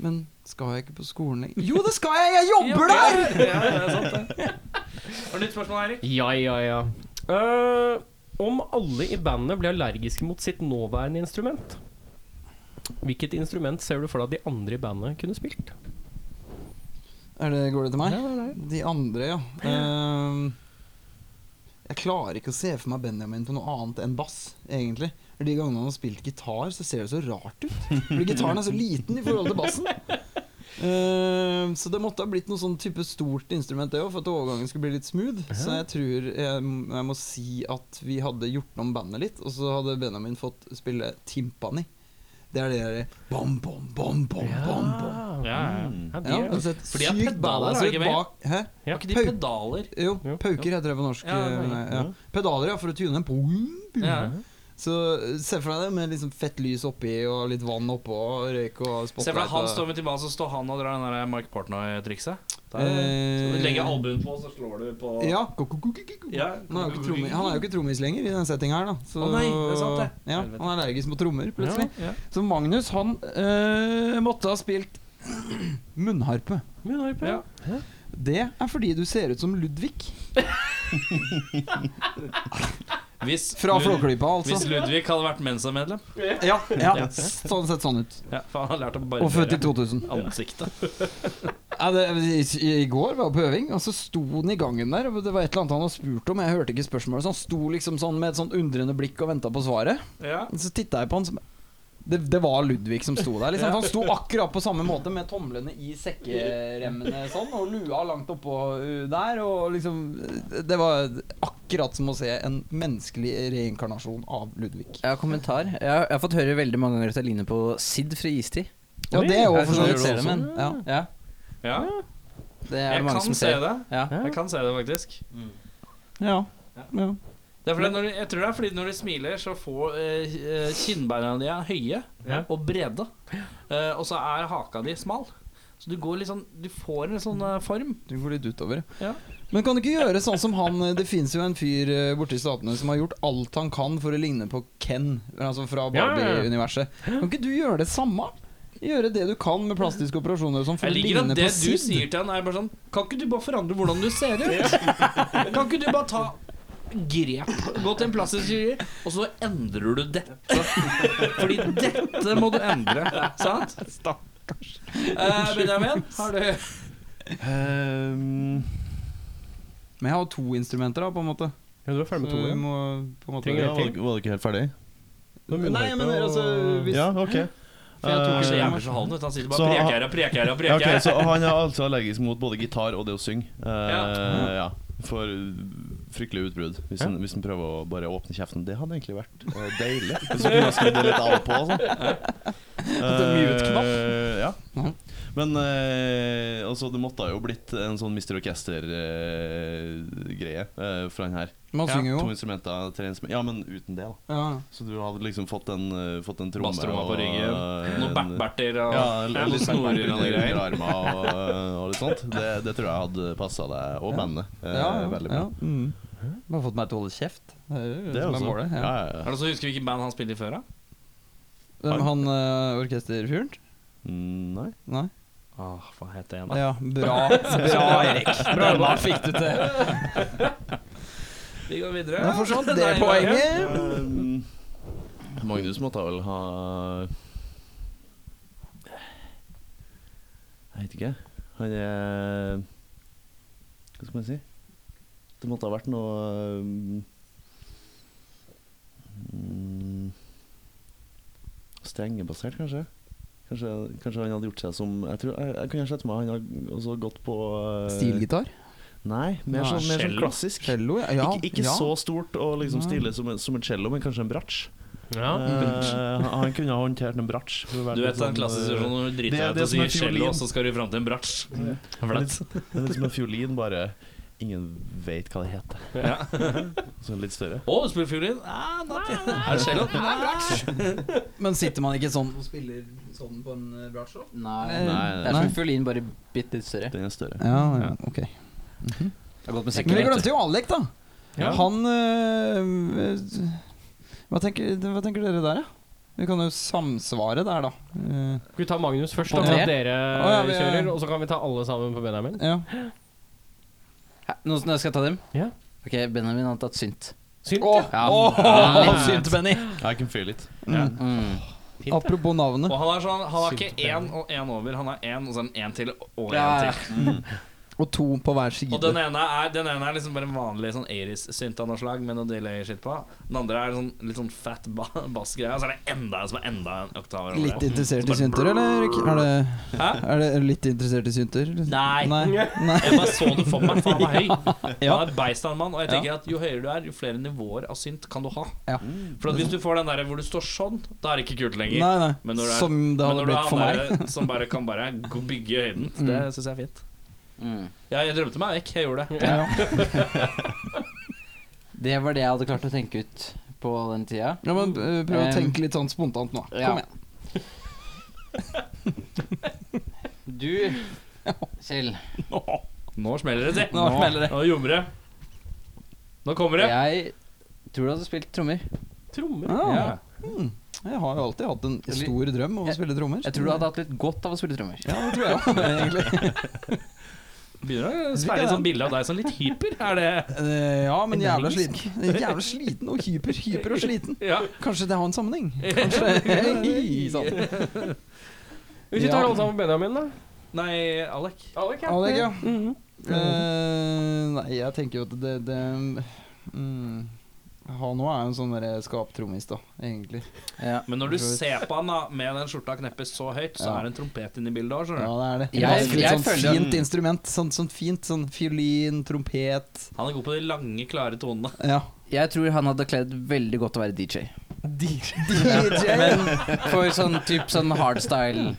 Speaker 4: Men skal jeg ikke på skolen lenger? Jo, det skal jeg! Jeg jobber der!
Speaker 2: Ja, det er sant, det. Har du nytt spørsmål, Eirik?
Speaker 7: Ja, ja, ja. Eh, om alle i bandet ble allergiske mot sitt nåværende instrument, hvilket instrument ser du for deg at de andre i bandet kunne spilt?
Speaker 4: Er det, går det til meg? De andre, ja. Ehm, jeg klarer ikke å se for meg Benjamin på noe annet enn bass, egentlig. For De gangene han har spilt gitar, så ser det så rart ut. Fordi gitaren er så liten i forhold til bassen. Ehm, så det måtte ha blitt noe sånn type stort instrument det òg, for at overgangen skulle bli litt smooth. Så jeg tror jeg, jeg må si at vi hadde gjort om bandet litt, og så hadde Benjamin fått spille timpani. Det er det der bom, bom, bom, bom, bom, bom.
Speaker 2: Ja, ja.
Speaker 8: mm.
Speaker 7: Ja, de
Speaker 4: Ja,
Speaker 7: er-
Speaker 4: det ser
Speaker 2: Fordi at
Speaker 4: sykt
Speaker 2: pedaler er
Speaker 4: badass ut
Speaker 2: ikke med.
Speaker 4: bak Hæ?
Speaker 7: Ja.
Speaker 2: Var ikke de
Speaker 4: Pau-
Speaker 2: pedaler?
Speaker 4: Jo,
Speaker 7: Jo.
Speaker 4: pauker heter det på norsk.
Speaker 2: Ja, det er
Speaker 4: eh,
Speaker 2: riktig.
Speaker 4: ja. Pedaler, ja, for å tune. Boom, boom.
Speaker 2: Ja.
Speaker 4: Så eh, se for deg det med liksom fett lys oppi og litt vann oppå og røyk og
Speaker 2: Se for deg
Speaker 4: spotlight.
Speaker 2: han
Speaker 4: og-
Speaker 2: står med tilbake, så står han og drar den der Mike Portnoy-trikset.
Speaker 4: Eh,
Speaker 2: Legger albuen på, så slår du på
Speaker 4: Ja. Go, go, go, go, go, go.
Speaker 2: Ja.
Speaker 4: Han er jo ikke trommis- han er jo ikke trommis lenger i denne settinga her, da. Så,
Speaker 2: Å nei, det er sant det.
Speaker 4: Ja,
Speaker 2: Helvete.
Speaker 4: han er allergisk mot trommer, plutselig.
Speaker 2: Ja,
Speaker 4: Så Magnus, han eh, måtte ha spilt munnharpe.
Speaker 7: Munnharpe.
Speaker 2: Ja.
Speaker 4: Det er fordi du ser ut som Ludvig.
Speaker 2: Hvis,
Speaker 4: Fra
Speaker 2: Lud-
Speaker 4: Flåklypa,
Speaker 2: hvis
Speaker 4: altså.
Speaker 2: Ludvig hadde vært Mensa-medlem
Speaker 4: Ja, ja. Sånn sett sånn ut.
Speaker 2: ja, For han har lært å
Speaker 4: Og født i
Speaker 2: barbere
Speaker 4: 2000.
Speaker 2: ansiktet.
Speaker 4: Ja, det, i, I går var jeg på øving, og så sto han i gangen der. Og det var et eller annet han hadde spurt om, jeg hørte ikke spørsmålet. Så han sto liksom sånn med et sånt undrende blikk og venta på svaret.
Speaker 2: Ja.
Speaker 4: Så titta jeg på han som det, det var Ludvig som sto der. Liksom. Han sto akkurat på samme måte med tomlene i sekkeremmene sånn, og lua langt oppå uh, der. Og liksom Det var akkurat som å se en menneskelig reinkarnasjon av Ludvig.
Speaker 5: Jeg har kommentar. Jeg har, jeg har fått høre veldig mange ganger at jeg ligner på Sid fra Istid.
Speaker 4: Ja, det er jo
Speaker 5: Jeg
Speaker 4: for så
Speaker 5: skjønner
Speaker 4: vidt
Speaker 5: det også.
Speaker 4: men ja.
Speaker 5: Ja,
Speaker 2: Ja.
Speaker 5: det er
Speaker 2: Jeg
Speaker 5: det mange
Speaker 2: kan
Speaker 5: som
Speaker 2: se
Speaker 5: ser.
Speaker 2: det.
Speaker 5: Ja.
Speaker 2: Jeg kan se det faktisk.
Speaker 4: Ja. ja.
Speaker 2: Det er fordi når, du- jeg tror det er fordi når du smiler, så får eh, eh, kinnbeina dine høye og brede. Eh, og så er haka di smal. Så du går litt sånn Du får en sånn eh, form.
Speaker 4: Du går litt utover.
Speaker 2: Ja.
Speaker 4: Men kan du ikke gjøre sånn som han Det fins jo en fyr eh, borte i Statene som har gjort alt han kan for å ligne på Ken, altså fra
Speaker 7: Ja, ja, ja.
Speaker 4: Barbie-universet. Kan ikke du gjøre det samme? Gjøre det du kan med plastiske operasjoner og sånn, for
Speaker 2: Jeg
Speaker 4: å
Speaker 2: liker
Speaker 4: ligne
Speaker 2: at
Speaker 4: på
Speaker 2: det du
Speaker 4: Sid.
Speaker 2: sier til han, er bare sånn Kan ikke du bare forandre hvordan du ser ut? Kan ikke du bare ta grep, gå til en plastisk kirurgi, og så endrer du dette? Fordi dette må du endre, sant? Stakkars. Benjamin, har du
Speaker 8: Ehm,
Speaker 4: Men jeg har to instrumenter, da, på en måte.
Speaker 7: Ja, du er ferdig med
Speaker 4: Så
Speaker 7: to,
Speaker 4: vi
Speaker 7: ja.
Speaker 4: må på en måte
Speaker 7: Trenger
Speaker 8: ja,
Speaker 7: jeg
Speaker 8: var,
Speaker 7: til?
Speaker 8: var det ikke helt ferdig?
Speaker 7: Nå begynner
Speaker 4: Nei,
Speaker 7: jeg
Speaker 4: men
Speaker 7: på-
Speaker 4: altså hvis,
Speaker 8: Ja, ok.
Speaker 4: For jeg tok
Speaker 8: Eh,
Speaker 2: Så jævlig så halv ut. Han sitter bare
Speaker 8: Så-
Speaker 2: og preker og preker og
Speaker 8: Ja, ok,
Speaker 2: preker.
Speaker 8: så han er altså allergisk mot både gitar og det å synge. Eh,
Speaker 2: Ja.
Speaker 8: ja. For fryktelig utbrudd. Hvis han, hvis han prøver å bare åpne kjeften. Det hadde egentlig vært eh, deilig. Hvis han kunne skrudd det litt av og på. Sånn. Eh, ja.
Speaker 4: Mhm.
Speaker 8: Men eh, altså, det måtte ha jo blitt en sånn Mister eh, Orkester-greie for han her.
Speaker 4: Man
Speaker 2: Ja,
Speaker 4: synger jo.
Speaker 8: To instrumenter, tre instrumenter Ja, men uten det, da.
Speaker 4: Ja.
Speaker 8: Så du hadde liksom fått en, eh, fått en tromme
Speaker 2: Basstromma på
Speaker 8: og,
Speaker 2: ryggen.
Speaker 8: eh,
Speaker 2: Noen
Speaker 8: en-
Speaker 2: backberter og
Speaker 8: ja,
Speaker 2: noen
Speaker 8: litt
Speaker 2: snorer og noen greier.
Speaker 8: armer og, og litt sånt. Det, det tror jeg hadde passa deg og bandet eh,
Speaker 4: Ja, ja,
Speaker 8: veldig bra.
Speaker 4: ja. Mm. Bare fått meg til å holde kjeft. Det er jo det som er
Speaker 8: også-
Speaker 4: målet.
Speaker 8: Ja,
Speaker 4: Ja.
Speaker 8: ja,
Speaker 2: Er
Speaker 8: ja.
Speaker 2: det så Husker vi hvilket band han spilte i før, da?
Speaker 4: Hvem han uh, orkesterfyren?
Speaker 8: Mm, Nei.
Speaker 4: Nei?
Speaker 2: Åh, hva het det igjen, da?
Speaker 4: Ja, bra. Bra, Erik. Bra, da fikk du til.
Speaker 2: Vi går videre.
Speaker 4: Ja, for sånn, det
Speaker 2: Nei,
Speaker 4: er poenget.
Speaker 8: Um, Magnus måtte vel ha Jeg vet ikke. Han er Hva skal man si? Det måtte ha vært noe um, mm, Strengebasert, kanskje? Kanskje, kanskje han hadde gjort seg som Jeg, tror, jeg, jeg kunne sett meg han hadde også gått på uh,
Speaker 4: Stilgitar?
Speaker 8: Nei, mer
Speaker 4: Nei,
Speaker 8: sånn, mer sånn
Speaker 2: cello.
Speaker 8: klassisk.
Speaker 4: Cello? Ja. ja.
Speaker 8: Ikke, ikke
Speaker 4: ja.
Speaker 8: så stort og liksom
Speaker 4: Nei.
Speaker 8: stille som en, som en cello, men kanskje en bratsj.
Speaker 7: Ja.
Speaker 8: Eh, han- han kunne ha håndtert en bratsj. for å være
Speaker 2: Du
Speaker 8: litt
Speaker 2: vet den
Speaker 8: sånn,
Speaker 2: klassiske
Speaker 8: eh,
Speaker 2: situasjonen når du driter
Speaker 8: det er
Speaker 2: deg ut
Speaker 8: det
Speaker 2: og
Speaker 8: som er
Speaker 2: sier cello,
Speaker 8: fiolin.
Speaker 2: og så skal du fram til en bratsj?
Speaker 8: litt, det er litt som en fiolin, bare ingen vet hva det heter.
Speaker 2: Ja.
Speaker 8: Så litt større.
Speaker 2: Å, du spiller fiolin? Ah, not yet. Er det cello? Nei, bratsj.
Speaker 4: Men sitter man ikke sånn og spiller sånn på en eh, bratsjå?
Speaker 5: Nei.
Speaker 4: Nei,
Speaker 8: nei,
Speaker 5: Det er
Speaker 4: nei.
Speaker 5: som fiolin, bare bitte litt større.
Speaker 8: Den er større.
Speaker 4: Ja, ja, ok. Men vi glemte jo Alek, da. Han eh, hva, tenker, hva tenker dere der, da? Vi kan jo samsvare der, da. Eh,
Speaker 7: Skal vi ta Magnus først,
Speaker 5: På
Speaker 7: da, sånn at
Speaker 5: tre?
Speaker 7: dere
Speaker 4: Å, ja, vi-
Speaker 7: kjører? Og så kan vi ta alle sammen på Benjamin?
Speaker 4: ja.
Speaker 5: Hæ, Nå nå skal jeg ta dem?
Speaker 7: Ja.
Speaker 5: Ok, Benjamin har tatt synt.
Speaker 7: Synd.
Speaker 5: Ja.
Speaker 4: Åh, synt, Benny.
Speaker 8: I can feel it.
Speaker 5: Mm.
Speaker 4: Apropos navnet.
Speaker 2: Og han er sånn, han har ikke én og én over, han har én og så en én til og én
Speaker 5: Ja, ja.
Speaker 2: til.
Speaker 4: Og to på hver
Speaker 2: Og den
Speaker 4: side.
Speaker 2: ene er, den ene er liksom bare en vanlig sånn Aris-synt av noe slag med noe delay-shit på. Den andre er sånn, litt sånn fat ba bass-greie, og så er det enda en som er enda en oktav over.
Speaker 4: Litt interessert i synter, eller? Erik? Er det,
Speaker 2: Hæ?
Speaker 4: er det er du litt interessert i synter?
Speaker 2: Nei.
Speaker 4: Nei. Nei.
Speaker 2: Jeg bare så det for meg, for han er høy.
Speaker 4: Ja.
Speaker 2: Han er beist av en mann, og jeg tenker at jo høyere du er, jo flere nivåer av synt kan du ha.
Speaker 4: Ja.
Speaker 2: For at hvis du får den der hvor du står sånn, da er det ikke kult lenger.
Speaker 4: Nei, nei.
Speaker 2: Men når det er-
Speaker 4: Som det
Speaker 2: Men
Speaker 4: hadde
Speaker 2: når du
Speaker 4: blitt for
Speaker 2: er
Speaker 4: meg.
Speaker 2: han der som bare kan bare gå- bygge i høyden, det syns jeg er fint.
Speaker 5: Mm.
Speaker 2: Ja, jeg drømte meg vekk, jeg gjorde det.
Speaker 4: Ja.
Speaker 5: Det var det jeg hadde klart å tenke ut på den tida.
Speaker 4: Ja, men eh, Prøv å
Speaker 5: Em,
Speaker 4: tenke litt sånn spontant nå.
Speaker 5: ja.
Speaker 4: Kom igjen.
Speaker 5: Du, Kjell,
Speaker 2: Nå smeller det til.
Speaker 5: Nå smeller det.
Speaker 2: Nå ljomer det. Nå kommer det.
Speaker 5: jeg tror du hadde spilt trommer.
Speaker 7: Trommer.
Speaker 4: Ja.
Speaker 2: Ja.
Speaker 4: Jeg har jo alltid hatt en stor drøm om å
Speaker 5: Jeg-
Speaker 4: spille trommer.
Speaker 5: Jeg tror du hadde hatt litt godt av å spille trommer.
Speaker 4: Ja, det tror jeg også, egentlig.
Speaker 2: Begynner å sperre et sånt bilde av deg som litt hyper. Er det
Speaker 4: Eh, ja, men jævla
Speaker 2: Energisk.
Speaker 4: sliten. Jævla sliten og hyper. Hyper og sliten.
Speaker 2: Ja.
Speaker 4: Kanskje det har en sammenheng? Kanskje Hei, sånn.
Speaker 7: Hvis vi
Speaker 4: Ja.
Speaker 7: tar alle sammen Benjamin, da.
Speaker 2: Nei, Alek.
Speaker 7: Alek, ja.
Speaker 4: Alek, ja.
Speaker 7: Mhm.
Speaker 4: Eh, nei, jeg tenker jo at det, det mm, Han òg er jo en sånn derre skaptrommis, da, egentlig.
Speaker 5: Ja.
Speaker 2: Men når du ser på han da med den skjorta kneppet så høyt, så
Speaker 4: Ja.
Speaker 2: er det en trompet inni bildet òg,
Speaker 4: Ja,
Speaker 2: skjønner du.
Speaker 4: det er det.
Speaker 5: Jeg-
Speaker 4: det er et
Speaker 5: jeg
Speaker 4: sånt
Speaker 5: føler-
Speaker 4: fint instrument. Sånn, sånn fint sånn fiolin, trompet
Speaker 2: Han er god på de lange, klare tonene.
Speaker 4: Ja.
Speaker 5: Jeg tror han hadde kledd veldig godt å være DJ.
Speaker 4: DJ!
Speaker 5: For sånn typ sånn hardstyle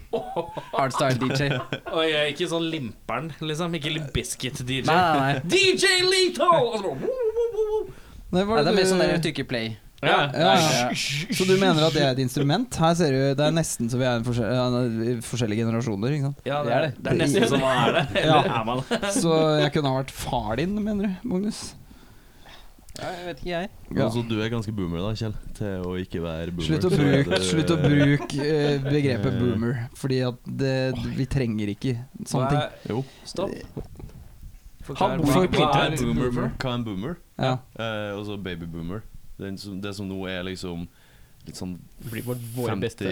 Speaker 5: Hardstyle DJ. Nei,
Speaker 2: Og jeg er ikke sånn limperen, liksom. Ikke Limp Bizkit-DJ.
Speaker 5: nei, nei.
Speaker 2: DJ Leto! Og så bare-
Speaker 4: Nei,
Speaker 5: Nei,
Speaker 4: var
Speaker 5: det er mer sånn der
Speaker 4: du-
Speaker 5: tykke play.
Speaker 2: Ja,
Speaker 4: ja,
Speaker 5: Ja.
Speaker 4: Så du mener at det er et instrument? Her ser du, Det er nesten så vi er en forskjell, ja, forskjellige generasjoner. ikke sant?
Speaker 2: ja det, er, det er nesten sånn. som man er det. Eller er man det?
Speaker 4: Så jeg kunne ha vært far din, mener du, Magnus?
Speaker 5: jeg vet ikke, jeg.
Speaker 4: Ja.
Speaker 8: Altså, du er ganske boomer, da, Kjell. Til å ikke være boomer.
Speaker 4: Slutt å
Speaker 8: så
Speaker 4: bruke,
Speaker 8: det-
Speaker 4: slutt å bruke eh, begrepet
Speaker 8: Eh.
Speaker 4: boomer, fordi at det, vi trenger ikke sånne ting.
Speaker 8: Jo.
Speaker 2: Stopp. Forklar
Speaker 4: Han bor i
Speaker 2: hva- hva er
Speaker 4: Peter.
Speaker 2: boomer for?
Speaker 8: Hva er en boomer?
Speaker 4: Ja.
Speaker 8: Eh, og så baby boomer. Den som, det som nå er liksom litt sånn
Speaker 7: Blir vår, våre beste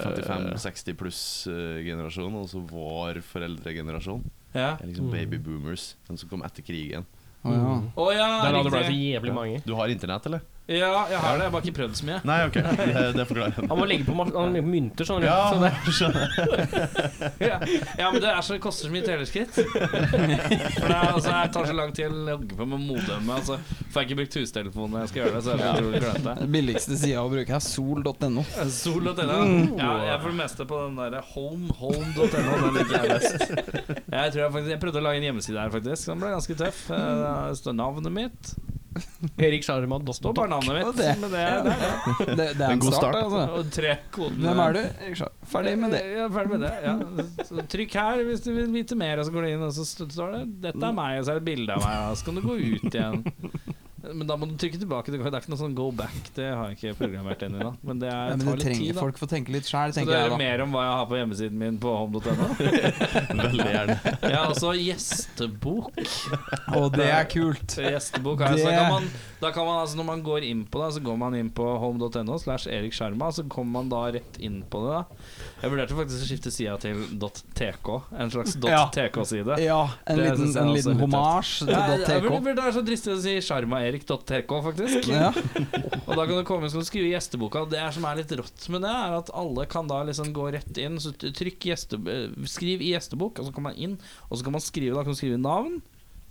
Speaker 8: 55-60 pluss-generasjon, eh, og så vår foreldregenerasjon.
Speaker 2: Ja.
Speaker 8: er liksom baby boomers, den som kom etter krigen.
Speaker 4: Å, ja.
Speaker 2: Å ja,
Speaker 7: Der hadde Mm. det ble så
Speaker 2: riktig.
Speaker 7: jævlig mange.
Speaker 8: Du har internett, eller?
Speaker 2: Ja, jeg har det. Jeg har bare ikke prøvd så mye.
Speaker 8: Nei, ok, det, det forklarer
Speaker 7: Han må legge på mas- han legger på mynter, sånn.
Speaker 8: Ja,
Speaker 7: Så det,
Speaker 8: skjønner.
Speaker 2: Ja, ja men det, er så, det koster så mye teleskritt. For det er, altså, jeg tar så lang tid å logge på med modemmet. Altså, får jeg ikke brukt hustelefonen når jeg skal gjøre det, så er det så utrolig klønete.
Speaker 4: Den billigste sida å bruke er sol.no.
Speaker 2: Sol og tenne. Ja, jeg er for det meste på den derre home, home.no. Den liker jeg best. Jeg, tror jeg, faktisk, jeg prøvde å lage en hjemmeside her, faktisk. Den ble ganske tøff. Eh, Det står navnet mitt
Speaker 7: Erik Sjarma Dosto.
Speaker 2: og bare navnet mitt.
Speaker 4: Og det.
Speaker 2: Men det, det, er det.
Speaker 4: Det, det er
Speaker 8: En
Speaker 4: en
Speaker 8: god
Speaker 4: start,
Speaker 8: start.
Speaker 4: altså.
Speaker 2: Og tre kodene.
Speaker 4: Hvem er du? Jeg skjønner. Ferdig med det.
Speaker 2: Ja, ferdig med det. Ja. Så trykk her hvis du vil vite mer, og så går du inn, og så st- står det 'Dette er meg', og så er det et bilde av meg, og så kan du gå ut igjen. Men da må du trykke tilbake. Det går- det er ikke noe sånn go back. Det har jeg ikke programmert ennå. da. Men det er,
Speaker 4: Ja, men
Speaker 2: tar
Speaker 4: det
Speaker 2: litt tid,
Speaker 4: trenger
Speaker 2: da.
Speaker 4: folk for å tenke litt sjæl,
Speaker 2: Så
Speaker 4: tenker
Speaker 2: det
Speaker 4: jeg
Speaker 2: er
Speaker 4: da.
Speaker 2: mer om hva jeg har på hjemmesiden min på home.no.
Speaker 8: Veldig gjerne.
Speaker 2: Jeg har også altså gjestebok.
Speaker 4: Og det er kult.
Speaker 2: Så Gjestebok har jeg, så
Speaker 4: Det-
Speaker 2: da kan man, da kan man altså, Når man går inn på det, så går man inn på home.no slash Erik Skjerma, så kommer man da rett inn på det. da Jeg vurderte faktisk å skifte sida til .tk, en slags
Speaker 4: Ja.
Speaker 2: .tk-side.
Speaker 4: Ja, en
Speaker 2: Det
Speaker 4: liten,
Speaker 2: synes jeg
Speaker 4: en
Speaker 2: også er
Speaker 4: liten
Speaker 2: litt
Speaker 4: homasj
Speaker 2: Ja, jeg-
Speaker 4: til
Speaker 2: jeg
Speaker 4: .tk.
Speaker 2: burde- burde- Det er så dristig å si sjarmaerik.tk, faktisk.
Speaker 4: Ja.
Speaker 2: Og da kan du komme inn og skrive gjesteboka. Og Det er som er litt rått med det, er at alle kan da liksom gå rett inn. Så t- trykk gjeste, eh, Skriv i gjestebok, og så kommer man inn. Og så kan man skrive da kan du skrive navn.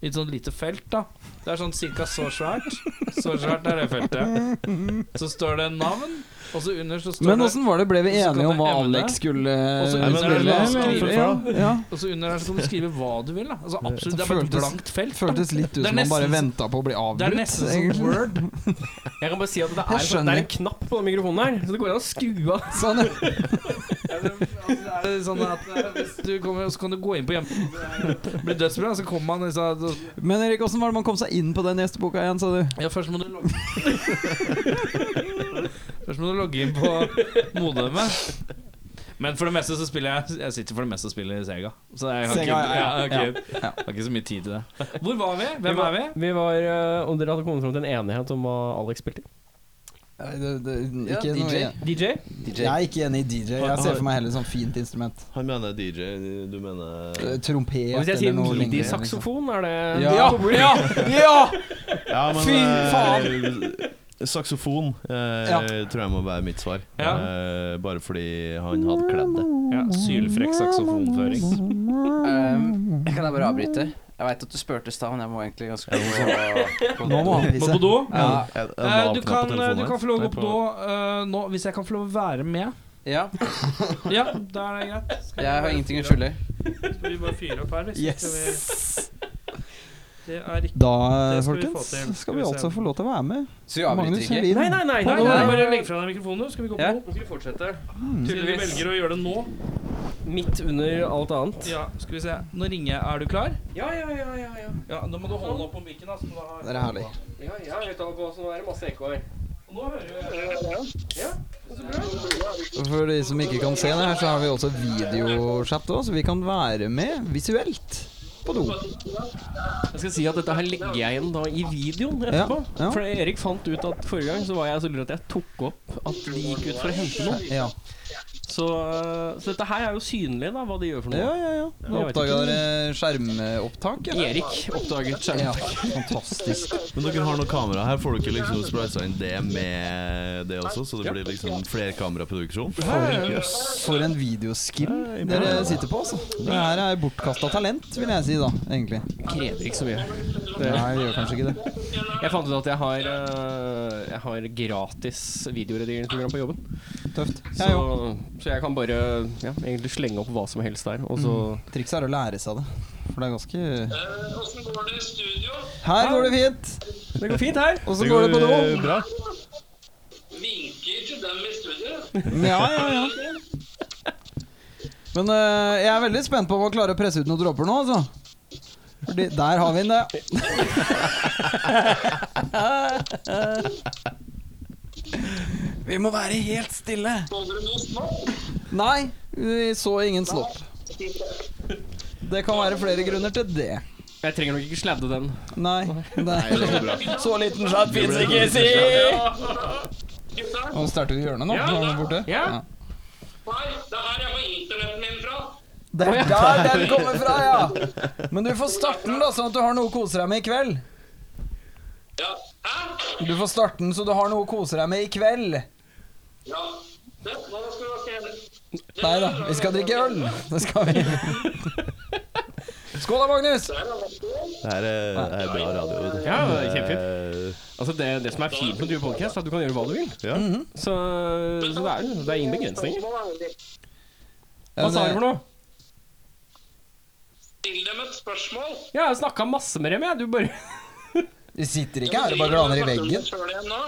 Speaker 2: I et sånt lite felt, da. Det er sånn cirka så svært. Så svært er det feltet. Så står det navn, og så under så står
Speaker 4: Men
Speaker 2: det
Speaker 4: åssen var det, ble vi
Speaker 2: Så kan
Speaker 4: enige om
Speaker 2: det
Speaker 4: hva
Speaker 2: evne.
Speaker 4: Alex skulle
Speaker 2: Og så-
Speaker 8: Nei, men
Speaker 4: spille?
Speaker 8: la oss
Speaker 4: eller?
Speaker 8: skrive
Speaker 4: Ja,
Speaker 8: for
Speaker 4: ja.
Speaker 2: Og så under her så kan du skrive hva du vil, da. Altså absolutt,
Speaker 4: Det
Speaker 2: det er bare et
Speaker 4: føltes-
Speaker 2: blankt felt. da.
Speaker 4: Føltes litt ut
Speaker 2: Det er
Speaker 4: som man bare
Speaker 2: nesten-
Speaker 4: venta på å bli
Speaker 2: Det er
Speaker 4: avbrutt.
Speaker 2: nesten
Speaker 4: egentlig.
Speaker 2: som Word.
Speaker 7: Jeg kan bare si at det er,
Speaker 4: Jeg
Speaker 7: sånn- det er en
Speaker 4: skjønner.
Speaker 7: knapp på den mikrofonen her, så det går an å skru av.
Speaker 4: Sånn, ja.
Speaker 2: Er det sånn at eh, hvis du kommer, så kan du gå inn på hjemme Blir dødsbra, så kommer man liksom
Speaker 4: Men Erik, åssen var det man kom seg inn på den gjesteboka igjen, sa du?
Speaker 2: Ja, først må du logge Først må du logge inn på modemet. Men for det meste så spiller jeg Jeg sitter for det meste og spiller Sega. Så jeg har,
Speaker 4: Sega,
Speaker 2: ikke,
Speaker 4: ja, ja,
Speaker 2: jeg har, ikke, jeg har ikke så mye tid til det. Hvor var vi? Hvem er vi?
Speaker 7: Vi var, eh, og Dere hadde kommet fram til en enighet om hva Alex spilte.
Speaker 5: Ja,
Speaker 4: ikke
Speaker 5: DJ.
Speaker 4: noe,
Speaker 7: DJ?
Speaker 4: jeg er ikke enig i DJ. Jeg ser for meg heller sånn fint instrument. Eh,
Speaker 8: Han mener DJ, du mener
Speaker 4: Trompet
Speaker 7: Og hvis jeg
Speaker 4: eller
Speaker 7: sier
Speaker 4: noe lignende, liksom.
Speaker 7: midi-saksofon, er det
Speaker 4: Ja, ja, ja!
Speaker 8: Ja, men
Speaker 4: Fy
Speaker 8: eh,
Speaker 4: faen!
Speaker 8: Saksofon eh,
Speaker 4: Ja.
Speaker 8: tror jeg må være mitt svar.
Speaker 2: Ja.
Speaker 8: Eh, bare fordi han hadde kledd det.
Speaker 2: Ja, Sylfrekk saksofonføring.
Speaker 5: Ehm, jeg kan da bare avbryte. Jeg veit at du spurte i stad, men jeg må egentlig ganske
Speaker 4: Nå må han
Speaker 2: Må
Speaker 4: vise.
Speaker 2: på do?
Speaker 5: Ja,
Speaker 8: Jeg- jeg
Speaker 2: Eh,
Speaker 8: la
Speaker 2: Du
Speaker 8: opp knappen
Speaker 2: kan,
Speaker 8: på telefonen
Speaker 2: du
Speaker 8: her.
Speaker 2: kan få lov å
Speaker 8: Nei,
Speaker 2: gå på
Speaker 8: på-
Speaker 2: do eh, nå, hvis jeg kan få lov å være med.
Speaker 5: ja,
Speaker 2: Ja, da er det greit. Skal vi
Speaker 5: jeg har
Speaker 2: bare
Speaker 5: ingenting
Speaker 2: fyre
Speaker 5: å
Speaker 2: opp?
Speaker 5: skjule.
Speaker 2: Skal vi bare fyre opp her, hvis
Speaker 4: Yes.
Speaker 2: vi Det er riktig.
Speaker 4: Da,
Speaker 2: Det skal vi få
Speaker 4: folkens,
Speaker 2: til. Skal
Speaker 4: skal
Speaker 2: vi
Speaker 4: vi
Speaker 2: se.
Speaker 4: altså få lov til å være med.
Speaker 5: Så vi avbryter
Speaker 4: Magnus
Speaker 5: ikke.
Speaker 4: Helin.
Speaker 7: Nei, nei, nei. nei,
Speaker 2: Nei, nei,
Speaker 7: nei,
Speaker 2: bare legg fra deg mikrofonen. Skal vi gå på
Speaker 5: Ja.
Speaker 2: do? Skal vi fortsette? Siden vi
Speaker 7: Tydeligvis
Speaker 2: velger å gjøre det nå.
Speaker 7: midt under alt annet.
Speaker 2: Ja, skal vi se. Nå ringer jeg. Er du klar?
Speaker 7: Ja, ja, ja. ja, ja.
Speaker 2: Ja, Nå må du holde opp altså. på mikken. da, så må du ha-
Speaker 4: Det er herlig.
Speaker 7: ja jeg har høyttaler på, så nå er det masse ekko her.
Speaker 2: Nå hører jeg
Speaker 4: For de som ikke kan se det her, så har vi også videochat òg, så vi kan være med visuelt. på do.
Speaker 1: Jeg skal si at dette her legger jeg igjen da i videoen etterpå.
Speaker 4: ja.
Speaker 1: For Erik fant ut at forrige gang så var jeg så lur at jeg tok opp at de gikk ut for å hente noe.
Speaker 4: Ja,
Speaker 1: Så, eh, så dette her er jo synlig, da, hva de gjør for
Speaker 4: ja,
Speaker 1: noe.
Speaker 4: ja. ja. Nå
Speaker 1: Jeg vet
Speaker 4: Oppdaga dere skjermopptak? Ja.
Speaker 1: Erik oppdaget skjermen.
Speaker 4: ja. Fantastisk.
Speaker 8: Men dere har noe kamera her. Får dere liksom spleisa inn det med det også? Så det blir liksom flerkameraproduksjon?
Speaker 4: For en videoskill dere sitter på, altså. Det her er bortkasta talent, vil jeg si da, egentlig.
Speaker 1: Krever ikke så mye.
Speaker 4: Nei, det gjør kanskje ikke det.
Speaker 1: Jeg fant ut at jeg har, eh, jeg har gratis videoredigeringsprogram på jobben.
Speaker 4: Tøft.
Speaker 1: Så,
Speaker 4: Jeg òg.
Speaker 1: så jeg kan bare ja, egentlig slenge opp hva som helst der, og så
Speaker 4: Trikset er å lære seg det. For det er ganske Her går det fint.
Speaker 1: Det går fint her.
Speaker 4: Og så går det på do.
Speaker 8: bra.
Speaker 4: Ja, ja, ja. Men eh, jeg er veldig spent på å klare å presse ut noen dråper nå, altså. Fordi der har vi den, det. vi må være helt stille. Nei, vi så ingen snopp. Det kan være flere grunner til det.
Speaker 1: Jeg trenger nok ikke sladde den.
Speaker 4: Nei. nei. Så liten sladd fins ikke, si! Nå starter vi hjørnet nå. Var den borte?
Speaker 1: Ja.
Speaker 4: Ja.
Speaker 9: Nei, det her er på internetten min fra.
Speaker 4: Det er der den kommer fra, ja! Men du får starte den, da, sånn at du har noe å kose deg med i kveld.
Speaker 9: Ja. Hæ?
Speaker 4: Du får starte den så du har noe å kose deg med i kveld.
Speaker 9: Ja. Det, hva skal du se?
Speaker 4: Nei da, vi skal drikke øl. Det skal vi. Skål da, Magnus.
Speaker 8: Det her er, eh, det her er bra radio. vet du.
Speaker 1: Ja, det er kjempefint.
Speaker 8: Eh,
Speaker 1: Altså det, det som er fint med Due Podcast, er at du kan gjøre hva du vil.
Speaker 8: Ja.
Speaker 1: Så, så det, er, det er ingen begrensninger.
Speaker 4: Ja,
Speaker 1: Hva sa du for noe?
Speaker 9: Still dem et spørsmål.
Speaker 1: Ja, jeg snakka masse med dem, jeg. Du bare
Speaker 4: Vi sitter ikke her og bare glaner i veggen.
Speaker 9: Selv igjen nå.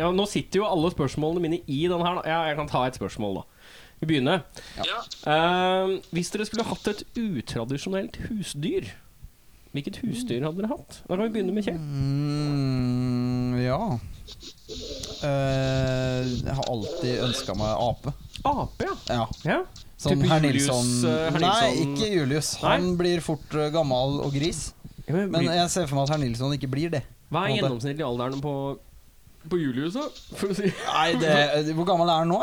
Speaker 1: Ja, nå sitter jo alle spørsmålene mine i den her, da. Ja, jeg kan ta et spørsmål, da. Vi begynner.
Speaker 9: Ja.
Speaker 1: Eh, hvis dere skulle hatt et utradisjonelt husdyr, hvilket husdyr hadde dere hatt? Da kan vi begynne med Kjell.
Speaker 4: Mm, ja Eh, Jeg har alltid ønska meg ape.
Speaker 1: Ape, ja.
Speaker 4: Ja.
Speaker 1: ja.
Speaker 4: Sånn
Speaker 1: Type
Speaker 4: herr
Speaker 1: Julius,
Speaker 4: Nilsson
Speaker 1: eh, herr
Speaker 4: Nei,
Speaker 1: Nilsson-
Speaker 4: ikke Julius. Han blir fort eh, gammel og gris.
Speaker 1: Ja, men
Speaker 4: Men
Speaker 1: blir-
Speaker 4: jeg ser for meg at herr Nilsson ikke blir det.
Speaker 1: Hva er
Speaker 4: på en måte.
Speaker 1: gjennomsnittlig alderen på på Julius, da? For å si
Speaker 4: Nei, det, Hvor gammel er han nå?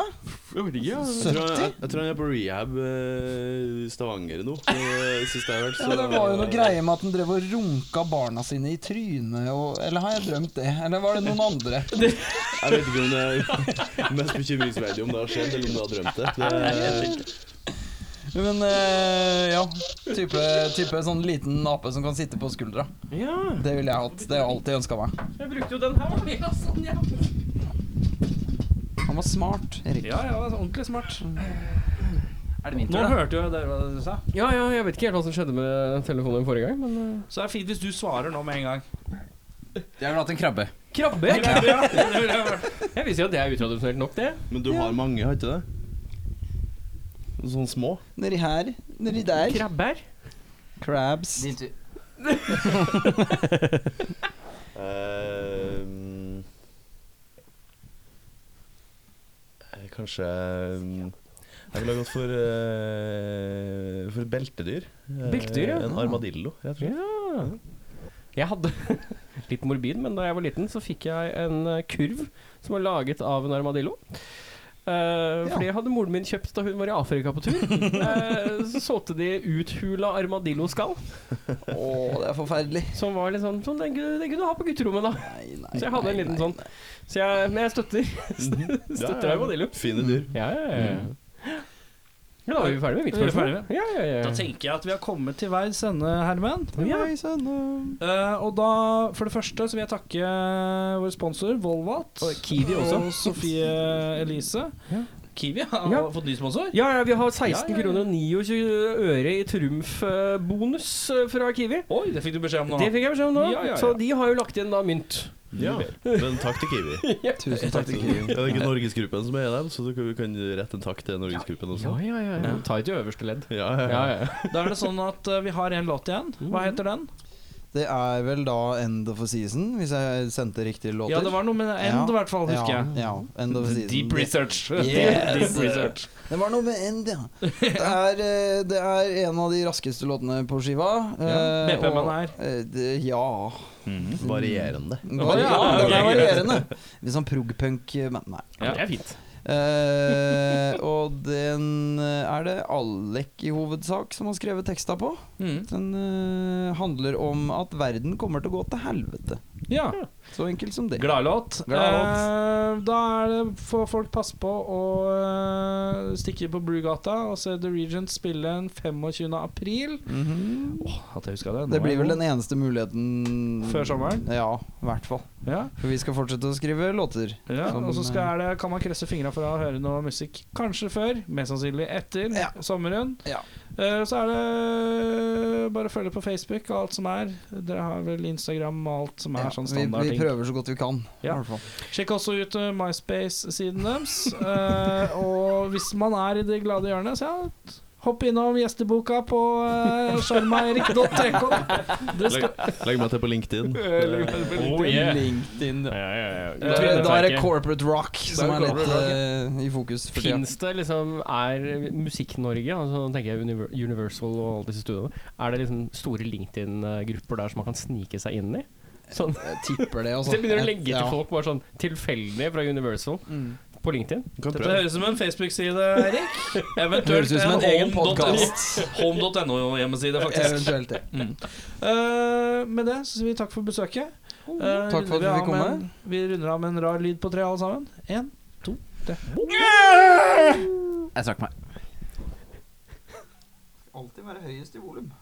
Speaker 8: Jeg
Speaker 4: eh?
Speaker 8: tror, han- jeg, jeg tror han er på rehab eh, i Stavanger nå. eh, Sist jeg har hørt.
Speaker 4: Ja, men det var jo noe greie med at han drev og runka barna sine i trynet og Eller har jeg drømt det? Eller var det noen andre?
Speaker 8: Jeg vet ikke om det er mest bekymringsverdig om det har skjedd, eller om du har drømt det. det
Speaker 4: Men eh, ja. Type, type sånn liten ape som kan sitte på skuldra.
Speaker 1: Ja.
Speaker 4: Det ville jeg hatt. Det har jeg alltid ønska meg. sånn,
Speaker 1: Jeg brukte jo den her. da.
Speaker 4: Han var smart, Erik.
Speaker 2: Ja, ja, ordentlig smart.
Speaker 5: Er det min
Speaker 2: Nå
Speaker 5: tur, da?
Speaker 2: hørte jo dere hva du sa.
Speaker 1: Ja, ja, jeg vet ikke helt hva som skjedde med telefonen din forrige gang, men eh,
Speaker 2: Så det er fint hvis du svarer nå med en gang.
Speaker 5: Jeg ville hatt en krabbe.
Speaker 1: Krabbe? jeg vil si at det er utradisjonelt nok, det.
Speaker 8: men du har mange, har ikke det? Sånn små?
Speaker 4: Nedi her, nedi der.
Speaker 1: Krabber.
Speaker 4: Crabs.
Speaker 5: Din tur.
Speaker 8: Eh, mm, eh, kanskje mm, Jeg ville ha gått for, eh, for beltedyr. Eh,
Speaker 1: Beltedyr, ja.
Speaker 4: Ah.
Speaker 8: En armadillo, rett og slett.
Speaker 1: Ja. Jeg hadde litt morbid, men da jeg var liten, så fikk jeg en eh, kurv som var laget av en armadillo. Eh, Fordi hadde moren min kjøpt da hun var i Afrika på tur. Eh, så solgte de uthula armadilloskall,
Speaker 4: Å, det er forferdelig.
Speaker 1: som var litt sånn sånn, den, kunne- den kunne du ha på gutterommet, da.
Speaker 4: Nei, nei,
Speaker 1: Så jeg hadde en
Speaker 4: nei,
Speaker 1: liten
Speaker 4: nei.
Speaker 1: sånn. Så jeg, men jeg støtter. Støtter armadillo.
Speaker 8: Fine dyr.
Speaker 1: Ja, ja, ja. Ja, da er vi ferdig med mitt
Speaker 2: Er vi
Speaker 1: spørsmål.
Speaker 2: ferdig med?
Speaker 1: Ja, ja, ja.
Speaker 2: Da tenker jeg at vi har kommet til veis ende, Herman.
Speaker 1: Ja.
Speaker 2: Eh, og da, for det første, så vil jeg takke vår sponsor, Volvat.
Speaker 1: Og Kiwi også.
Speaker 2: Og Sofie Elise. Kiwi har
Speaker 1: Ja.
Speaker 2: fått ny sponsor.
Speaker 1: Ja, ja, vi har 16
Speaker 2: Ja, ja, ja.
Speaker 1: kroner og 29 øre i trumfbonus eh, fra Kiwi.
Speaker 2: Oi, det fikk du beskjed om nå.
Speaker 1: Det fikk jeg beskjed om nå.
Speaker 2: Ja, ja, ja.
Speaker 1: Så de har jo lagt igjen da mynt.
Speaker 8: Ja. Men takk til Kiwi.
Speaker 4: Tusen takk til
Speaker 8: Ja, det er ikke Norgesgruppen som er der, så du kan- vi kan rette en takk til Norgesgruppen også.
Speaker 1: ja, ja. Ta i til øverste ledd.
Speaker 8: Ja, ja,
Speaker 1: Ja,
Speaker 8: ja.
Speaker 1: ja.
Speaker 2: Da er det sånn at eh, vi har en låt igjen. Hva heter den?
Speaker 4: Det er vel da End of a Season, hvis jeg sendte riktige låter.
Speaker 2: Ja, det var noe med end, i hvert fall, husker
Speaker 4: ja,
Speaker 2: jeg.
Speaker 4: Ja, End of a Season.
Speaker 2: Deep research.
Speaker 4: Yes.
Speaker 2: Deep research.
Speaker 4: Det var noe med End, ja. Det er, eh, det er en av de raskeste låtene på skiva. eh,
Speaker 2: BPM-en
Speaker 4: og-
Speaker 2: er.
Speaker 4: eh, det- Ja
Speaker 2: Mhm.
Speaker 8: Varierende.
Speaker 4: Varierende.
Speaker 2: Ja, ok.
Speaker 4: Det er varierende. Litt sånn prog-punk Men nei.
Speaker 2: Ja.
Speaker 7: Det er fint.
Speaker 4: Eh, og den eh, er det Alek i hovedsak som har skrevet teksta på.
Speaker 2: Mm.
Speaker 4: Den eh, handler om at verden kommer til å gå til helvete.
Speaker 2: Ja.
Speaker 4: Så enkelt som det.
Speaker 2: Gladlåt.
Speaker 4: Gladlåt.
Speaker 2: Eh, da er det får folk passe på å eh, stikke på Brugata og se The Regent spille den 25. april.
Speaker 4: Mhm.
Speaker 2: At jeg huska det. nå
Speaker 4: Det blir
Speaker 2: er
Speaker 4: vel
Speaker 2: god.
Speaker 4: den eneste muligheten
Speaker 2: Før sommeren?
Speaker 4: Ja, i hvert fall.
Speaker 2: Ja,
Speaker 4: For vi skal fortsette å skrive låter.
Speaker 2: ja.
Speaker 4: Som,
Speaker 2: Og så
Speaker 4: eh,
Speaker 2: skal det, kan man krysse fingra for å høre noe musikk kanskje før, mest sannsynlig etter
Speaker 4: Ja.
Speaker 2: sommeren.
Speaker 4: Ja.
Speaker 2: Eh, så er det eh, bare å følge på Facebook og alt som er. Dere har vel Instagram og alt som er
Speaker 4: ja,
Speaker 2: sånn
Speaker 4: vi, vi
Speaker 2: standardting.
Speaker 4: prøver så godt vi kan.
Speaker 2: Ja.
Speaker 4: I hvert fall.
Speaker 2: Sjekk også ut eh, MySpace-siden deres. Eh, og hvis man er i det glade hjørnet, så ja, hopp innom gjesteboka på uh, Det skal
Speaker 8: Legg, legg meg til på LinkedIn.
Speaker 7: Oh, yeah.
Speaker 4: LinkedIn.
Speaker 7: Ja, ja, ja.
Speaker 2: Eh,
Speaker 4: Da tror jeg-
Speaker 7: Det
Speaker 4: Da er det
Speaker 7: ikke-
Speaker 4: corporate rock som er litt
Speaker 2: corporate rock,
Speaker 4: eh, i fokus for tida.
Speaker 7: Fins det liksom Er Musikk-Norge, altså nå tenker jeg Univer- Universal og alle disse studioene, er det liksom store LinkedIn-grupper der som man kan snike seg inn i? Sånn,
Speaker 4: Jeg tipper det.
Speaker 7: så
Speaker 4: Også.
Speaker 7: jeg begynner å legge
Speaker 4: Altså, Ja.
Speaker 7: til folk bare sånn tilfeldig fra Universal på LinkedIn.
Speaker 2: Dette høres ut som en Facebook-side, Erik.
Speaker 4: Det høres
Speaker 2: Eventuelt
Speaker 4: ut som en egen podkast.
Speaker 2: Home.no-hjemmeside, faktisk.
Speaker 4: Eventuelt det.
Speaker 2: Eh, med det så sier vi takk for besøket. Eh,
Speaker 4: Takk for at
Speaker 2: runder vi
Speaker 4: vi
Speaker 2: av
Speaker 4: fikk
Speaker 2: med
Speaker 4: komme.
Speaker 2: en- Vi runder av med en rar lyd på tre, alle sammen. En
Speaker 5: Jeg strakk meg.
Speaker 4: Alltid være høyest i volum.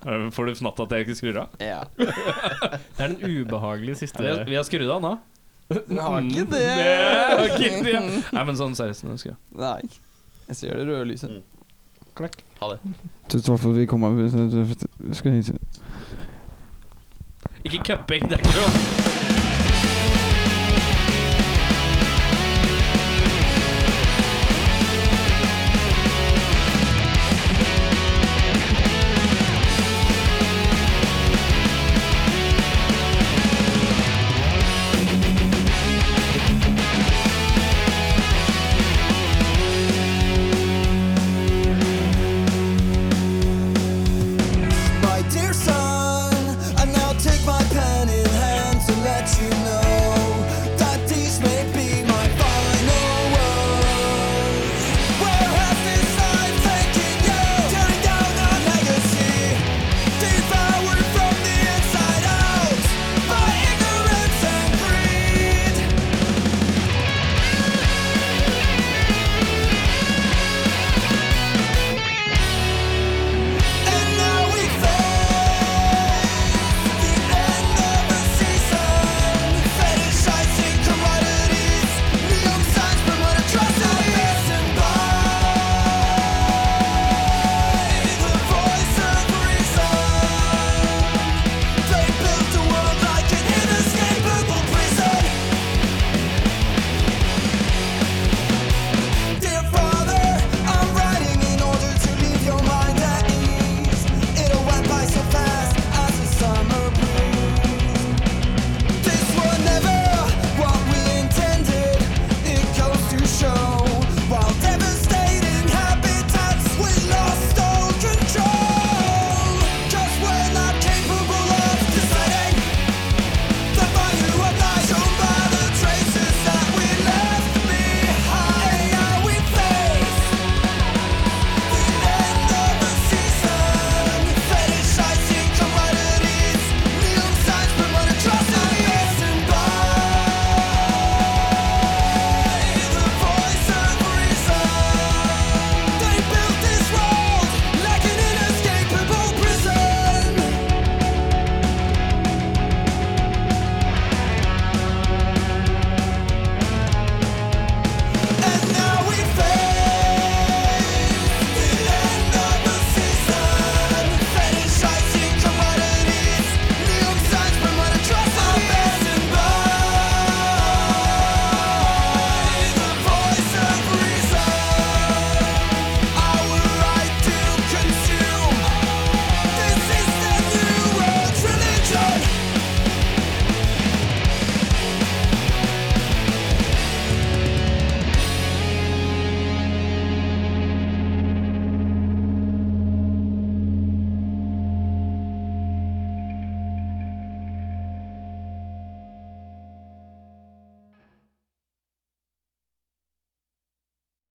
Speaker 2: Eh, Får du fnatt at jeg ikke skrur av?
Speaker 4: Ja.
Speaker 7: Det er den ubehagelige siste
Speaker 2: Vi har skrudd av nå.
Speaker 4: Det har ikke det.
Speaker 2: Nei, men sånn seriøst. nå skal jeg-
Speaker 4: Nei. Jeg ser det røde lyset.
Speaker 2: Klakk.
Speaker 4: Tusen takk for at vi kom. Skal jeg
Speaker 2: Ikke cuping, det er ikke lov.